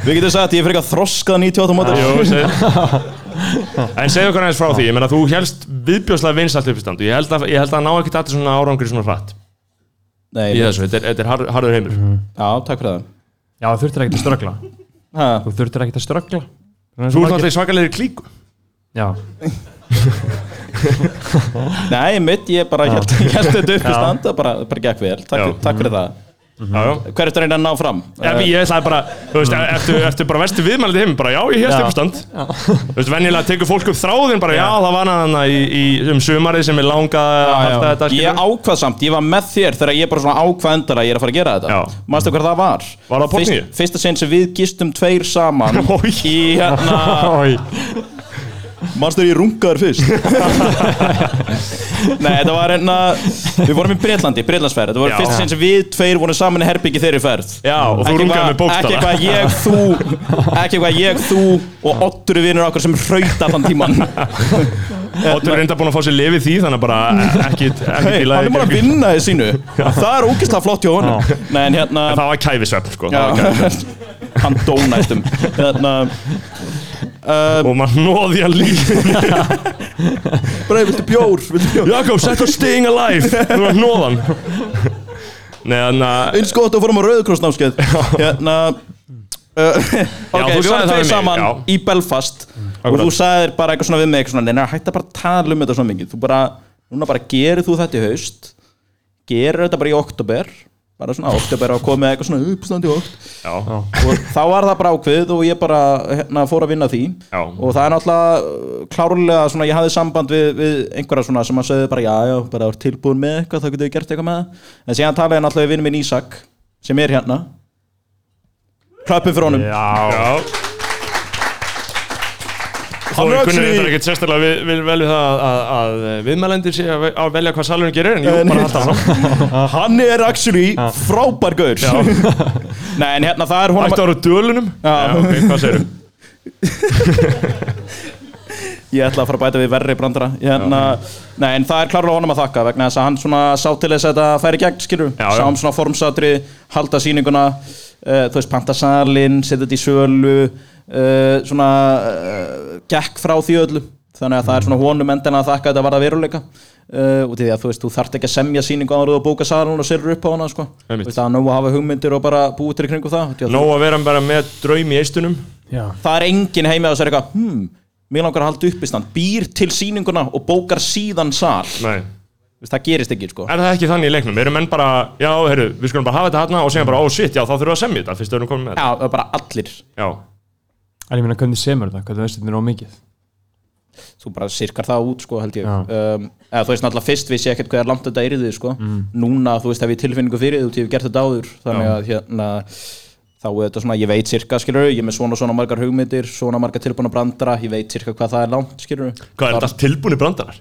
Speaker 5: Við getum sagt að ég fyrir ekki að þroskað 98 mótur
Speaker 2: Jú, seg... En segja okkur aðeins frá því Ég meina þú helst viðbjóðslega vinsalt uppistand Ég held að, ég held að ná ekki þetta svona árangri svona hratt
Speaker 5: Nei,
Speaker 2: Í
Speaker 5: já,
Speaker 2: þessu, þetta er, þetta er har, harður heimur
Speaker 5: takk fyrir það
Speaker 3: Já, þú þurftir ekkert að ströggla
Speaker 5: ha,
Speaker 3: Þú þurftir ekkert að ströggla
Speaker 2: Þú ert náttúrulega svakalegri klíku
Speaker 3: Já,
Speaker 5: Nei, mitt, ég bara held, held þetta upp í standa bara, bara gekk vel, takk,
Speaker 2: Já.
Speaker 5: takk fyrir það
Speaker 2: Já, já
Speaker 5: Hver ertu að reyna að ná fram?
Speaker 2: Já,
Speaker 5: Eh, Mm.
Speaker 2: ég ætlaði bara, þú veist, ertu, ertu bara vestu viðmælið heim, bara já, ég helst
Speaker 3: Já.
Speaker 2: uppstand Þú veist, venjulega tekur fólk upp þráðin bara, já, það var hana í, í, um sumarið sem er langað að
Speaker 5: já,
Speaker 2: halda þetta,
Speaker 5: já. Ég
Speaker 2: skilur
Speaker 5: ákvað samt, ég var með þér þegar ég bara svona ákvað endara að ég er að fara að gera
Speaker 2: Já.
Speaker 5: þetta Manstu hvað það var?
Speaker 2: Var það á Borgníu?
Speaker 5: Fyrsta sinn sem við gistum tveir saman
Speaker 2: Oj.
Speaker 5: í hérna Manstu þegar ég rungaður fyrst Nei, þetta var hérna Við vorum í Breitlandi, Breitlandsferð Þetta var
Speaker 2: Já.
Speaker 5: fyrsta sinn sem við tveir vorum saman í herbyggi þeirri ferð
Speaker 2: Já, og þú
Speaker 5: Ekki
Speaker 2: rungaði
Speaker 5: eitthvað-
Speaker 2: með bókstala.
Speaker 5: Ekki eitthvað ég, þú Ekki eitthvað ég, þú og otturu vinur okkar sem hraut allan tíman
Speaker 2: Otur er reynda búin að fá sér lifið því, þannig að bara eh, ekki, ekki
Speaker 5: hey,
Speaker 2: til
Speaker 5: Hann er búin að vinna í sínu Það er ógeðslega flott hjá honum Nei, en hérna
Speaker 2: En það var kæfisvefn, sko það var kæfisvefn.
Speaker 5: Já, Hann dó næstum Hérna
Speaker 2: Og maður nóði hann lífið
Speaker 5: Brei, viltu bjór? Viltu bjór?
Speaker 2: Jakob, sett á staying alive Þú var nóðan Nei, eh, þannig að
Speaker 5: eins gott að fórum á rauðkrossnámskeið hérna uh,
Speaker 2: Já,
Speaker 5: ok,
Speaker 2: þú sagðir
Speaker 5: við
Speaker 2: það
Speaker 5: varum tveir
Speaker 2: við mig,
Speaker 5: saman
Speaker 2: já. Mm,
Speaker 5: í Belfast og
Speaker 2: Akkurat.
Speaker 5: þú sagðir bara eitthvað svona við mig eitthvað svona, neina, hætti bara að tala um þetta svona mikið þú bara, núna bara gerir þú þetta í haust gerir þetta bara í oktober bara svona oktober og komið eitthvað svona uppstand í okt
Speaker 2: Já,
Speaker 5: og þá var það bara ákveð og ég bara hérna, fór að vinna því
Speaker 2: Já.
Speaker 5: og það er náttúrulega uh, klárlega svona, ég hafði samband við, við einhverja svona sem að segja bara já, já, bara er tilbúin með eitthvað þá getum við gert eitthvað með það en síðan talaði ég náttúrulega við vinnum minn Ísak sem er hérna klöppum fyrir honum
Speaker 3: já
Speaker 2: já Þó
Speaker 5: Hann er
Speaker 2: ég kunni
Speaker 5: actually-
Speaker 2: þetta ekkert sérstaklega við, við vel við það að, að, að viðmælendir sé að, ve- að velja hvað salurinn gerir en jú, bara alltaf saman.
Speaker 5: hann er actually frábær gaur nei, en hérna það er honum
Speaker 2: Ættu ára dölunum? Já, ok, hvað segirðu?
Speaker 5: Ég ætla að fara að bæta við verri brandara hérna, Nei, en það er klárlega honum að þakka vegna þess að hann svona sá til þess að þetta færi gegn skilur,
Speaker 2: Já, já.
Speaker 5: sá um svona formsatri halda sýninguna, uh, þú veist pantasalinn, setja þetta í sölu uh, svona uh, gekk frá því öllu þannig að það er svona honum endina að þakka að þetta var að veruleika uh, út í því að þú veist, þú þarft ekki að semja sýningu áður en þú bóka salun og serur upp á hana sko.
Speaker 2: Einmitt.
Speaker 5: Þú veist, það er nóg að hafa hugmyndir og bara búið til í kringum það Því að
Speaker 2: Nó að vera bara með draum í eistunum
Speaker 3: Já,
Speaker 5: það er enginn heima og sér eitthvað hmm, mér langar að halda uppistand býr til sýninguna og bókar síðan sal
Speaker 2: Nei
Speaker 5: Vist, það gerist ekki sko
Speaker 2: Er það ekki þannig í leiknum? Eru menn bara, já, heyrðu, við skulum bara hafa þetta hérna og segja bara, ó, shit, já, þá þurfum við að semja þetta fyrst við erum komin með þetta
Speaker 5: já, það er bara allir
Speaker 2: Já,
Speaker 3: en ég meina hvernig semur þetta, hvernig veist þetta er ómikið
Speaker 5: þú bara sirkar það út sko held ég
Speaker 3: Já.
Speaker 5: um, eða þú veist náttúrulega fyrst vissi ég ekkert hvað er langt þetta yrði sko núna þú veist hef ég tilfinningu fyrir því út í ég hef gert þetta áður þannig að hérna þá er þetta svona ég veit sirka skilur ég er með svona og svona margar hugmyndir svona margar tilbúna brandara ég veit sirka hvað það er langt skilur
Speaker 2: hvað er þetta allt tilbúni brandarar?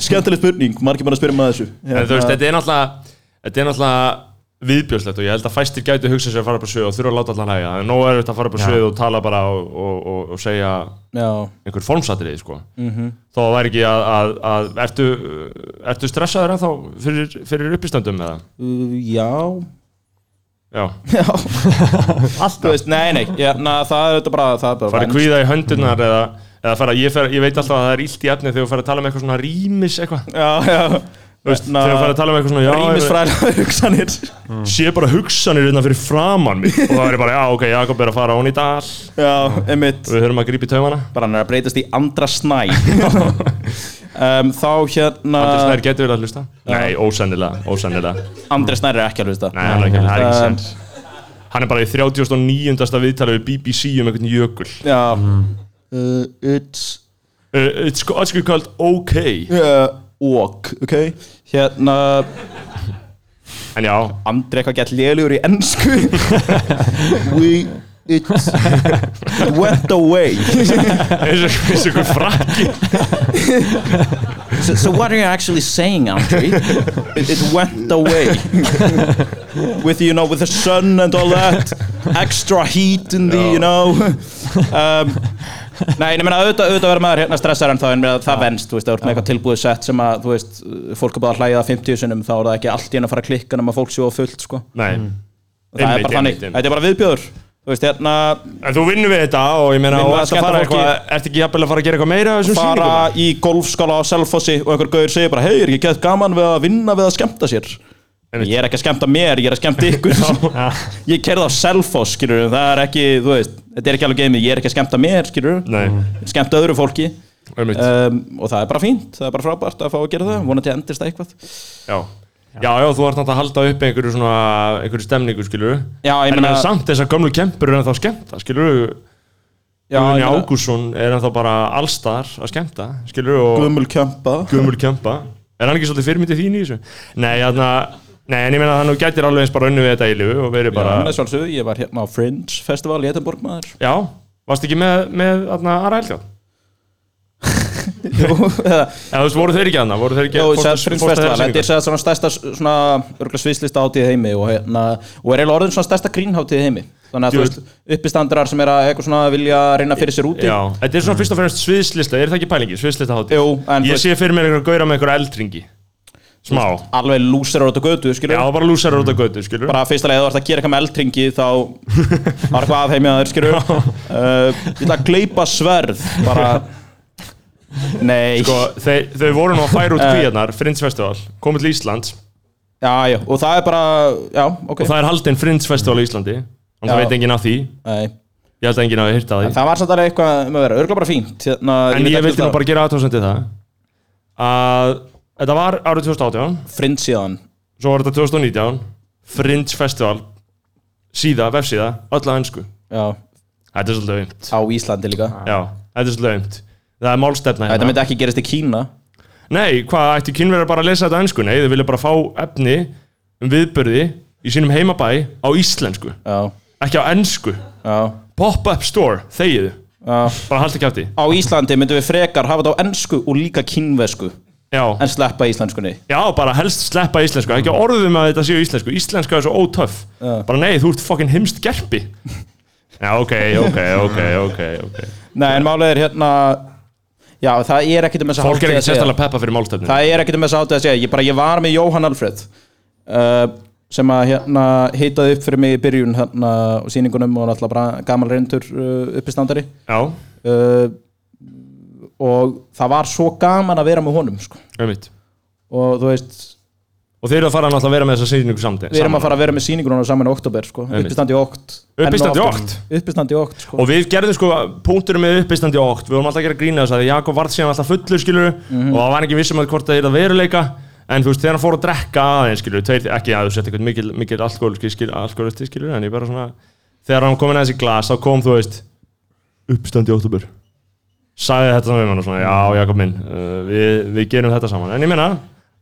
Speaker 5: skemmtileg spurning margir mann að spyrja með þessu
Speaker 2: En þú veist, þetta er náttúrulega, þetta er náttúrulega viðbjörnslegt og ég held að fæstir gætu hugsa sér að fara upp á svið og þurfa að láta allan hægja. En nóg er þetta að fara upp á svið og tala bara og, og, og, og segja
Speaker 5: já
Speaker 2: einhver formsatriði, sko. Þó það væri ekki að, að, að ertu, ertu stressaður ennþá fyrir, fyrir uppistöndum eða?
Speaker 5: Uh, já,
Speaker 2: Já,
Speaker 5: Já Allt veist, nei, nei, já, na, það er þetta bara það er bara
Speaker 2: fara
Speaker 5: venst.
Speaker 2: að kvíða í höndunar eða, eða fara, ég, fer, ég veit alltaf að það er illt í efni þegar þú fara að tala með eitthvað svona rýmis eitthvað.
Speaker 5: Já, já
Speaker 2: Þú veist, þegar þú fara að tala með eitthvað svona, já,
Speaker 5: Rýmisfræðilega hugsanir
Speaker 2: ég sé bara hugsanir innan fyrir framann mig og það er bara, já, ok, Jakob er að fara á hún í dal
Speaker 5: Já, einmitt
Speaker 2: og við höfum að grípa í taumana.
Speaker 5: Bara hann er að breytast í andra snæ um, Þá hérna
Speaker 2: Andri Snær getur vel að hlusta? Nei, ósennilega, ósennilega
Speaker 5: Andri Snær er ekki að hlusta
Speaker 2: Nei, hann er ekki að
Speaker 3: það er
Speaker 2: hlusta
Speaker 3: ekki
Speaker 5: Um,
Speaker 3: sens
Speaker 2: Hann er bara í 39. viðtalið við BBC um einhvern jökul
Speaker 5: Já uh, It's
Speaker 2: Uh, It's got it's called OK
Speaker 5: uh, Walk, ok Hérna
Speaker 2: En já,
Speaker 5: Andri eitthvað gett lélugur í ennsku We It It went away
Speaker 2: eins og eins og einhver frakki
Speaker 5: so, so what are you actually saying, Andre? It, it went away with you know with the sun and all that extra heat in the you know. Um, Nei, en ég meina, auðvitað, auðvitað verður maður hérna stressar en þá en meina, það venst, þú veist, það er með eitthvað tilbúið sett sem að, þú veist, fólk er búið að hlæja það 50 sinnum, þá er það ekki allt í enn að fara að klikka nema fólk séu á fullt, sko.
Speaker 2: Nei,
Speaker 5: Það er bara þannig, þetta er bara viðbjöður. Þú veist, hérna,
Speaker 2: En þú vinnur við þetta og ég meina,
Speaker 5: Vinnum
Speaker 2: og
Speaker 5: við
Speaker 2: ert
Speaker 5: þetta,
Speaker 2: ekki,
Speaker 5: fara
Speaker 2: eitthvað, ert ekki jafnvel að fara að gera eitthvað meira af þessum
Speaker 5: fara
Speaker 2: sýningum?
Speaker 5: í golfskála á Selfossi og einhver gauður segir bara, hei, er ekki gett gaman við að vinna við að skemmta sér?
Speaker 2: Einmitt.
Speaker 5: Ég er ekki að skemmta mér, ég er að skemmta ykkur. ég kerði á Selfoss, skilur, það er ekki, þú veist, þetta er ekki alveg geimið, ég er ekki að skemmta mér, skilur,
Speaker 2: Nei,
Speaker 5: skemmta öðru fólki.
Speaker 2: einmitt,
Speaker 5: um, og það er bara fínt, það er bara frábært að fá að gera það vonandi endist það eitthvað
Speaker 2: já Já, já, þú ert náttúrulega að halda upp einhverju svona, einhverju stemningu, skilur
Speaker 5: Já, ég
Speaker 2: En
Speaker 5: meina-
Speaker 2: meina, samt þessar gömlu kempur er ennþá skemmta, skilur
Speaker 5: Já,
Speaker 2: Guðni
Speaker 5: ég meina-
Speaker 2: Ágússon er ennþá bara allstar að skemmta, skilur og
Speaker 5: Guðmul kjömpa
Speaker 2: gömul kempa Er hann ekki svolítið fyrirmyndið þín í þessu? Nei, þarna, nei en ég meina að hann gætir alveg eins bara önnu við þetta í lifu og verið bara Já,
Speaker 5: Sjálfsög, ég var hérna á Fringe Festival í Edinborg maður
Speaker 2: varst ekki með, með þarna, Ara Eldjátt?
Speaker 5: Jú, eða-
Speaker 2: Já, þú veist, voru þeir ekki aðna? Voru þeir ekki
Speaker 5: Jú,
Speaker 2: fórstu-
Speaker 5: sem Fringe
Speaker 2: fórstu að
Speaker 5: Festival,
Speaker 2: þeirra
Speaker 5: þetta
Speaker 2: sýningu?
Speaker 5: er sem sagt svona stærsta svona örgulega sviðslista hátíð í heimi og, hérna, og er eiginlega orðin svona stærsta grínhátíð í heimi þannig að
Speaker 2: Jú.
Speaker 5: þú veist, uppistandrar sem er að eitthvað svona vilja reyna fyrir sér úti
Speaker 2: Já, þetta er svona fyrst og fremst sviðslista, er það ekki pælingi? Sviðslista hátíð
Speaker 5: Jú, en þú
Speaker 2: Ég
Speaker 5: veist-
Speaker 2: sé fyrir mér einhverja gauðra með einhverja eldringi Smá
Speaker 5: alveg lúsir á þetta götu, skilur
Speaker 2: Já, bara lúsarar út á götu, skilur
Speaker 5: bara fyrsta leið, ef þú ert að gera eitthvað með eldringi þá var eitthvað að heimja þér, skilur uh, ég ætla að gleypa sverð bara nei,
Speaker 2: Sko, þeir, þau voru nú að færa
Speaker 5: Eh.
Speaker 2: út kvíarnar, Fringe Festival, komið til Íslands
Speaker 5: já, já, og það er bara já, ok,
Speaker 2: og það er haldinn Fringe Festival í Íslandi og það
Speaker 5: Já.
Speaker 2: veit enginn af því,
Speaker 5: nei
Speaker 2: ég held að enginn hafi hýrt að því
Speaker 5: það var samt alveg eitthvað um að vera, örgulega bara fínt hérna,
Speaker 2: En
Speaker 5: veit
Speaker 2: ég
Speaker 5: ekki
Speaker 2: vildi nú
Speaker 5: það-
Speaker 2: bara gera aðtóðsendið það að þetta var árið 2018
Speaker 5: frind síðan
Speaker 2: svo var þetta 2019 Fringe Festival síða, vefsíða, öll á ennsku
Speaker 5: já,
Speaker 2: Þetta er svolítið aumt
Speaker 5: á Íslandi líka
Speaker 2: Já, þetta er svolítið aumt Það er málstefna
Speaker 5: þetta
Speaker 2: hérna
Speaker 5: myndi ekki gerast í Kína
Speaker 2: Nei, hvað, ætti kynverjar bara að lesa þetta á ennsku? Nei, þau vilja bara fá efni um viðbörði í sínum heimabæ á íslensku
Speaker 5: já,
Speaker 2: Ekki á ennsku
Speaker 5: já,
Speaker 2: Pop-up store, þegiðu
Speaker 5: já
Speaker 2: Bara halda ekki átti
Speaker 5: á Íslandi myndum við frekar hafa þetta á ennsku og líka kínvesku
Speaker 2: Já,
Speaker 5: en sleppa íslenskunni
Speaker 2: Já, bara helst sleppa íslensku, ekki
Speaker 5: Mm.
Speaker 2: orðum að þetta séu íslensku Íslenska er svo ótöff Bara nei, þú ert fucking heimst gerpi Já, ok, ok, ok, ok, okay.
Speaker 5: nei, en málið er hérna já, það er ekkit um þess að
Speaker 2: Fólk er ekki sérstaklega peppa fyrir málstefni
Speaker 5: Það er ekkert um þess að áttið að segja, ég, bara, ég var með Jóhann Alfred uh, sem að hérna hitaði upp fyrir mig í byrjun hérna á sýningunum og náttúrulega bara gamal reyndur uh, uppistandari
Speaker 2: Já,
Speaker 5: uh, og það var svo gaman að vera með honum sko.
Speaker 2: auðvitað
Speaker 5: og þú veist,
Speaker 2: Og þeir eru að fara náttúrulega að vera með þessa sýningu samti
Speaker 5: við erum að fara að vera með sýningunum saman í oktober, sko.
Speaker 2: Einmitt.
Speaker 5: uppistandi í okt
Speaker 2: Uppistandi í
Speaker 5: Enn og
Speaker 2: okt?
Speaker 5: aftur. Uppistandi í okt, sko.
Speaker 2: Og við gerðum sko punkturum með uppistandi og okt Við vorum alltaf að gera grína þess að Jakob varð síðan alltaf fullur skilur Og það var ekki vissum að hvort það er að veruleika En þú veist, þegar hann fór að drekka aðeins skilur tveir, Ekki að þú sett eitthvað mikil, mikil alkoholisti skilur, alkoholisti skilur En ég bara svona Þegar hann kom inn aðeins í glas þá kom þú veist Uppistandi í oktober Sæði þetta saman við hann og svona Já Jakob minn, uh, við, við gerum þetta saman En ég meina,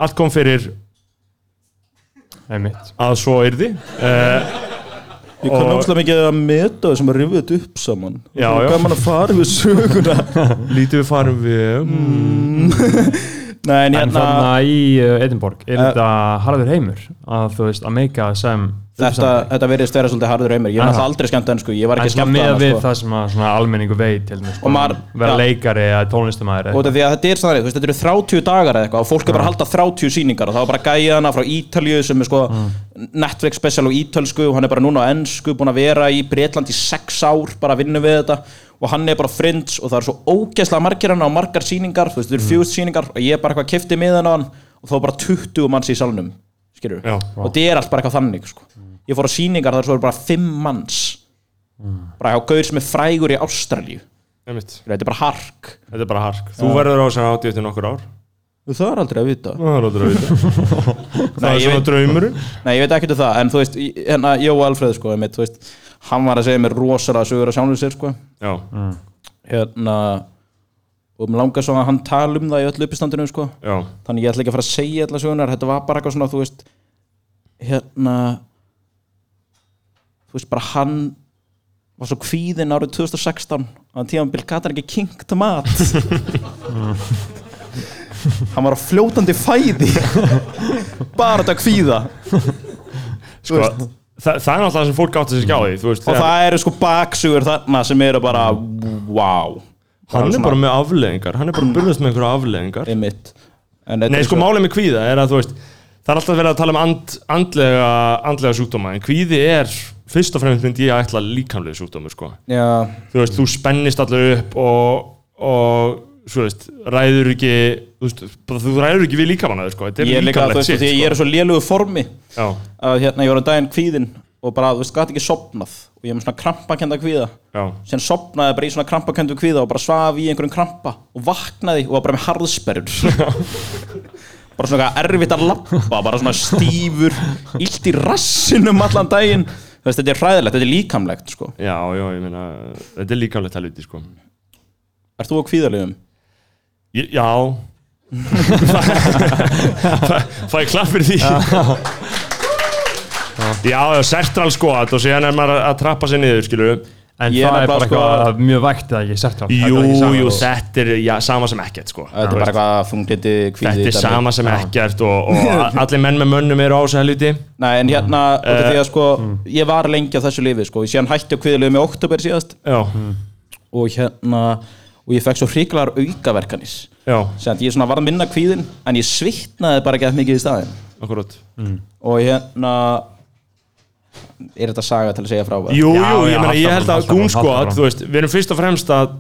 Speaker 2: allt kom fyrir
Speaker 3: Einmitt.
Speaker 2: að svo yrði
Speaker 5: Ég kann
Speaker 2: og-
Speaker 5: óslega mikið að meta þessum að rifja þetta upp saman
Speaker 2: Já,
Speaker 5: Það er
Speaker 2: já.
Speaker 5: Gaman að fara við söguna
Speaker 2: Lítið við farum við
Speaker 5: Nei, en
Speaker 3: En
Speaker 5: hérna,
Speaker 3: þarna í uh, Edinborg
Speaker 5: Eh.
Speaker 3: er þetta harður heimur að þú veist að meika sem
Speaker 5: þetta, þetta verðist vera svolítið harður heimur Ég er
Speaker 3: Aha.
Speaker 5: náttúrulega aldrei skemmt ennsku, ég var
Speaker 3: En
Speaker 5: ekki sko.
Speaker 3: svona
Speaker 5: skemmt
Speaker 3: með við það sem að svona almenningu veit til dæmis,
Speaker 5: Og maður-
Speaker 3: bara vera
Speaker 5: já.
Speaker 3: leikari eða tónlistamæður
Speaker 5: Og því að þetta er sannarið, þú veist, þetta eru 30 dagar eða eitthvað og fólk er bara að halda 30 sýningar og það var bara gæðana frá Ítalju sem er sko Netflix special á ítalsku og hann er bara núna á ennsku búin að vera í Breitland í 6 ár bara að vinna við þetta og hann er bara frinds og það er svo ógeðslega margir hann á margar sýningar, þú veist, þetta eru fjögust sýningar og ég er bara eitthvað kifti miðan á hann og þá er bara 20 manns í salnum, skilur
Speaker 2: Já.
Speaker 5: og þetta er allt bara eitthvað þannig, sko Ég fór á sýningar þar svo eru bara 5 manns bara hjá gaur sem er frægur í Ástralju,
Speaker 2: Einmitt.
Speaker 5: þetta er bara hark
Speaker 2: Þetta er bara hark Þú verður á þess að hátíð eftir nokkur ár
Speaker 5: Það er aldrei að vita
Speaker 2: Það er aldrei að vita Það er
Speaker 5: ég
Speaker 2: svona
Speaker 5: veit-
Speaker 2: draumurinn
Speaker 5: Nei, ég veit ekkert um það, en þú veist, í- hérna, Jó Alfreð, sko, einmitt, þú veist, hann var að segja mér rosalega sögur að sjánlega sér, sko,
Speaker 2: Já,
Speaker 5: hérna, og mér langar svo að hann tala um það í öllu uppistandinu, sko,
Speaker 2: já,
Speaker 5: þannig ég ætla ekki að fara að segja allar sögunar, þetta var bara eitthvað svona, þú veist, hérna, þú veist, bara hann var svo kvíðinn árið 2016, að hann tíðan Bill Gatar ekki kinkt mat. hann var á fljótandi fæði, bara þetta kvíða.
Speaker 2: sko Þa, það er
Speaker 5: sko
Speaker 2: náttúrulega það sem fólk átti sér skjáði Þú veist,
Speaker 5: og
Speaker 2: þegar,
Speaker 5: það eru sko baksugur þarna sem eru bara wow
Speaker 2: Hann er
Speaker 5: svona-
Speaker 2: bara með afleðingar, hann er bara að burðast með einhverja afleðingar
Speaker 5: einmitt En þetta
Speaker 2: Nei,
Speaker 5: er
Speaker 2: sko,
Speaker 5: svo-
Speaker 2: málið með kvíða er að, þú veist, það er alltaf verið að tala um and, andlega, andlega sjúkdóma, en kvíði er, fyrst og fremst myndi ég að ætla líkamlega sjúkdómur, sko.
Speaker 5: Já,
Speaker 2: Þú veist, þú spennist allir upp og, og svo veist, ræður ekki, þú veist, bara, þú ræður ekki við líkamannaður, sko. Þetta
Speaker 5: ég
Speaker 2: er
Speaker 5: er líka, þú
Speaker 2: líkamlegt sko.
Speaker 5: veist,
Speaker 2: sitt,
Speaker 5: því að ég er í svo lélugu formi
Speaker 2: Já,
Speaker 5: að hérna, ég var á daginn kvíðinn og bara, þú veist, gæti ekki sopnað og ég er með svona krampakenda kvíða
Speaker 2: já,
Speaker 5: sem sopnaði bara í svona krampakendu kvíða og bara svaf í einhverjum krampa og vaknaði og var bara með harðsperjur bara svona eitthvað erfitt að lappa bara svona stífur illt í rassinum allan daginn þú veist, þetta er hræðilegt, þetta er líkamlegt sko.
Speaker 2: já, já, ég meina, þetta er líkamlegt helviti, sko.
Speaker 5: Ert þú á kvíðalegum?
Speaker 2: Ég, já. fæ, fæ ég klapp fyrir því? Já, já, sertral sko og síðan er maður að trappa sér niður, skilur
Speaker 3: En
Speaker 5: Ég er
Speaker 3: það er
Speaker 5: nefnilega
Speaker 3: bara
Speaker 5: sko-
Speaker 3: eitthvað mjög vægt að ég sett hann
Speaker 2: Jú, jú,
Speaker 3: sko.
Speaker 2: þetta er já, sama sem ekkert sko.
Speaker 5: Þetta er bara eitthvað þunglindi kvíði
Speaker 2: Þetta er
Speaker 5: dæmi.
Speaker 2: sama sem ekkert og, og a- allir menn með mönnum eru á þessu helviti
Speaker 5: Nei, en hérna,
Speaker 2: Mm.
Speaker 5: út af
Speaker 2: Eh.
Speaker 5: því að sko ég var lengi á þessu lifi, sko, ég sé hann hætti á kvíðalegum í oktober síðast
Speaker 2: Já,
Speaker 3: Mm,
Speaker 5: og hérna, og ég fekk svo hriklar aukaverkanis
Speaker 2: já,
Speaker 5: sem að ég svona var að minna kvíðin en ég svitnaði bara ekki að mikið í staðin
Speaker 2: akkurat
Speaker 5: og hérna er þetta saga til að segja frá bara?
Speaker 2: Jú,
Speaker 3: Já,
Speaker 2: jú,
Speaker 3: já,
Speaker 2: ég meina,
Speaker 3: haltu
Speaker 2: ég
Speaker 3: áfram,
Speaker 2: held að
Speaker 3: haltu áfram, haltu
Speaker 2: gúnskot,
Speaker 3: áfram.
Speaker 2: þú veist, við erum fyrst og fremst að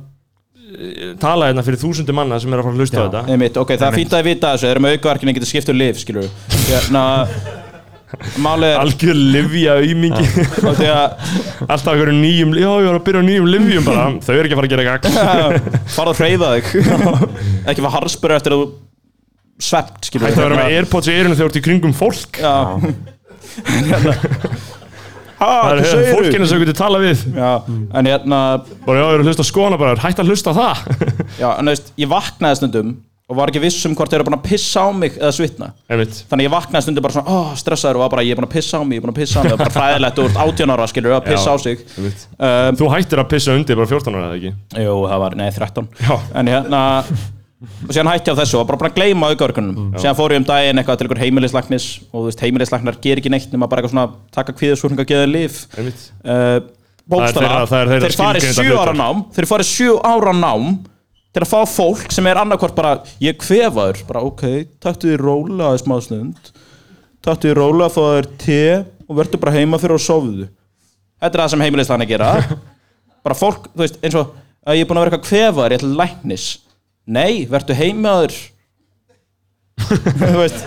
Speaker 2: eh, tala hérna fyrir þúsundir manna sem eru að fara að hlusta á
Speaker 3: Já.
Speaker 2: þetta
Speaker 5: Einmitt, ok, það er fínt að þið vita þessu, þeir eru með aukaverkinu getur skipt um lif, skilur hérna, málið er
Speaker 2: Algjör livja aumingi,
Speaker 5: út af því að
Speaker 2: alltaf einhverju nýjum, já, ég var að byrja á nýjum livjum bara, þau eru ekki að fara að gera gagn
Speaker 5: farað að hreyfa þig ekki fara harspur eftir að þú svept, skilur
Speaker 2: Hætti að vera með Airpods í eirinu þegar þú ert í kringum fólk
Speaker 5: já
Speaker 2: Það
Speaker 5: hvað
Speaker 2: er hérna
Speaker 5: segirðu?
Speaker 2: fólkinu sem þú getur tala við
Speaker 5: já, en hérna
Speaker 2: Bara já, ég er að hlusta á skona bara, hætti að hlusta á það
Speaker 5: já, en þú veist, ég vaknaði stundum og var ekki viss um hvort þeir eru búin að pissa á mig eða svitna
Speaker 2: Einmitt,
Speaker 5: Þannig að ég vaknaði stundum bara svona, oh, stressaður og var bara, ég er búin að pissa á mig, ég er búin að pissa á mig, bara fræðilegt úr 18 ára, skilur, að pissa
Speaker 2: Já.
Speaker 5: á sig.
Speaker 2: einmitt
Speaker 5: Um,
Speaker 2: Þú hættir að pissa undir bara 14 ára eða ekki?
Speaker 5: jú, það var, nei, 13.
Speaker 2: Já.
Speaker 5: En hérna, og síðan hætti ég á þessu og var bara búin að gleyma aukörkunum.
Speaker 2: Mm.
Speaker 5: Síðan fór ég um daginn eitthvað til ykkur heimilislæknis og þú veist, heimilislæknar ger ekki neitt nema bara eitthvað svona taka kvíðasúrninga og geða líf.
Speaker 2: Einmitt
Speaker 5: Uh, bókstala,
Speaker 2: þeirra- það er þeirra
Speaker 5: þeir farið
Speaker 2: skilgreinda
Speaker 5: sjö ára
Speaker 2: hlutverk.
Speaker 5: nám, þeir farið sjö ára nám til að fá fólk sem er annarkvort bara, ég er kvefaður, bara ok, taktu því róla að smá snund, taktu því róla, fá þér te og verður bara heima fyrir og sofðu. Þetta er það sem heimilist hann að gera. bara fólk, þú veist, eins og að ég er búin að vera eitthvað kvefaður, ég ætla til læknis. Nei, verður heimaður. þú veist,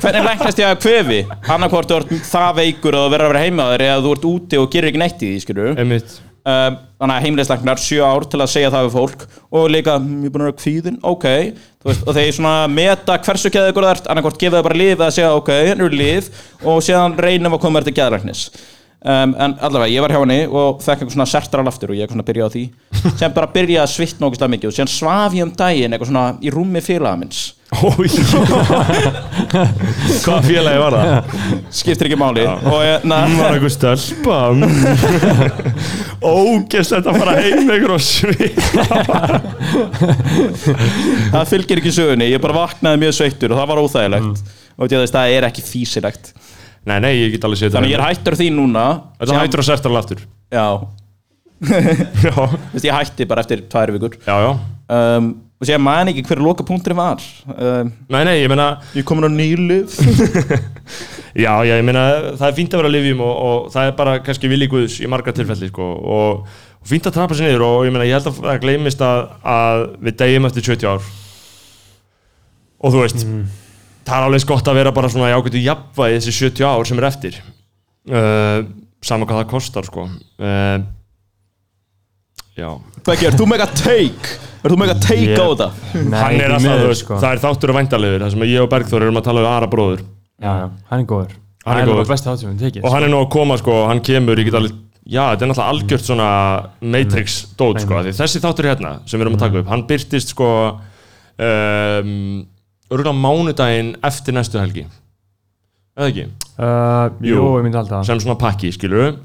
Speaker 5: Hvernig læknast ég að kvefi? Annarkvort þú ert það veikur að þú verður að vera heimaður eða þú ert úti og gerir ekki neitt í því, skilur um,
Speaker 2: Einmitt
Speaker 5: Þannig að heimilislæknar sjö ár til að segja það við fólk og líka, "Mm, ég er búin að vera kvíðin, ok Þú veist, og þeir svona meta hversu geða ykkur það ert annarkvort gefa það bara líf eða segja, ok, hérna eru líf og séðan reynum að koma þér til geðlæknis um, En allavega, ég var hjá henni og fekk eitthvað svona sertral aftur og ég eitthvað svona byrjaði á því sem bara byrjaði að svitna ógeðslega mikið og síðan svaf ég um daginn eitthvað svona í rúmi félaga minns
Speaker 2: Ói Hvað félagi var það?
Speaker 5: skiptir ekki máli og hérna
Speaker 2: Hún var einhver stelpa Ógeðslegt að fara heim með einhver og svið
Speaker 5: það fylgir ekki sögunni, ég bara vaknaði mjög sveittur og það var
Speaker 2: Mm.
Speaker 5: óþægilegt og ég, veist, það er ekki físilegt
Speaker 2: Nei, nei, ég get alveg séð
Speaker 5: þannig ég er hættur því núna
Speaker 2: Þetta hættur að serta alveg aftur
Speaker 5: já,
Speaker 2: Já,
Speaker 5: veist, ég hætti bara eftir tvær vikur
Speaker 2: já, já
Speaker 5: um, og sé að man ekki hver loka punkturinn var um,
Speaker 2: Nei, nei, ég meina
Speaker 5: ég er komin á nýlif
Speaker 2: Já, já, ég meina það er fínt að vera að lifjum og, og það er bara kannski vilji guðs í margra tilfelli sko, og, og fínt að trappa sér niður og ég meina ég held að það gleymist að, að við degjum eftir 70 ár og þú veist
Speaker 3: Mm.
Speaker 2: það er alveg eins gott að vera bara svona í ágætu jafnvægi þessi 70 ár sem er eftir uh, saman hvað það kostar sko uh, Já
Speaker 5: Beggi, er þú mega take? er þú mega take
Speaker 3: Ég-
Speaker 5: á það?
Speaker 3: Nei,
Speaker 2: Hann er sko.
Speaker 3: því
Speaker 2: alltaf,
Speaker 3: miður, sko.
Speaker 2: þú veist, það er þáttur að væntalegur það sem að ég og Bergþór erum að tala við aðra bróður
Speaker 3: Já, já, hann er góður
Speaker 2: Hann er
Speaker 3: Það
Speaker 2: góður.
Speaker 3: bara besti hátíðum, tekið
Speaker 2: og hann er nú að koma sko, hann kemur ég get alveg, já þetta er náttúrulega algjört svona Matrix dót sko, af því þessi þáttur hérna sem við erum að taka upp, hann byrtist sko um, örgulega mánudaginn eftir næstu helgi eða ekki,
Speaker 3: uh, Jú,
Speaker 2: Jú.
Speaker 3: ég myndi alltaf
Speaker 2: sem svona pakki skilur við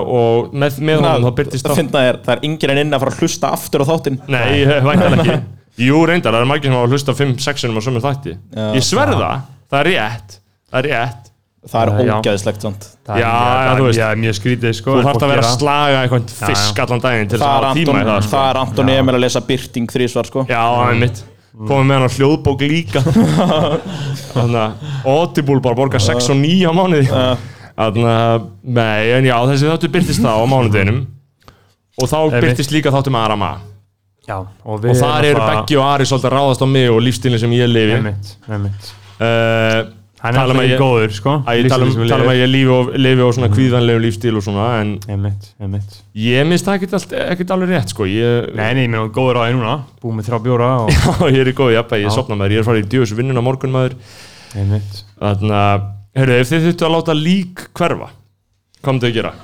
Speaker 2: og með, með honum þá byrtist
Speaker 5: það finna þér, það er enginn en inn að fara að hlusta aftur á þáttinn
Speaker 2: Nei, væntanlega ekki Jú, reyndar, það er margir sem hafa hlusta 5-6 sinum á sömur þætti Ég sverða, það er rétt Það er rétt
Speaker 5: Það
Speaker 3: Eh,
Speaker 5: er
Speaker 3: já.
Speaker 5: ógæðislegt samt
Speaker 3: Það er-
Speaker 2: Já,
Speaker 3: það
Speaker 2: já,
Speaker 3: er-
Speaker 2: þú veist.
Speaker 3: það er mjög skrítið sko
Speaker 2: Þú
Speaker 3: en
Speaker 2: þarft
Speaker 3: fólk
Speaker 2: að vera
Speaker 3: gera-
Speaker 2: að slaga eitthvað fisk allan daginn til þess
Speaker 5: Það
Speaker 2: að
Speaker 5: er
Speaker 2: hafa tíma í
Speaker 5: Anton,
Speaker 2: það sko.
Speaker 5: það er Anton Emil að lesa Byrting þrísvar sko
Speaker 2: Já, einmitt Komið með hann á hljóðbók líka Þannig að Audible bara borgar 6 og 9 á mánuði Þannig að, nei, en já, þessi þáttu byrtist það á mánudeginum Og þá
Speaker 3: Einmitt.
Speaker 2: byrtist líka þáttum Arama
Speaker 3: Já, og,
Speaker 2: Og þar eru Beggi og Ari svolítið að ráðast á mig og lífstílinn sem ég lifi uh,
Speaker 3: Einmitt, einmitt Hann er
Speaker 2: Tala um
Speaker 3: alltaf
Speaker 2: að
Speaker 3: ekki
Speaker 2: ég
Speaker 3: góður sko
Speaker 2: að ég tala um tala um að ég lifi og, lifi og svona
Speaker 3: Mm.
Speaker 2: kvíðanlegum lífstíl og svona En
Speaker 3: Einmitt, einmitt
Speaker 2: ég minnst það ekkert allt- ekkert alveg rétt sko Ég,
Speaker 3: Nei, nei, ég meina góður á því núna Búið með þrjá bjóra og
Speaker 2: Já, ég er í góðu jafnvægi, ég sopna maður Ég er farið í djöfis vinnun á morgun maður
Speaker 3: Einmitt
Speaker 2: Þannig að, heyrðu, ef þið þurftu að láta lík hverfa, hvað myndu að gera?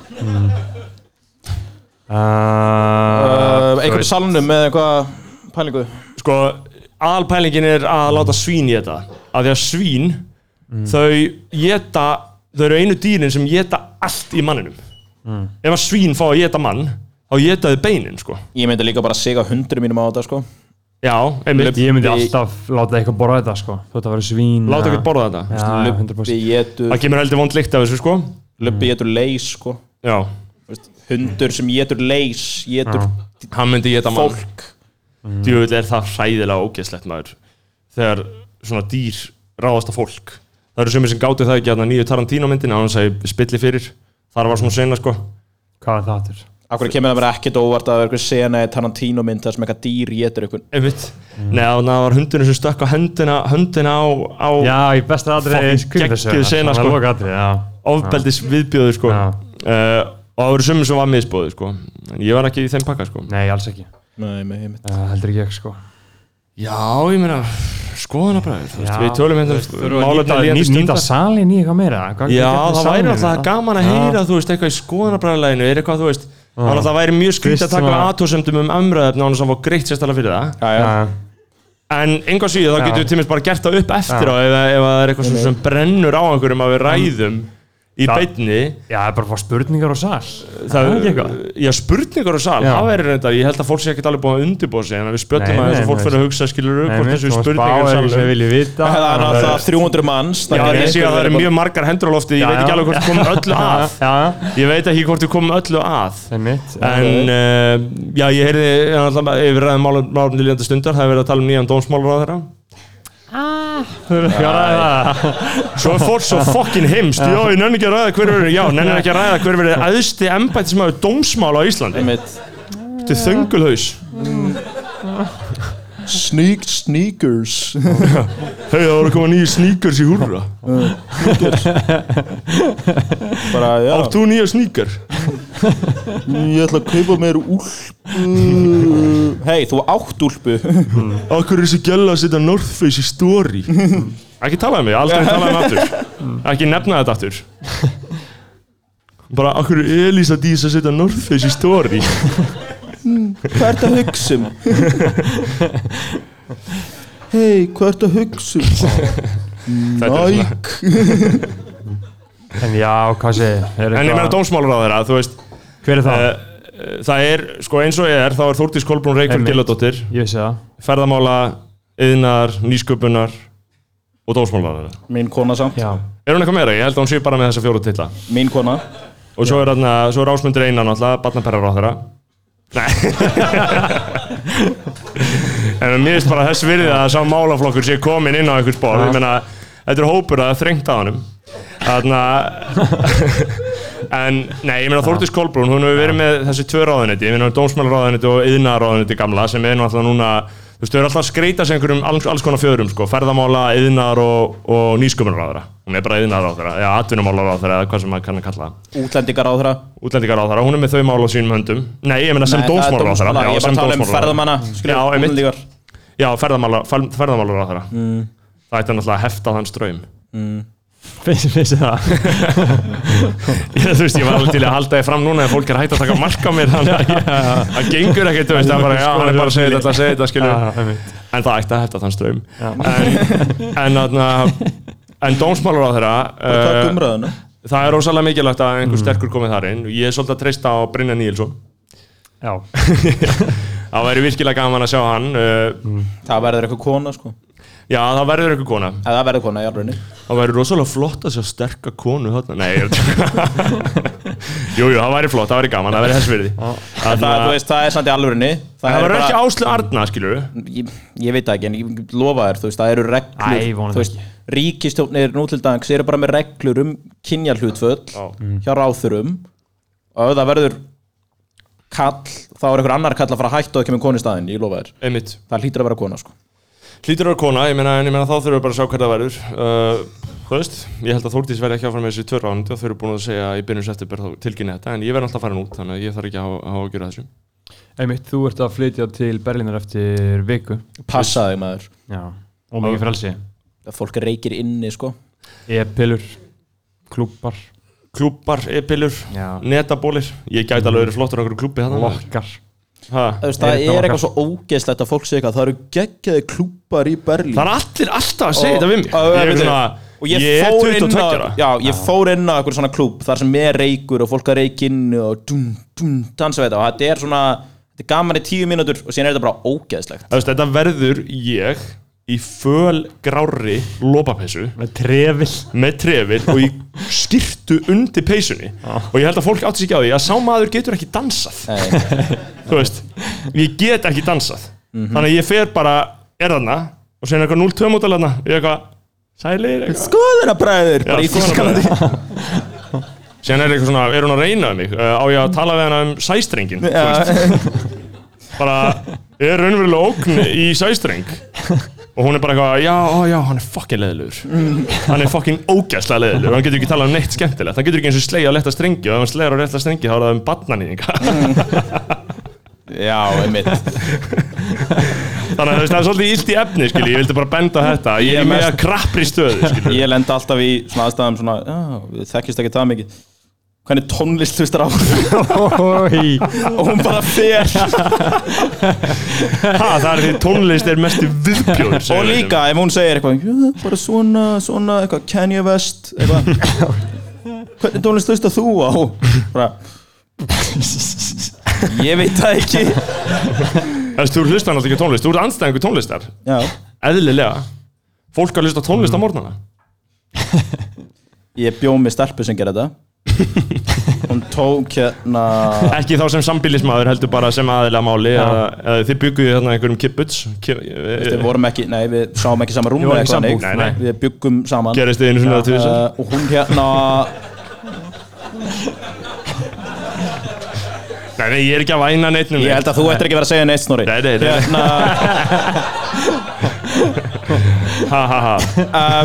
Speaker 3: uh,
Speaker 5: uh, Einhvern í salnum með eitthvað pælingu
Speaker 2: Sko, alpælingin er að láta svín geta. Af því að svín,
Speaker 3: Mm.
Speaker 2: þau geta, þau eru einu dýrin sem geta allt í manninum.
Speaker 3: Mm.
Speaker 2: Ef að svín fá að geta mann, þá geta þau beinin, sko.
Speaker 5: Ég myndi líka bara siga hundur mínum á þetta sko
Speaker 2: Já, einmitt.
Speaker 3: Ég myndi alltaf láta eitthvað borða þetta sko Þú ætti að vera svín
Speaker 2: Láta ekkert
Speaker 3: borða
Speaker 2: borða þetta.
Speaker 3: Já, já, 100%
Speaker 5: Lubbi getur,
Speaker 2: Það kemur heldur vond lykt af þessu, sko.
Speaker 5: lubbi getur leys sko
Speaker 2: Já,
Speaker 5: Þú veist, Hundur sem getur leys, getur
Speaker 2: hann myndi geta mann.
Speaker 5: fólk
Speaker 2: djöfull er það hræðilega ógeðslegt maður þegar svona dýr ráðast á fólk það eru sumir sem gátu það ekki að nýju Tarantino myndin að hann segi spilli fyrir þar var svona sena sko
Speaker 3: Hvað er það aftur?
Speaker 5: Akkur kemur það mér ekkert á óvart að það er eitthvað sena í Tarantino mynd þar sem eitthvað dýr getur eitthvað
Speaker 2: einmitt
Speaker 3: Mm.
Speaker 2: neða þannig að það var hundinu sem stökk á höndina höndina á, á
Speaker 3: Já, í besta atrið
Speaker 2: Fucking geggjuð sena, sko.
Speaker 3: Það er loka atrið, já
Speaker 2: ofbeldis viðbjöðu sko
Speaker 3: Já.
Speaker 2: uh, og það eru sumir sem var misbóði sko en ég var ekki í þeim pakka sko
Speaker 3: Nei, alls ekki
Speaker 5: Nei, með heimitt
Speaker 3: uh, Heldur ekki ekki sko
Speaker 2: já ég meina skoðanabræður þú veist,
Speaker 3: Já.
Speaker 2: við tölum
Speaker 3: Þurfa
Speaker 2: hérna
Speaker 3: að nýta,
Speaker 2: málefni
Speaker 3: nýta, nýta
Speaker 2: nýstundar
Speaker 3: salin í eitthvað meira Hvað-
Speaker 2: Já,
Speaker 3: hvernig
Speaker 2: það
Speaker 3: salinn
Speaker 2: væri
Speaker 3: er
Speaker 2: alltaf
Speaker 3: það?
Speaker 2: gaman að heyra, þú veist, eitthvað í skoðanabræðalæginu er eitthvað, þú veist, það var alltaf væri mjög skrýtt
Speaker 3: Fyrst
Speaker 2: að taka
Speaker 3: svona-
Speaker 2: aðtósendum um amræðefni án þess að fá greitt sérstaklega fyrir það
Speaker 5: Já, já,
Speaker 3: Já,
Speaker 2: en enga síðu þá
Speaker 3: Já.
Speaker 2: getur við tímist bara gert það upp eftir á ef, ef það er eitthvað sem, sem brennur á einhverjum að við ræðum í
Speaker 3: Það-
Speaker 2: beinni
Speaker 3: Já, það er bara að fá spurningar og sal
Speaker 2: það,
Speaker 3: ekki eitthvað?
Speaker 2: Já, spurningar og sal,
Speaker 3: Já.
Speaker 2: það verður reyndar ég held að fólk sé ekkert alveg búin að undirbúa sig en við
Speaker 3: Nei,
Speaker 2: spjöllum að
Speaker 3: nei,
Speaker 2: þessu fólk
Speaker 3: nei.
Speaker 2: fyrir að hugsa skilur upp hvort þessu spurningar
Speaker 3: spurningar
Speaker 2: og
Speaker 3: sem
Speaker 2: sal
Speaker 3: vilji vita
Speaker 5: Það er
Speaker 3: Já,
Speaker 5: alltaf 300 manns
Speaker 2: Já,
Speaker 5: þannig að
Speaker 2: ég sé
Speaker 5: einhver
Speaker 2: að það
Speaker 5: verður
Speaker 2: eru
Speaker 5: bara-
Speaker 2: mjög margar hendur á lofti, ég
Speaker 3: Já,
Speaker 2: veit ekki
Speaker 3: já.
Speaker 2: alveg hvort við komum öllu að
Speaker 3: Já,
Speaker 2: Ég veit ekki hvort við komum öllu að
Speaker 3: það er mitt
Speaker 2: En uh, já, ég heyrði ég var alltaf yfir ræðum málum málum til líðandi stundar, það hefur verið að tala um nýjan dómsmálur á þeirra. Svo fór svo fokkin heimst, já, ég nenni ekki að ræða hver verið, já, nenni ekki að ræða hver verið aðsti embættismæður dómsmála á Íslandi.
Speaker 5: Einmitt.
Speaker 2: Þetta er þöngulhaus.
Speaker 5: Sneak sneakers
Speaker 2: Hei, það voru að koma nýju sneakers í húrra.
Speaker 5: Bara, já,
Speaker 2: Átt þú nýja sneaker?
Speaker 5: ég ætla að kaupa mér úlpu Hei, þú átt úlpu
Speaker 2: Akkur er þessi gæla að setja North Face í story? Ekki tala um mig, aldrei tala um aftur. Ekki nefna þetta aftur. Bara, akkur er Elisa Dís að setja North Face í story?
Speaker 5: Hvað ert að hugsa um? Hei, hvað ert að hugsa um?
Speaker 2: Þetta er svona-
Speaker 3: En já, hvað sé
Speaker 2: En ég meina dómsmálur á þeirra, þú veist
Speaker 3: Hver er það?
Speaker 2: uh, Það er, sko eins og ég er, þá er Þórdís Kolbrún Reykjörn
Speaker 3: Einmitt.
Speaker 2: Gilladóttir
Speaker 3: ég vissi það
Speaker 2: Ferðamála, yðnar, nýsköpunar og dómsmálur á þeirra
Speaker 5: Mín kona samt
Speaker 3: Já,
Speaker 2: Er hún eitthvað meira? Ég held að hún sé bara með þessa fjóru tilla
Speaker 5: Mín kona
Speaker 2: Og svo er, þarna, svo er ásmundur einan náttúrulega, barnaperrar á þeirra Nei En mér finnst bara þess virðið að sá málaflokkur sé komin inn á einhvers borð Ég meina, þetta er hópur að það er þrengt að honum Þarna En, nei, ég meina Þórdís Kolbrún, hún hefur verið með þessi tvö ráðunetti, ég meina dómsmálaráðunetti og yðnaráðunetti gamla sem er nú alltaf núna, þú veist, þau eru alltaf að skreita sig einhverjum alls, alls konar fjöðrum, sko, ferðamála, yðnar og, og nýsköpunarráðara. Hún er bara yðnaráðara, já, atvinnumálaráðara eða hvað sem maður kann að kalla það.
Speaker 5: Útlendingar á þeirra
Speaker 2: Útlendingaráðara, hún er með þau mála á sínum höndum. Nei, ég meina sem
Speaker 5: Nei, það er
Speaker 2: dómsmálaráðara.
Speaker 5: dómsmála- Ég
Speaker 2: já,
Speaker 5: er bara
Speaker 2: sem
Speaker 5: að tala
Speaker 2: dómsmálaráðherra. Já, einmitt. Já, ferðamála, fer,
Speaker 5: um ferðamanna skilur, útlendingar.
Speaker 2: ferðamálaráðara.
Speaker 5: Mm.
Speaker 2: Það ætti náttúrulega að hefta þann ströym.
Speaker 3: vissi vissi það
Speaker 2: Ég, þú veist, ég var alveg til að halda þið fram núna ef fólk er hægt að taka mark á mér þannig að ég- það gengur ekkert, þú veist, það er bara, já, hann er bara að segja þetta, að segja þetta, skilju
Speaker 3: Já, einmitt.
Speaker 2: en það ætti að hætta þann ströym en, en, þarna- en dómsmálur á þeirra
Speaker 5: Takk
Speaker 2: uh,
Speaker 5: umræðuna
Speaker 2: það er rosalega mikilvægt að
Speaker 5: Mm.
Speaker 2: einhver sterkur komið þar inn ég er svolítið að treysta á Brynja Níelsson
Speaker 3: Já,
Speaker 2: það væri virkilega gaman að sjá hann uh,
Speaker 5: Mm. Það verður eitthvað kona sko
Speaker 2: Já, það verður einhver kona
Speaker 5: Ef það verður kona í alrunni
Speaker 2: Það væri rosalega flott að sjá sterka konu þarna Nei, ég Jú, jú, það væri flott, það væri gaman, það væri þess virði
Speaker 5: það,
Speaker 2: Þarna-
Speaker 5: þú veist, það er samt í alvörunni Það,
Speaker 2: Það
Speaker 5: eru
Speaker 2: verður
Speaker 5: bara-
Speaker 2: ekki Áslu Arna, skilur við
Speaker 5: ég, ég veit það ekki, en ég lofa þér þú veist, það eru reglur,
Speaker 3: Æ, vonandi
Speaker 5: þú veist ríkistjóknir nú til dags eru bara með reglur um kynjarhlutföll hjá ráþurum og ef það verður kall, þá er einhver annar kall að fara að hætta og ekki með konu í staðin, ég lofa þér
Speaker 2: Einmitt
Speaker 5: það hlýtur að vera kona, sko
Speaker 2: Hlýtur að vera kona, ég meina, en ég meina þá þurfum við bara að sjá hvað það verður uh, Þú veist, ég held að Þórdís verði ekki áfram með þessi tvör ránd og þau eru búin að segja að ég byrjum september þá tilkynni þetta en ég verð alltaf farin út, þannig að ég þarf ekki að hafa að gera þessu
Speaker 3: Einmitt, þú ert að flytja til Berlínar eftir viku
Speaker 5: passa þig maður,
Speaker 3: Já, og mikið frelsi
Speaker 5: að fólk reykir inni, sko
Speaker 3: E-pillur, klúpar,
Speaker 2: Klúpar, e-pillur,
Speaker 3: Já.
Speaker 2: netabólir Ég gæti alveg verið flottur á einhverju klúbbi þarna
Speaker 3: lokkar
Speaker 2: Ha?
Speaker 5: Þú veist, það
Speaker 3: Er þetta
Speaker 5: er, eitthvað
Speaker 3: okkar?
Speaker 5: svo ógeðslegt að fólk segja eitthvað, það eru geggjaði klúpar í Berlín
Speaker 2: Það er allir alltaf að segja þetta við mig Ég
Speaker 5: Og-
Speaker 2: er
Speaker 5: veitu,
Speaker 2: svona,
Speaker 5: og ég,
Speaker 2: ég er
Speaker 5: fór inn
Speaker 2: 22
Speaker 5: á
Speaker 2: ára.
Speaker 5: já, ég fór inn á eitthvað svona klúb þar sem er reykur og fólk að reykinn og dum, dum, dansa við þetta og þetta er svona þetta er gaman í tíu mínútur og síðan er þetta bara ógeðslegt
Speaker 2: Þú veist, Þetta verður ég í föl grári lopapessu
Speaker 3: Með trefil
Speaker 2: með trefil og í skirtu undir peysunni og ég held að fólk átti sig ekki á því að sá maður getur ekki dansað
Speaker 5: Nei,
Speaker 2: þú veist, ég get ekki dansað
Speaker 5: Mhm.
Speaker 2: þannig að ég fer bara er þarna og segir eitthvað 0-2 mótal þarna ég er eitthvað sælir eitthvað
Speaker 5: skoðunabræður
Speaker 2: Já,
Speaker 5: bara í Þýskalandi
Speaker 2: Síðan er eitthvað svona, er hún að reyna um mig? Uh, á ég að tala við hana um sæstrengin? þú veist? bara, er raunverulega ógn í sæstreng? Og hún er bara eitthvað, já, ó, já, hann er fucking leðilegur. Hann er fucking ógæslega leðilegur. Hann getur ekki talað um neitt skemmtilegt. Hann getur ekki eins og slegja á letta strengi og ef hann slegar á letta strengi þá er það um barnanýðinga.
Speaker 5: já, einmitt
Speaker 2: Þannig að þú veist, það er svolítið illt í efni, skilji. Ég vildi bara benda á þetta. Ég
Speaker 5: Ég
Speaker 2: er með
Speaker 5: mest-
Speaker 2: krappri stöðu, skilji.
Speaker 5: ég lenda alltaf í svona aðstæðum svona, já, við þekkjumst ekki það mikið hvernig tónlist hlustar á
Speaker 3: Ói
Speaker 5: og hún bara fer
Speaker 2: Ha, það er því tónlist er mest viðbjóður. segir
Speaker 5: og
Speaker 2: við.
Speaker 5: líka ef hún segir eitthvað "Já, bara svona, svona, eitthvað Kanye West eitthvað hvernig tónlist hlusta þú á bara ég veit það ekki
Speaker 2: Þú veist, þú hlustar náttúrulega ekki á tónlist. Þú ert anstæðingur tónlistar.
Speaker 5: já,
Speaker 2: eðlilega fólk að hlusta á tónlist á morgnana
Speaker 5: ég bjó með stelpu sem gerði þetta hún tók hérna
Speaker 2: ekki þá sem sambílismadur heldur bara sem aðilega máli eða, eða þið bygguðu þarna einhverjum kibbutz kib,
Speaker 5: við vorum ekki, nei við sáum ekki saman rúm
Speaker 3: Við vorum
Speaker 5: eða
Speaker 3: ekki
Speaker 5: eitthvað,
Speaker 3: sambúð,
Speaker 5: nei.
Speaker 2: nei, nei.
Speaker 5: við byggum saman
Speaker 2: eh, gerist þið einu svona til þess
Speaker 5: uh, og hún hérna
Speaker 2: nei, nei, ég er ekki að væna neitt
Speaker 5: ég held að þú ættir ekki að vera að segja neitt snorri
Speaker 2: Nei, nei, nei.
Speaker 5: hérna
Speaker 2: ha, ha, ha.
Speaker 5: eh,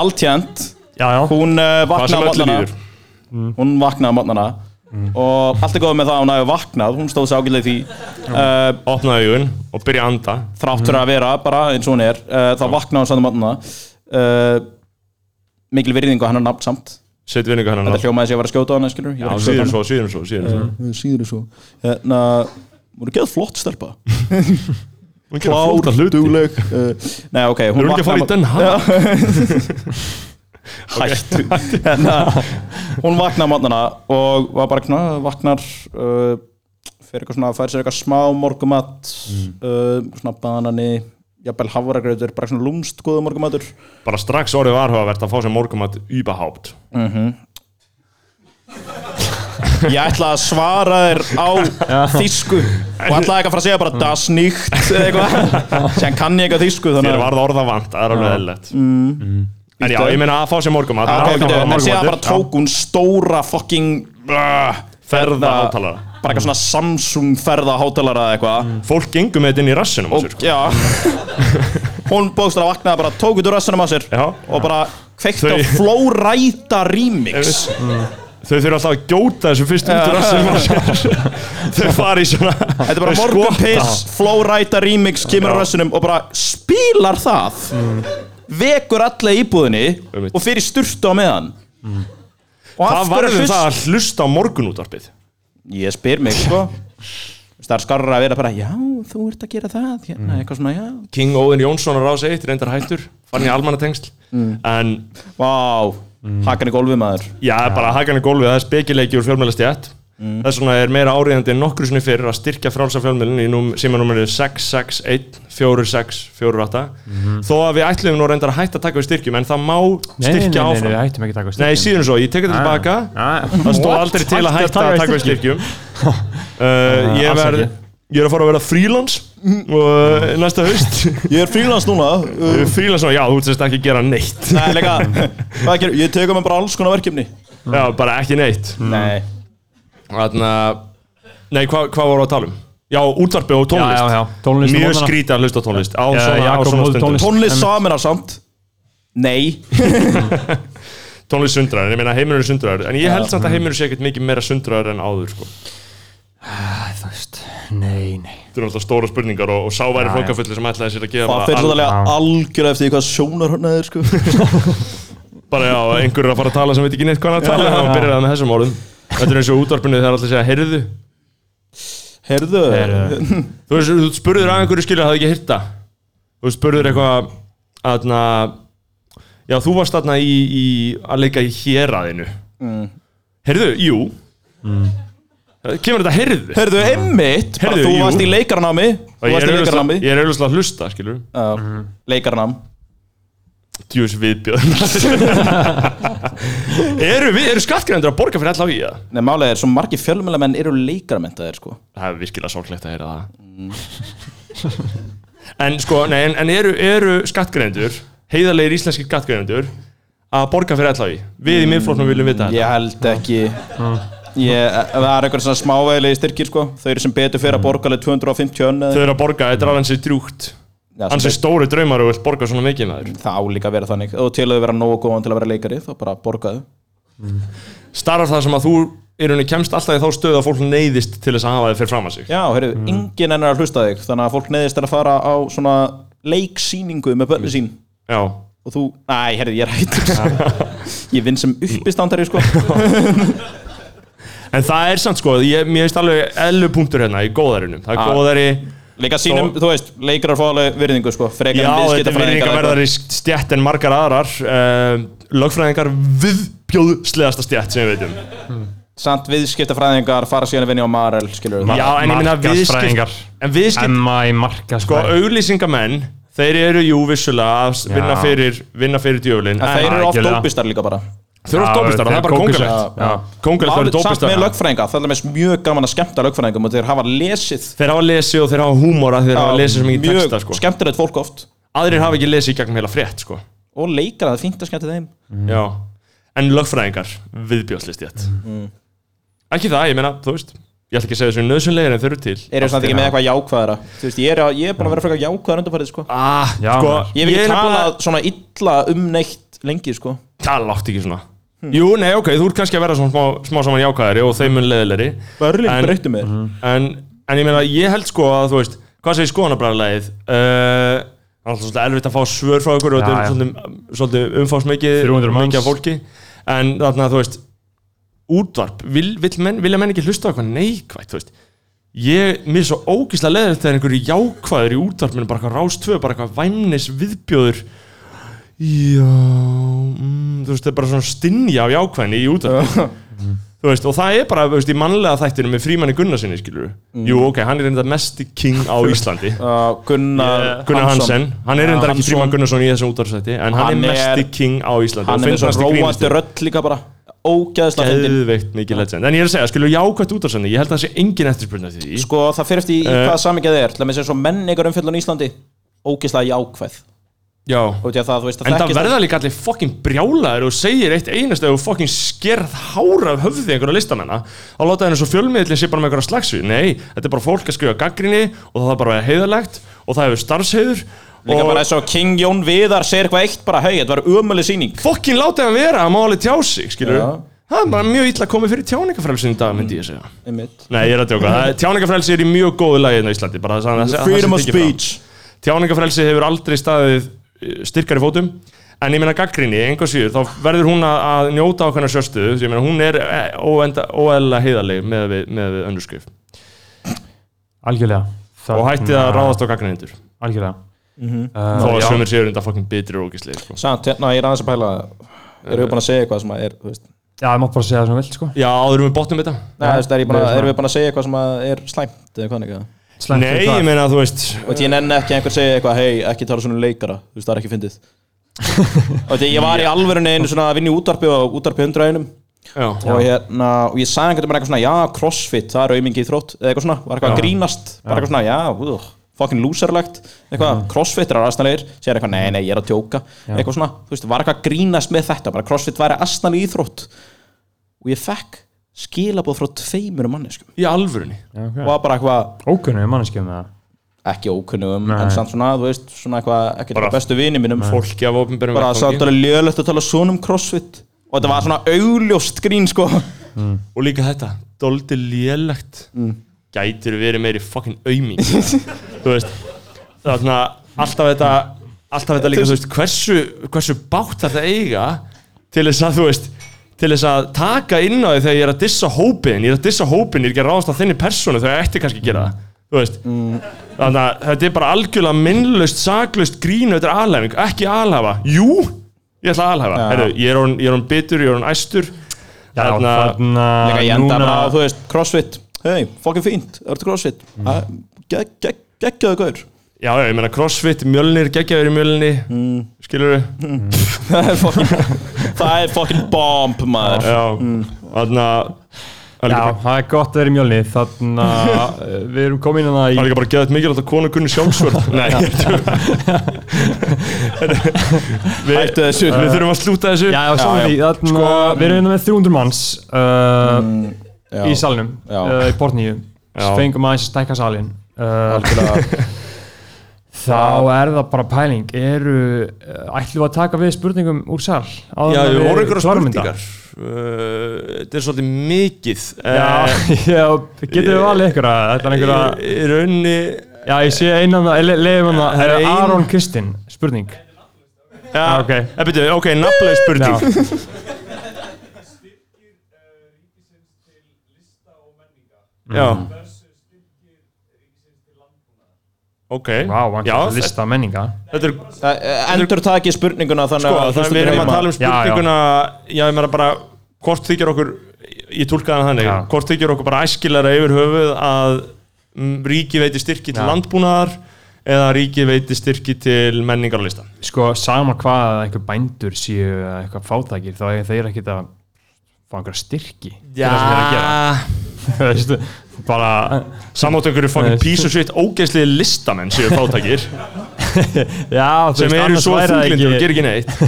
Speaker 5: alltjent
Speaker 3: Já, já
Speaker 5: hún uh,
Speaker 2: hvað
Speaker 5: vaknaði
Speaker 2: sem öllu
Speaker 5: á mótnana
Speaker 2: líður Mm.
Speaker 5: hún vaknaði á mótnana og allt er góð með það að hún hafi vaknað hún stóð sér ágætlega í því uh,
Speaker 2: opnaði augun og byrja að anda
Speaker 5: þrátt fyrir að vera bara eins og hún er uh, þá vaknaði hún samt á mótnana uh, mikil virðingu að hennar nafn samt
Speaker 2: set vinningu hennar
Speaker 5: þetta
Speaker 2: á.
Speaker 5: hljómaði sem ég var að skjóta á hana skilur
Speaker 2: Já, síðan svo, síðan svo, síðan
Speaker 5: Mm.
Speaker 2: svo
Speaker 5: síður svo hérna hún er geð flott stelpa
Speaker 2: hún gerir flóta hluti við
Speaker 5: dugleg uh, nei ok hún
Speaker 2: erum ekki að fara í
Speaker 5: vaknaði-
Speaker 2: den hag
Speaker 5: hættu hérna, hún vaknaði mátnana og var bara svona, vaknar uh, fyrir eitthvað svona, fær sér eitthvað smá morgumat
Speaker 2: Mm.
Speaker 5: uh, svona banani jafnvel hafragrautur, bara svona lúmst góða morgumatur
Speaker 2: bara strax orðið varhugavert að fá sér morgumat ybahápt
Speaker 5: ég ætla að svara þér á þýsku og ætlaði ekki að fara að segja
Speaker 2: Mm.
Speaker 5: bara das nicht eða eitthvað sem kann ég eitthvað þýsku
Speaker 2: þér
Speaker 5: þannig að
Speaker 2: var það orða vant, það er alveg eðlilegt
Speaker 3: Mm.
Speaker 2: en já, ég meina að fá sér morgumat að
Speaker 5: Ah, Mm. ok,
Speaker 2: halda
Speaker 5: ok,
Speaker 2: bara
Speaker 5: en síðan bara
Speaker 2: morgunmatur. Já.
Speaker 5: tók hún stóra fucking uh,
Speaker 2: ferða hátalara
Speaker 5: bara eitthvað svona Samsung ferða hátalara eða eitthvað
Speaker 2: fólk gengum með þetta inn í rassinum á
Speaker 5: og
Speaker 2: sér, sko.
Speaker 5: já hún bókstara vaknaði bara tók út úr rassunum á sér
Speaker 2: Já.
Speaker 5: og bara kveikt á
Speaker 2: Þau-
Speaker 5: flóræta remix
Speaker 2: þau þurfa alltaf að gjóta þessu fyrst út úr rassinum á sér þau fara í svona
Speaker 5: þetta er bara
Speaker 2: þau
Speaker 5: morgunpiss flóræta remix kemur
Speaker 2: Já.
Speaker 5: á
Speaker 2: Mm.
Speaker 5: rassunum og bara spílar það vekur alla í íbúðinni
Speaker 2: Einmitt.
Speaker 5: og fyrir sturtu á meðan og
Speaker 2: það
Speaker 5: af hverju
Speaker 2: varður
Speaker 5: hlust-
Speaker 2: um það að hlusta á morgunútarpið
Speaker 5: ég spyr mig sko það er skarra að vera bara já þú ert að gera það hérna
Speaker 2: Mm.
Speaker 5: eitthvað svona já
Speaker 2: King Óðinn Jónsson á rás 1 reyndar hættur fann ég almannatengsl
Speaker 5: Mm.
Speaker 2: en
Speaker 5: vá hakan í gólfið maður
Speaker 2: Mm. já, bara hakan í gólfið það er spekileiki úr fjölmælastjætt
Speaker 5: Mm.
Speaker 2: þess vegna er meira áriðandi en nokkru sinni fyrir að styrkja frálsa fjölmiðlun í núm, símanúmerið 661 4648 þó að við ætlum nú reyndar að hætta að taka við styrkjum en það má styrkja
Speaker 3: Mhm. nei, nei,
Speaker 2: áfram
Speaker 3: við hættum ekki Ah. að taka
Speaker 2: Nei, síðan svo, ég tek þetta tilbaka Það stóð aldrei til að hætta að taka við styrkjum uh, ég,
Speaker 3: Ah, alls
Speaker 2: verð,
Speaker 3: ekki.
Speaker 2: ég er að fara að vera frílans og uh, næsta haust
Speaker 5: Ég er frílans núna uh,
Speaker 2: Frílans og já, þú sérst ekki gera neitt
Speaker 5: Nei, leika Hvað gerir, ég teka mig bara alls konar verkefni
Speaker 2: Já, bara ekki neitt
Speaker 5: Nei
Speaker 2: Þarna, nei, hva, hvað voru að tala um? Já, útvarpi og
Speaker 3: Já,
Speaker 2: tónlist
Speaker 3: já, já, tónlist á
Speaker 2: Mjög
Speaker 3: morgnana.
Speaker 2: skrítið að hlusta á tónlist Á
Speaker 3: Já,
Speaker 2: svona, á
Speaker 3: Jakob
Speaker 2: svona
Speaker 3: og
Speaker 2: stundum
Speaker 3: tónlist.
Speaker 2: tónlist,
Speaker 5: Tónlist saminar samt Nei
Speaker 2: tónlist sundrar, ég meina heimurinn er sundrar En ég held samt að heimurinn sé ekkert mikið meira sundrar en áður sko.
Speaker 3: Ah, Þú veist, nei, nei
Speaker 2: Þetta eru alltaf stóra spurningar og, og sá væri flokkafulli sem ætlaði sér að gefa
Speaker 5: Það fyrir
Speaker 2: al-
Speaker 5: svolítið algjörlega eftir því hvað sjónar hann er sko
Speaker 2: bara já, einhver er að fara að tala sem veit ekki neitt hvað hann er að tala og byrjar það með þessum orðum Þetta er eins og útvarpinu þegar allir segja heyrðu
Speaker 5: Heyrðu
Speaker 2: Þú veist, þú spurður að einhverju skilja það ekki hýrta Þú spurður eitthvað aðna, Já, þú varst aðna í, í að leika í héraðinu mm. Heyrðu, jú mm. Kemur þetta heyrðu?
Speaker 5: Heyrðu, emmitt
Speaker 2: Heyrðu,
Speaker 5: Þú
Speaker 2: jú.
Speaker 5: varst í leikarnámi
Speaker 2: Og ég er
Speaker 5: Þú varst í
Speaker 2: auðvitað-
Speaker 5: leikarnámi
Speaker 2: ég Mhm. er auðvitað að hlusta, skilur
Speaker 5: Já, Leikarnám
Speaker 2: Djús viðbjöðn Eru við, eru skattgreðendur að borga fyrir allavega í það?
Speaker 5: Nei, málega er svo margir fjölmjölamenn eru leikarmentaðir sko
Speaker 2: Það er virkilega sorglegt að heyra það En sko, nei, en, en eru, eru skattgreðendur heiðarlegir íslenskir skattgreðendur að borga fyrir allavega í? Við í miðflóknum viljum vita þetta
Speaker 5: Ég held ekki Ég, það er eitthvað svona smávegilegi styrkir sko Þau eru sem betur fyrir að borga alveg 250 önn
Speaker 2: Mhm. Þau eru að borga, þetta er alveg sér drjúgt Ansið stóri draumar og vilt borga svona mikið maður
Speaker 5: Það á líka að vera þannig og til að þau vera nógu góðan til að vera leikari þá bara borgaðu
Speaker 2: Starfar það sem að þú í rauninni kemst alltaf í þá stöðu að fólk neyðist til þess að hafa þið fyrir fram að sig
Speaker 5: Já, heyrðu, enginn enn er að hlusta á þig þannig að fólk neðist er að fara á svona leiksýningu með
Speaker 2: Mm.
Speaker 5: bönni sín
Speaker 2: Já,
Speaker 5: og þú, næ, heyrðu, ég er hætt Ég vinn sem uppistandari sko
Speaker 2: en það er samt sko ég, Mér veist alveg ellu punktur hérna í góðarinum Það er
Speaker 5: Ah.
Speaker 2: góðari,
Speaker 5: Líka sínum, þú veist, leikarar fá alveg virðingu sko frekar
Speaker 2: já
Speaker 5: en
Speaker 2: þetta er
Speaker 5: viðskiptafræðingar
Speaker 2: verðar í stjætt en margar aðrar uh, Lögfræðingar viðbjóðslegasta stjætt sem um. við veitum
Speaker 5: Samt viðskiptafræðingar fara síðan að vinja á Marel, skilur
Speaker 2: Já, en ég minna
Speaker 3: Markaðsfræðingar.
Speaker 2: En viðskipt,
Speaker 3: Emma í
Speaker 2: sko,
Speaker 3: markaðsfræðingar
Speaker 2: auglýsingamenn Þeir eru jú vissulega að vinna
Speaker 3: Já.
Speaker 2: fyrir, vinna fyrir djöflin
Speaker 5: En
Speaker 3: Ah,
Speaker 5: þeir eru oft
Speaker 3: algjörlega.
Speaker 5: dópistar líka bara
Speaker 2: Þau eru dópistar, það er bara
Speaker 3: sko.
Speaker 2: kóngulegt Kóngulegt það eru
Speaker 5: Málið samt
Speaker 2: dópistar
Speaker 5: með lögfræðinga, það er alveg mjög gaman að skemmta lögfræðingum og þeir hafa lesið
Speaker 2: Þeir hafa lesið og þeir hafa húmóra Þeir hafa lesið svo mikið
Speaker 5: mjög
Speaker 2: texta sko.
Speaker 5: skemmtilegt fólk oft
Speaker 2: Aðrir hafa ekki lesið í gegnum heila frétt sko.
Speaker 5: og leikara, það er fínt að skemmta þeim
Speaker 3: Mm.
Speaker 2: Já En lögfræðingar, viðbjóðslist ég
Speaker 5: Mm.
Speaker 2: Ekki það, ég meina, þú veist Ég ætla ekki að segja þessu nöðsynlegir en þau eru til
Speaker 5: eru samt ekki með eitthvað jákvæðara þú veist, ég er, að- ég er bara að vera frekar jákvæðar undanfærið sko.
Speaker 2: ah,
Speaker 3: Já,
Speaker 2: sko,
Speaker 3: maður.
Speaker 5: ég vil
Speaker 2: er
Speaker 5: ekki tala
Speaker 2: nefnilega-
Speaker 5: svona illa um neitt lengi sko.
Speaker 2: Það látt ekki svona
Speaker 5: Hm.
Speaker 2: Jú, nei, ok, þú ert kannski að vera svona smá, smá saman jákvæðari og þeim mun leðilegri
Speaker 5: Berlín
Speaker 2: En- Mhm.
Speaker 5: breytti mér
Speaker 2: en, en ég meina, ég held sko að, þú veist Hvað segir skoðanabræðarlegið? Uh, Það er alltaf svolítið erfitt að fá svör frá ykkur og þetta
Speaker 3: Já,
Speaker 2: er
Speaker 3: já.
Speaker 2: svolítið, svolítið umfásmikið
Speaker 3: 300 manns.
Speaker 2: mikið af fólki En þarna, þú veist Útvarp, vil, vil menn, vilja menn ekki hlusta á eitthvað neikvætt, þú veist Ég, mér er svo ógislega leðið þegar einhverju jákvæður í útvarpinu bara eitthvað rástvö, bara eitthvað væmnis viðbjóður Já, mm, þú veist, það er bara svona stinja af jákvæðinni í útvarpinu. þú veist, og það er bara, þú veist, í mannlega þættinu með frímanni Gunnarsinni, skilur Jú, ok, hann er reynda mesti king á Íslandi.
Speaker 5: uh, Gunnar,
Speaker 2: Gunnar Hansen, hann er reynda ekki
Speaker 5: Hansson.
Speaker 2: frímann Gunnarsson í þessum útvarpsætti, en hann,
Speaker 5: Hann
Speaker 2: er mesti
Speaker 5: er-
Speaker 2: king á Íslandi.
Speaker 5: hann er með svo róandi rödd líka bara ógæðislega fyndin
Speaker 2: Geðveikt mikið legend. En ég er að segja, sko, skilur, jákvætt útvarpsætti, ég held að það sé engin eftirspurning eftir því.
Speaker 5: sko, það fyrir eftir í
Speaker 2: Eh.
Speaker 5: uh, hvaða samingja það er til að með sér svo menningar umfjöldun í Íslandi ógæðislega jákvæð
Speaker 2: Já.
Speaker 5: og því að það, þú veist,
Speaker 2: En það
Speaker 5: þekkist-
Speaker 2: verða líka allir fokkin brjálaður og segir eitt einast ef þú fokkin skerð hára af höfði einhverja listamennar þá láta þeirnum svo fjölmiðlinn sé bara með einhverja slagsvið Nei, þetta er bara fólk að skrifa gaggrinni og það þarf bara að vera heiðalegt og það hefur starfsheiður
Speaker 5: líka
Speaker 2: og
Speaker 5: bara eins og King Jón Viðar segir eitthvað eitt bara, hei, þetta var ömuleg sýning
Speaker 2: fokkin láta þeim vera að máli tjá sig, skilur
Speaker 5: Já.
Speaker 2: Það er bara mjög illa komið fyrir tjáningafrelsin í dag, myndi ég segja
Speaker 5: Einmitt.
Speaker 2: Nei, ég er að tjóka, tjáningafrelsi er í mjög góðu lagi hérna á Íslandi, bara það, það, það, það
Speaker 5: freedom
Speaker 2: sem
Speaker 5: of
Speaker 2: tekið fram.
Speaker 5: speech
Speaker 2: tjáningafrelsi hefur aldrei staðið eh, styrkari fótum en ég meina gaggrinni, einhver síður, þá verður hún að, að njóta okkar sjöstuðu, ég meina hún er eh, óenda- óeðlilega heiðarleg með við, með við öndurskif
Speaker 3: Algjörlega
Speaker 2: og hætti að ráðast á gaggrinnindur þó
Speaker 3: Algjörlega Mhm. Uh,
Speaker 2: að sömur séu reynda fucking bitri og ógislega sko.
Speaker 5: Samt, hérna, ég er aðeins að pæla Erum við búin að segja eitthvað sem að er, þú veist
Speaker 3: Já, það má bara segja það sem þú vilt, sko.
Speaker 2: Já, áður við botnum þetta
Speaker 5: Nei, þú veist, er ég bara,
Speaker 3: Nei, svona.
Speaker 5: erum við bara að segja eitthvað sem að er slæmt eða hvað neka?
Speaker 3: Slæmt
Speaker 2: Nei,
Speaker 3: fyrir hvað.
Speaker 2: ég meina að þú veist
Speaker 5: Og því ég nenni ekki að einhver segja eitthvað, hei, ekki tala svona um leikara, þú veist, það er ekki fyndið. og því ég var í alvörunni einu svona að vinna í útvarpi og útvarpi hundraðinum
Speaker 2: Já,
Speaker 5: og hérna, og ég sagði einhvern veginn eitthvað svona, já, crossfit, það er aumingi í þrótt, eða eitthvað svona, var eitthvað að grínast, bara eitthvað svona, já, úh, fucking loserlegt, eitthvað, crossfit er aðstæðlegir, sér eitthvað, nei, nei, ég er að tjóka, eitthvað svona, þú veist, var eitthvað að grínast með þetta, bara crossfit væri aðstæðleg í þrótt og ég fekk skilabóð frá tveimur manneskum
Speaker 2: í alvörunni
Speaker 3: Já, ok.
Speaker 5: og var bara eitthvað,
Speaker 3: Ókunnum við manneskjum með það.
Speaker 5: ekki ókunnum,
Speaker 3: Nei.
Speaker 5: en samt svona, þú veist, svona eitthvað, ekki
Speaker 2: Bara-
Speaker 5: bara bestu vini mínum,
Speaker 2: Fólki af ofnbjörnum
Speaker 5: bara samt alveg lélegt að tala svona um crossfit og þetta var svona augljóst grín, sko.
Speaker 2: Og líka þetta, doldi lélegt Gætir verið meiri fucking auming Þú veist Það er svona alltaf þetta Alltaf þetta líka, þú veist, hversu, hversu bátt þetta eiga Til þess að, þú veist Til þess að taka inn á því þegar ég er að dissa hópin Ég er að dissa hópin, ég er ekki að ráðast á þenni persónu Þegar ég ætti kannski að gera það Þú veist Þannig að þetta er bara algjörlega minnlaust, saklaust grínu, þetta er alhæfing, ekki alhæfa. Jú, ég ætla að alhæfa. Herru, ég er orðin- ég er hann bitur, ég er hann æstur.
Speaker 3: Já,
Speaker 2: Þarna-
Speaker 3: þarna
Speaker 5: Líka ég enda
Speaker 3: núna...
Speaker 5: bara, þú veist, crossfit Hei, fokkin fínt, ertu crossfit mm. Gekkjaðu gaur
Speaker 2: Já, já, ég meina crossfit, mjölnir, geggjaður í mjölni, mm. skilur við?
Speaker 5: Það er fokkin Það er fokkin bomb, maður
Speaker 2: Já, þarna, það er
Speaker 3: Já,
Speaker 2: líka,
Speaker 3: það er gott að vera í mjölni, þannig að við erum komin hérna í...
Speaker 2: bara- líka bara geðað mikilvægt að konu kunni sjálfsvörð. Nei, ég veit við,
Speaker 5: Hættu þessu.
Speaker 2: Við þurfum að slúta þessu.
Speaker 3: Já, já, saman
Speaker 5: já.
Speaker 3: því, þannig
Speaker 2: Sko,
Speaker 3: að við erum hérna með 300 manns uh, í salnum,
Speaker 5: Já.
Speaker 3: uh, í Bortníu,
Speaker 2: Já.
Speaker 3: fengum aðeins að stækka salin. Uh,
Speaker 5: Algjörlega.
Speaker 3: þá er það bara pæling, eru, uh, ætlum við að taka við spurningum úr sal? áður
Speaker 2: Já,
Speaker 3: en
Speaker 2: við vorum einhverja
Speaker 3: klárum þetta?
Speaker 2: spurningar. Uh, Þetta er svolítið mikið. Eh,
Speaker 3: Já, já, getum við valið einhverja, þetta er einhverja,
Speaker 2: Í í raunni,
Speaker 3: já, ég sé einan, leiðum hann
Speaker 2: Það
Speaker 3: að,
Speaker 2: er ein-
Speaker 3: Aron Kristinn, spurning.
Speaker 2: já,
Speaker 3: ok.
Speaker 2: Eh, byrju, ok, nafnlega
Speaker 3: Já.
Speaker 2: spurning. Já.
Speaker 3: mm.
Speaker 2: Ok,
Speaker 3: Vá, hann
Speaker 2: já,
Speaker 3: getur lista menninga.
Speaker 2: þetta er
Speaker 5: Það- eh, Endur taki spurninguna þannig
Speaker 2: sko, það er við erum að tala um
Speaker 3: Já, já.
Speaker 2: spurninguna já, ég meina bara, hvort þykir okkur ég tólkaði hann þannig,
Speaker 3: Já.
Speaker 2: hvort þykir okkur bara æskilara yfir höfuð að mm, ríki veiti styrki til landbúnaðar eða ríki veiti styrki til menningarlista
Speaker 3: sko sama hvað að einhver bændur séu eða eitthvað fátækir þá eiga þeir ekkert að fá einhverja styrki fyrir það sem þeir eru að gera. Þú veist, bara
Speaker 2: samátt einhverju
Speaker 3: Nei.
Speaker 2: fucking piece of shit ógeðsliði listamenn séu fátækir
Speaker 3: já, þú
Speaker 2: sem
Speaker 3: veist,
Speaker 2: eru
Speaker 3: annars
Speaker 2: svo
Speaker 3: væri það
Speaker 2: þunglindur og
Speaker 3: ekki-
Speaker 2: ger ekki neitt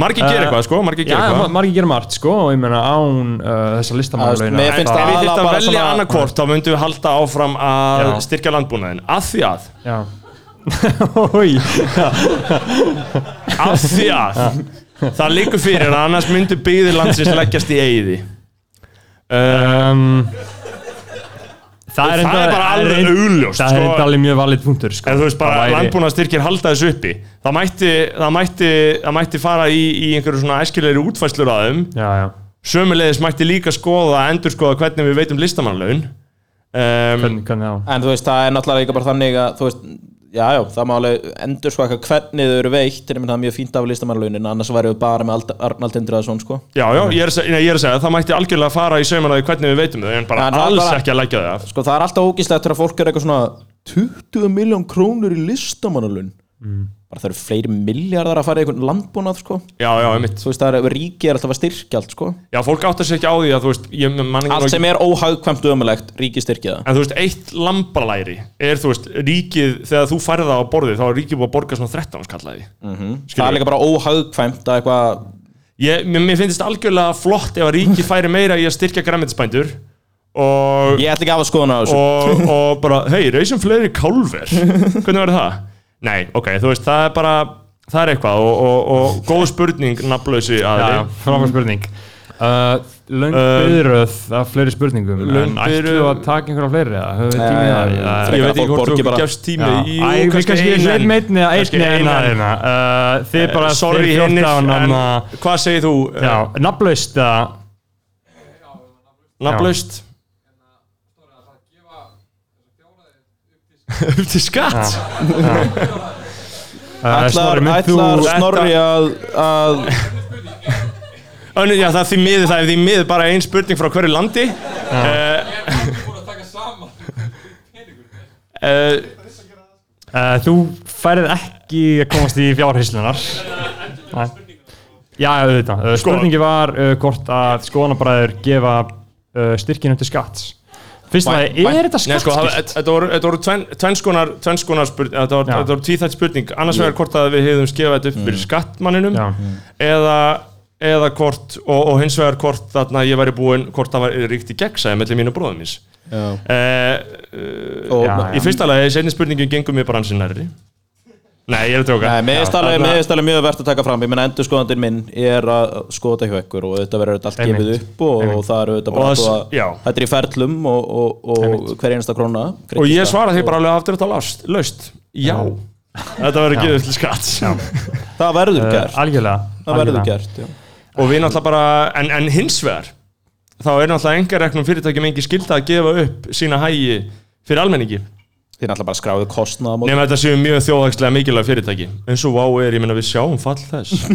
Speaker 2: margir gera
Speaker 3: Eh,
Speaker 2: eitthvað sko, margir
Speaker 3: já,
Speaker 2: gera
Speaker 3: ma-
Speaker 2: eitthvað
Speaker 3: margir gera margt sko og ég meina án uh, þessa
Speaker 5: Þú veist,
Speaker 3: listamannlauna
Speaker 5: mér
Speaker 2: En
Speaker 5: finnst
Speaker 2: ef við
Speaker 5: aðallega
Speaker 2: þyrftum að
Speaker 5: bara
Speaker 2: velja
Speaker 5: svona-
Speaker 2: annarkort þá myndum við halda áfram að
Speaker 3: Já.
Speaker 2: styrkja landbúnaðin af því að
Speaker 3: já Ói,
Speaker 2: af því að það liggur fyrir að annars myndu byggðir landsins leggjast í eigiði
Speaker 3: um,
Speaker 2: það er
Speaker 3: enda-
Speaker 2: bara
Speaker 3: það er
Speaker 2: alveg
Speaker 3: ein-
Speaker 2: augljóst
Speaker 3: það er
Speaker 2: sko.
Speaker 3: enda alveg mjög valið punktur sko.
Speaker 2: en þú veist bara
Speaker 3: Það væri-
Speaker 2: landbúnaðarstyrkir halda þessu uppi það mætti, það mætti, það mætti fara í, í einhverju svona æskilegri útfæslur á þeim
Speaker 3: já, já,
Speaker 2: sömulegis mætti líka skoða endur skoða hvernig við veitum listamannlaun um,
Speaker 3: hvernig, hvernig á
Speaker 5: En þú veist, það er náttúrulega líka bara þannig að þú veist Já, já, það má alveg endur sko eitthvað hvernig þau eru veitt en ég menn það er mjög fínt af listamannlaunin annars væri við bara með Ald- Arnald Indriðason sko
Speaker 2: já, já, ég er, að seg- nei, ég er að segja það mætti algjörlega fara í saumanaði hvernig við veitum þau en bara
Speaker 5: Já, en það er
Speaker 2: alls
Speaker 5: bara-
Speaker 2: ekki að leggja þau af
Speaker 5: Sko það er alltaf ógíslegt þegar fólk er eitthvað svona 20 miljón krónur í listamannalun
Speaker 3: Mm.
Speaker 5: bara það eru fleiri miljardar að fara í einhvern landbúnað sko
Speaker 2: já, já, einmitt
Speaker 5: þú veist það er ríki er alltaf að styrkja allt sko
Speaker 2: já, fólk áttar sér ekki á því að þú veist ég, man ekki-
Speaker 5: allt sem er óhagkvæmt ömulegt ríki styrkja það
Speaker 2: En þú veist, eitt lambalæri er, þú veist, ríkið, þegar þú færði það á borðið, þá er ríkið búið að borga svona 13 skallaði. Mm -hmm.
Speaker 5: það er líka bara óhagkvæmt að eitthvað
Speaker 2: Ég, mér, mér finnst algjörlega flott ef að ríkið færi meira í að styrkja græmitisbændur og,
Speaker 5: ég ætla ekki að hafa skoðun á þessu
Speaker 2: og, og bara, hei, reysum fleiri kálver. Hvernig verður það? Nei, ok, þú veist, það er bara, það er eitthvað og, og, og góð spurning, nafnlausi
Speaker 3: Já,
Speaker 2: aðri.
Speaker 3: frábær spurning
Speaker 2: Mm-hmm.
Speaker 3: uh, Löng byrðröð af fleiri spurningum
Speaker 2: löng
Speaker 3: En ættu
Speaker 2: biðröð-
Speaker 3: að taka einhverja fleiri eða? Höfum við
Speaker 5: Nei,
Speaker 3: tími það?
Speaker 5: nei,
Speaker 3: eða?
Speaker 5: frekar
Speaker 2: Ég veit ekki
Speaker 5: fólk
Speaker 2: hvort
Speaker 5: borgi
Speaker 2: þú
Speaker 5: bara-
Speaker 2: gefst tími
Speaker 3: Já,
Speaker 2: Jú,
Speaker 3: Æ, við kannski
Speaker 2: ein enn.
Speaker 3: einn einni að
Speaker 2: Kannski
Speaker 3: einni
Speaker 2: ein
Speaker 3: en að
Speaker 2: enn.
Speaker 3: hérna Uh, Þið bara
Speaker 2: Sorry
Speaker 3: þið
Speaker 2: hinnir,
Speaker 3: 14
Speaker 2: en
Speaker 3: annað-
Speaker 2: hvað segir þú? eh,
Speaker 3: Já, nafnlaust uh, að
Speaker 2: Nafnlaust upp til skatt
Speaker 3: uh,
Speaker 5: ætlar, ætlar
Speaker 2: Þetta-
Speaker 5: snorri að, að
Speaker 2: Önnu, já, það er því miður, það er því miður bara ein spurning frá hverju landi. Uh, uh,
Speaker 3: Uh, þú færið ekki að komast í fjárhyslunar. Já, auðvitað. Uh, spurningi var uh, hvort að skoðanabræður gefa uh, styrkinu til skatts. Fyrst að
Speaker 5: Væn- væn-
Speaker 3: er þetta
Speaker 2: Nei, sko, það-
Speaker 3: skattskilt?
Speaker 2: þetta voru, þetta voru tvenn- tvennskonar tvennskonar spurning, eh, þetta voru,
Speaker 3: Já.
Speaker 2: þetta voru tvíþætt spurning annars vegar hvort að við hefðum skefað þetta upp fyrir skattmanninum
Speaker 3: Já.
Speaker 2: eða, eða hvort, og, og hins vegar hvort þarna ég væri búinn, hvort það var ríkt í gegnsæði mellum mínu bróðum míns
Speaker 5: Já.
Speaker 2: eh,
Speaker 5: Og,
Speaker 3: Já,
Speaker 2: Í fyrsta lagi, seinni spurningin gengum við bara ansinn nærri Nei, ég er að tjóka
Speaker 5: Nei, mér finnst alveg-
Speaker 2: Þarna-
Speaker 5: mér finnst alveg mjög verðt að taka fram Ég menna endurskoðandinn minn er að skoða þetta hjá ykkur og þetta verður þetta allt
Speaker 3: Einmitt.
Speaker 5: gefið upp og, og það eru þetta
Speaker 2: Og
Speaker 5: bara
Speaker 2: það s-
Speaker 5: búið að-
Speaker 2: já.
Speaker 5: þetta er í ferlum og, og, og hver einasta króna
Speaker 2: Og ég
Speaker 5: kreditista.
Speaker 2: svara því bara alveg aftur þetta laust, laust Já, þetta verður gefið til skatts
Speaker 5: Það verður
Speaker 3: Uh,
Speaker 5: gert
Speaker 3: algjörlega.
Speaker 5: Það verður
Speaker 3: algjörlega.
Speaker 5: gert, já
Speaker 2: og við náttúrulega bara, en, en hins vegar þá er náttúrulega engar reknum fyrirtækjum engi skilda að gefa upp sína hægi fyrir almenningi,
Speaker 5: Þið er alltaf bara skráðu kostnaða mót
Speaker 2: nema þetta séu mjög þjóðhagslega mikilvæg fyrirtæki, eins og wow er ég meina við sjáum fall þess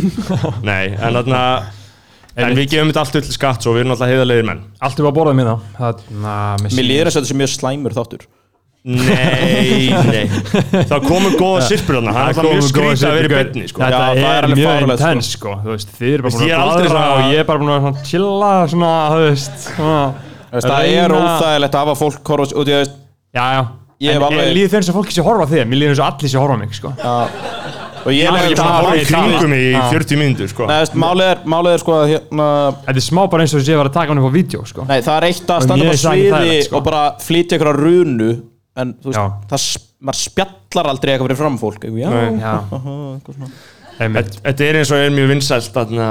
Speaker 2: nei, en þarna en við gefum þetta allt upp til skatt svo við erum náttúrulega heiðarlegir menn
Speaker 3: Allt upp að borða með það. Þarna,
Speaker 5: Mér líður þess að þetta sé mjög slæmur þáttur
Speaker 2: nei, nei það komur góða sirpur þarna, það er náttúrulega mjög
Speaker 3: góða
Speaker 2: skrítið að vera í
Speaker 3: sirpur.
Speaker 2: byrni sko.
Speaker 3: Þetta
Speaker 5: Já, það er
Speaker 3: er
Speaker 5: alveg
Speaker 3: mjög
Speaker 5: fáránlegt, sko.
Speaker 3: intens sko, þú veist, þið eru bara
Speaker 2: Þú veist,
Speaker 3: búin
Speaker 2: ég er
Speaker 3: að
Speaker 2: aldrei
Speaker 3: bladra
Speaker 2: svona-
Speaker 3: og ég er bara búin að svona chilla svona, þú veist, svona
Speaker 5: Veist, Það er
Speaker 3: reyna-
Speaker 5: óþægilegt að hafa fólk horfa út í veist
Speaker 3: Já, já,
Speaker 5: Ég
Speaker 3: en
Speaker 5: hef alveg-
Speaker 3: ég líður þeim sem fólki sé að horfa á þig, mér líður eins og allir sé að horfa á mig sko
Speaker 5: og ég
Speaker 3: Maður er ekki búin að
Speaker 5: er ekki að
Speaker 3: horfa
Speaker 2: bara
Speaker 5: horfa
Speaker 2: í
Speaker 5: í
Speaker 2: kringum í 40 mínútur sko.
Speaker 5: Nei, veist, málið er, málið er sko að hérna
Speaker 3: Þetta er smá bara eins og þess að ég var að taka hann upp á vídeo sko
Speaker 5: Nei, það er eitt að
Speaker 3: Og
Speaker 5: standa
Speaker 3: mér
Speaker 5: upp á
Speaker 3: er sagði
Speaker 5: sviði
Speaker 3: þægilegt, sko.
Speaker 5: og bara flytja ykkur að runu en þú
Speaker 3: Já.
Speaker 5: veist, það, s- maður spjallar aldrei eitthvað fyrir framfólk eitthvað, já,
Speaker 2: Nei.
Speaker 3: Já, einmitt
Speaker 2: Þetta þetta er eins og er mjög vinsælt þarna,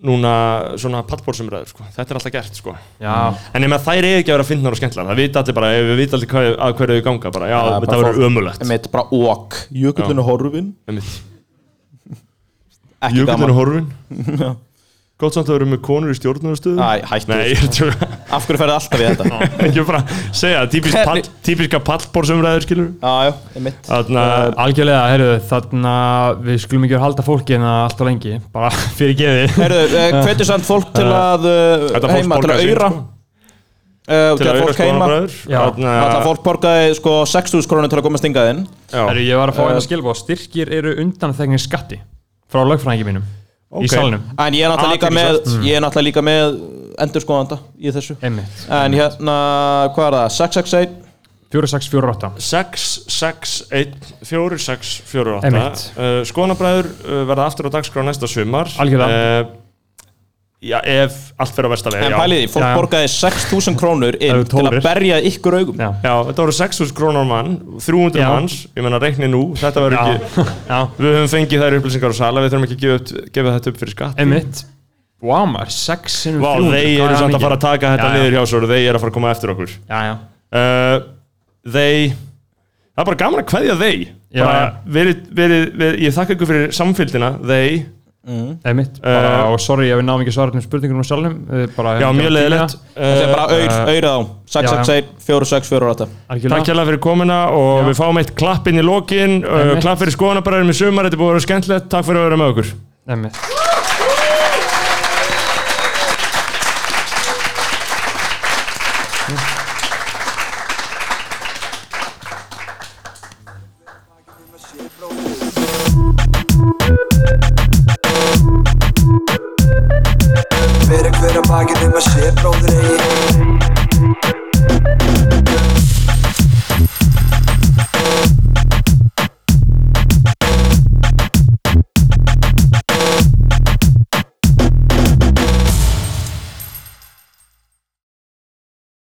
Speaker 2: núna svona pallbórsumræður sko. þetta er alltaf gert sko.
Speaker 3: Já,
Speaker 2: en ef þær eigi ekki að vera fyndnar og skemmtlar það vita allir bara, ef við vita allir hvað, að hverju þau ganga bara, já,
Speaker 5: Það er
Speaker 2: þetta
Speaker 5: bara
Speaker 2: verður
Speaker 5: fólk-
Speaker 2: ömulegt
Speaker 5: Einmitt, bara ok, jökullinu horfin ekki
Speaker 2: Jökullin
Speaker 5: gaman,
Speaker 2: og horfin gott samt að vera með konur í stjórnarastöðu
Speaker 5: Æ, hættu.
Speaker 2: Nei, ég er að tjóka.
Speaker 5: af hverju ferði alltaf í þetta
Speaker 2: ekki bara að segja típisk pall, típiska pallbórsumræður skilur
Speaker 5: já, já, einmitt
Speaker 2: þarna,
Speaker 3: algjörlega, heyrðu, þarna við skulum ekki vera að halda fólki en allt og lengi, bara fyrir geði
Speaker 5: Heyrðu, eh, hvetur samt fólk til að
Speaker 2: Eh, Þetta
Speaker 5: uh,
Speaker 2: fólk
Speaker 5: heima, til
Speaker 2: borgaði
Speaker 5: að
Speaker 2: sig, sko.
Speaker 5: auðra til
Speaker 2: til að
Speaker 5: að
Speaker 2: vera
Speaker 5: fólk heima
Speaker 2: skoðanabræður
Speaker 3: Já.
Speaker 5: Alltaf fólk borgaði sko 6.000 krónir til að komast hingað inn
Speaker 3: Heyrðu, ég var að fá
Speaker 2: Eh.
Speaker 3: eina skilbóð, styrkir eru undan þegar skatti frá lögfræðingi mínum
Speaker 2: Ok.
Speaker 3: í salnum,
Speaker 5: En ég er
Speaker 2: Ah,
Speaker 5: náttúrulega líka með Ég er náttúrulega líka með endurskoðanda í þessu
Speaker 3: einmitt
Speaker 5: En hérna, hvað er það? 661
Speaker 3: 4648
Speaker 2: 6614648
Speaker 3: Einmitt.
Speaker 2: uh, Skonabræður uh, verða aftur á dagskrá næsta sumar
Speaker 3: Algjörlega.
Speaker 2: uh, Já, ef allt fyrir að vestalega
Speaker 5: En
Speaker 2: já.
Speaker 5: pæliði, fólk
Speaker 3: Eh, Já.
Speaker 5: borgaði 6.000 krónur
Speaker 3: Það
Speaker 5: inn
Speaker 3: eru
Speaker 5: til að
Speaker 3: tórir.
Speaker 5: berja ykkur augum
Speaker 3: Já.
Speaker 2: já, þetta voru 6.000 krónar á mann 300
Speaker 3: Já.
Speaker 2: manns, ég menna reikni nú Þetta verður ekki,
Speaker 3: Já,
Speaker 2: við höfum fengið þær upplýsingar á sala Við þurfum ekki að gefa, upp, gefa þetta upp fyrir skatt
Speaker 3: einmitt Vá maður, 6 sinnum
Speaker 2: Vá,
Speaker 3: 300,
Speaker 2: þeir
Speaker 3: hvað
Speaker 2: eru
Speaker 3: er
Speaker 2: samt að
Speaker 3: mikið?
Speaker 2: fara að taka þetta
Speaker 3: Já, já.
Speaker 2: niður hjá svo Þeir eru að fara að koma eftir okkur
Speaker 3: Já, já,
Speaker 2: uh, Þeir Það er bara gaman að kveðja þeir
Speaker 3: Já,
Speaker 2: bara,
Speaker 3: já.
Speaker 2: verið, verið, verið, Ég þakka ykkur fyrir samfylgdina Þeir
Speaker 3: einmitt bara, og sorry ef við náum ekki svarað um spurningunum á salnum eh, bara,
Speaker 2: Eh. Já, mjög leiðilegt
Speaker 5: Þetta er
Speaker 2: uh,
Speaker 5: bara
Speaker 3: Eh,
Speaker 5: auð, auðrið á 661 4648
Speaker 2: Takk
Speaker 3: Algjörlega.
Speaker 2: hjá fyrir komuna og við fáum eitt klapp inn í lokin uh,
Speaker 3: Einmitt.
Speaker 2: Klapp fyrir skoðanabræðum í sumar, þetta er búið að vera skemmtilegt Takk fyrir að vera með okkur
Speaker 3: Einmitt.
Speaker 4: Fyrir hver að bakið um að sé bróður eigi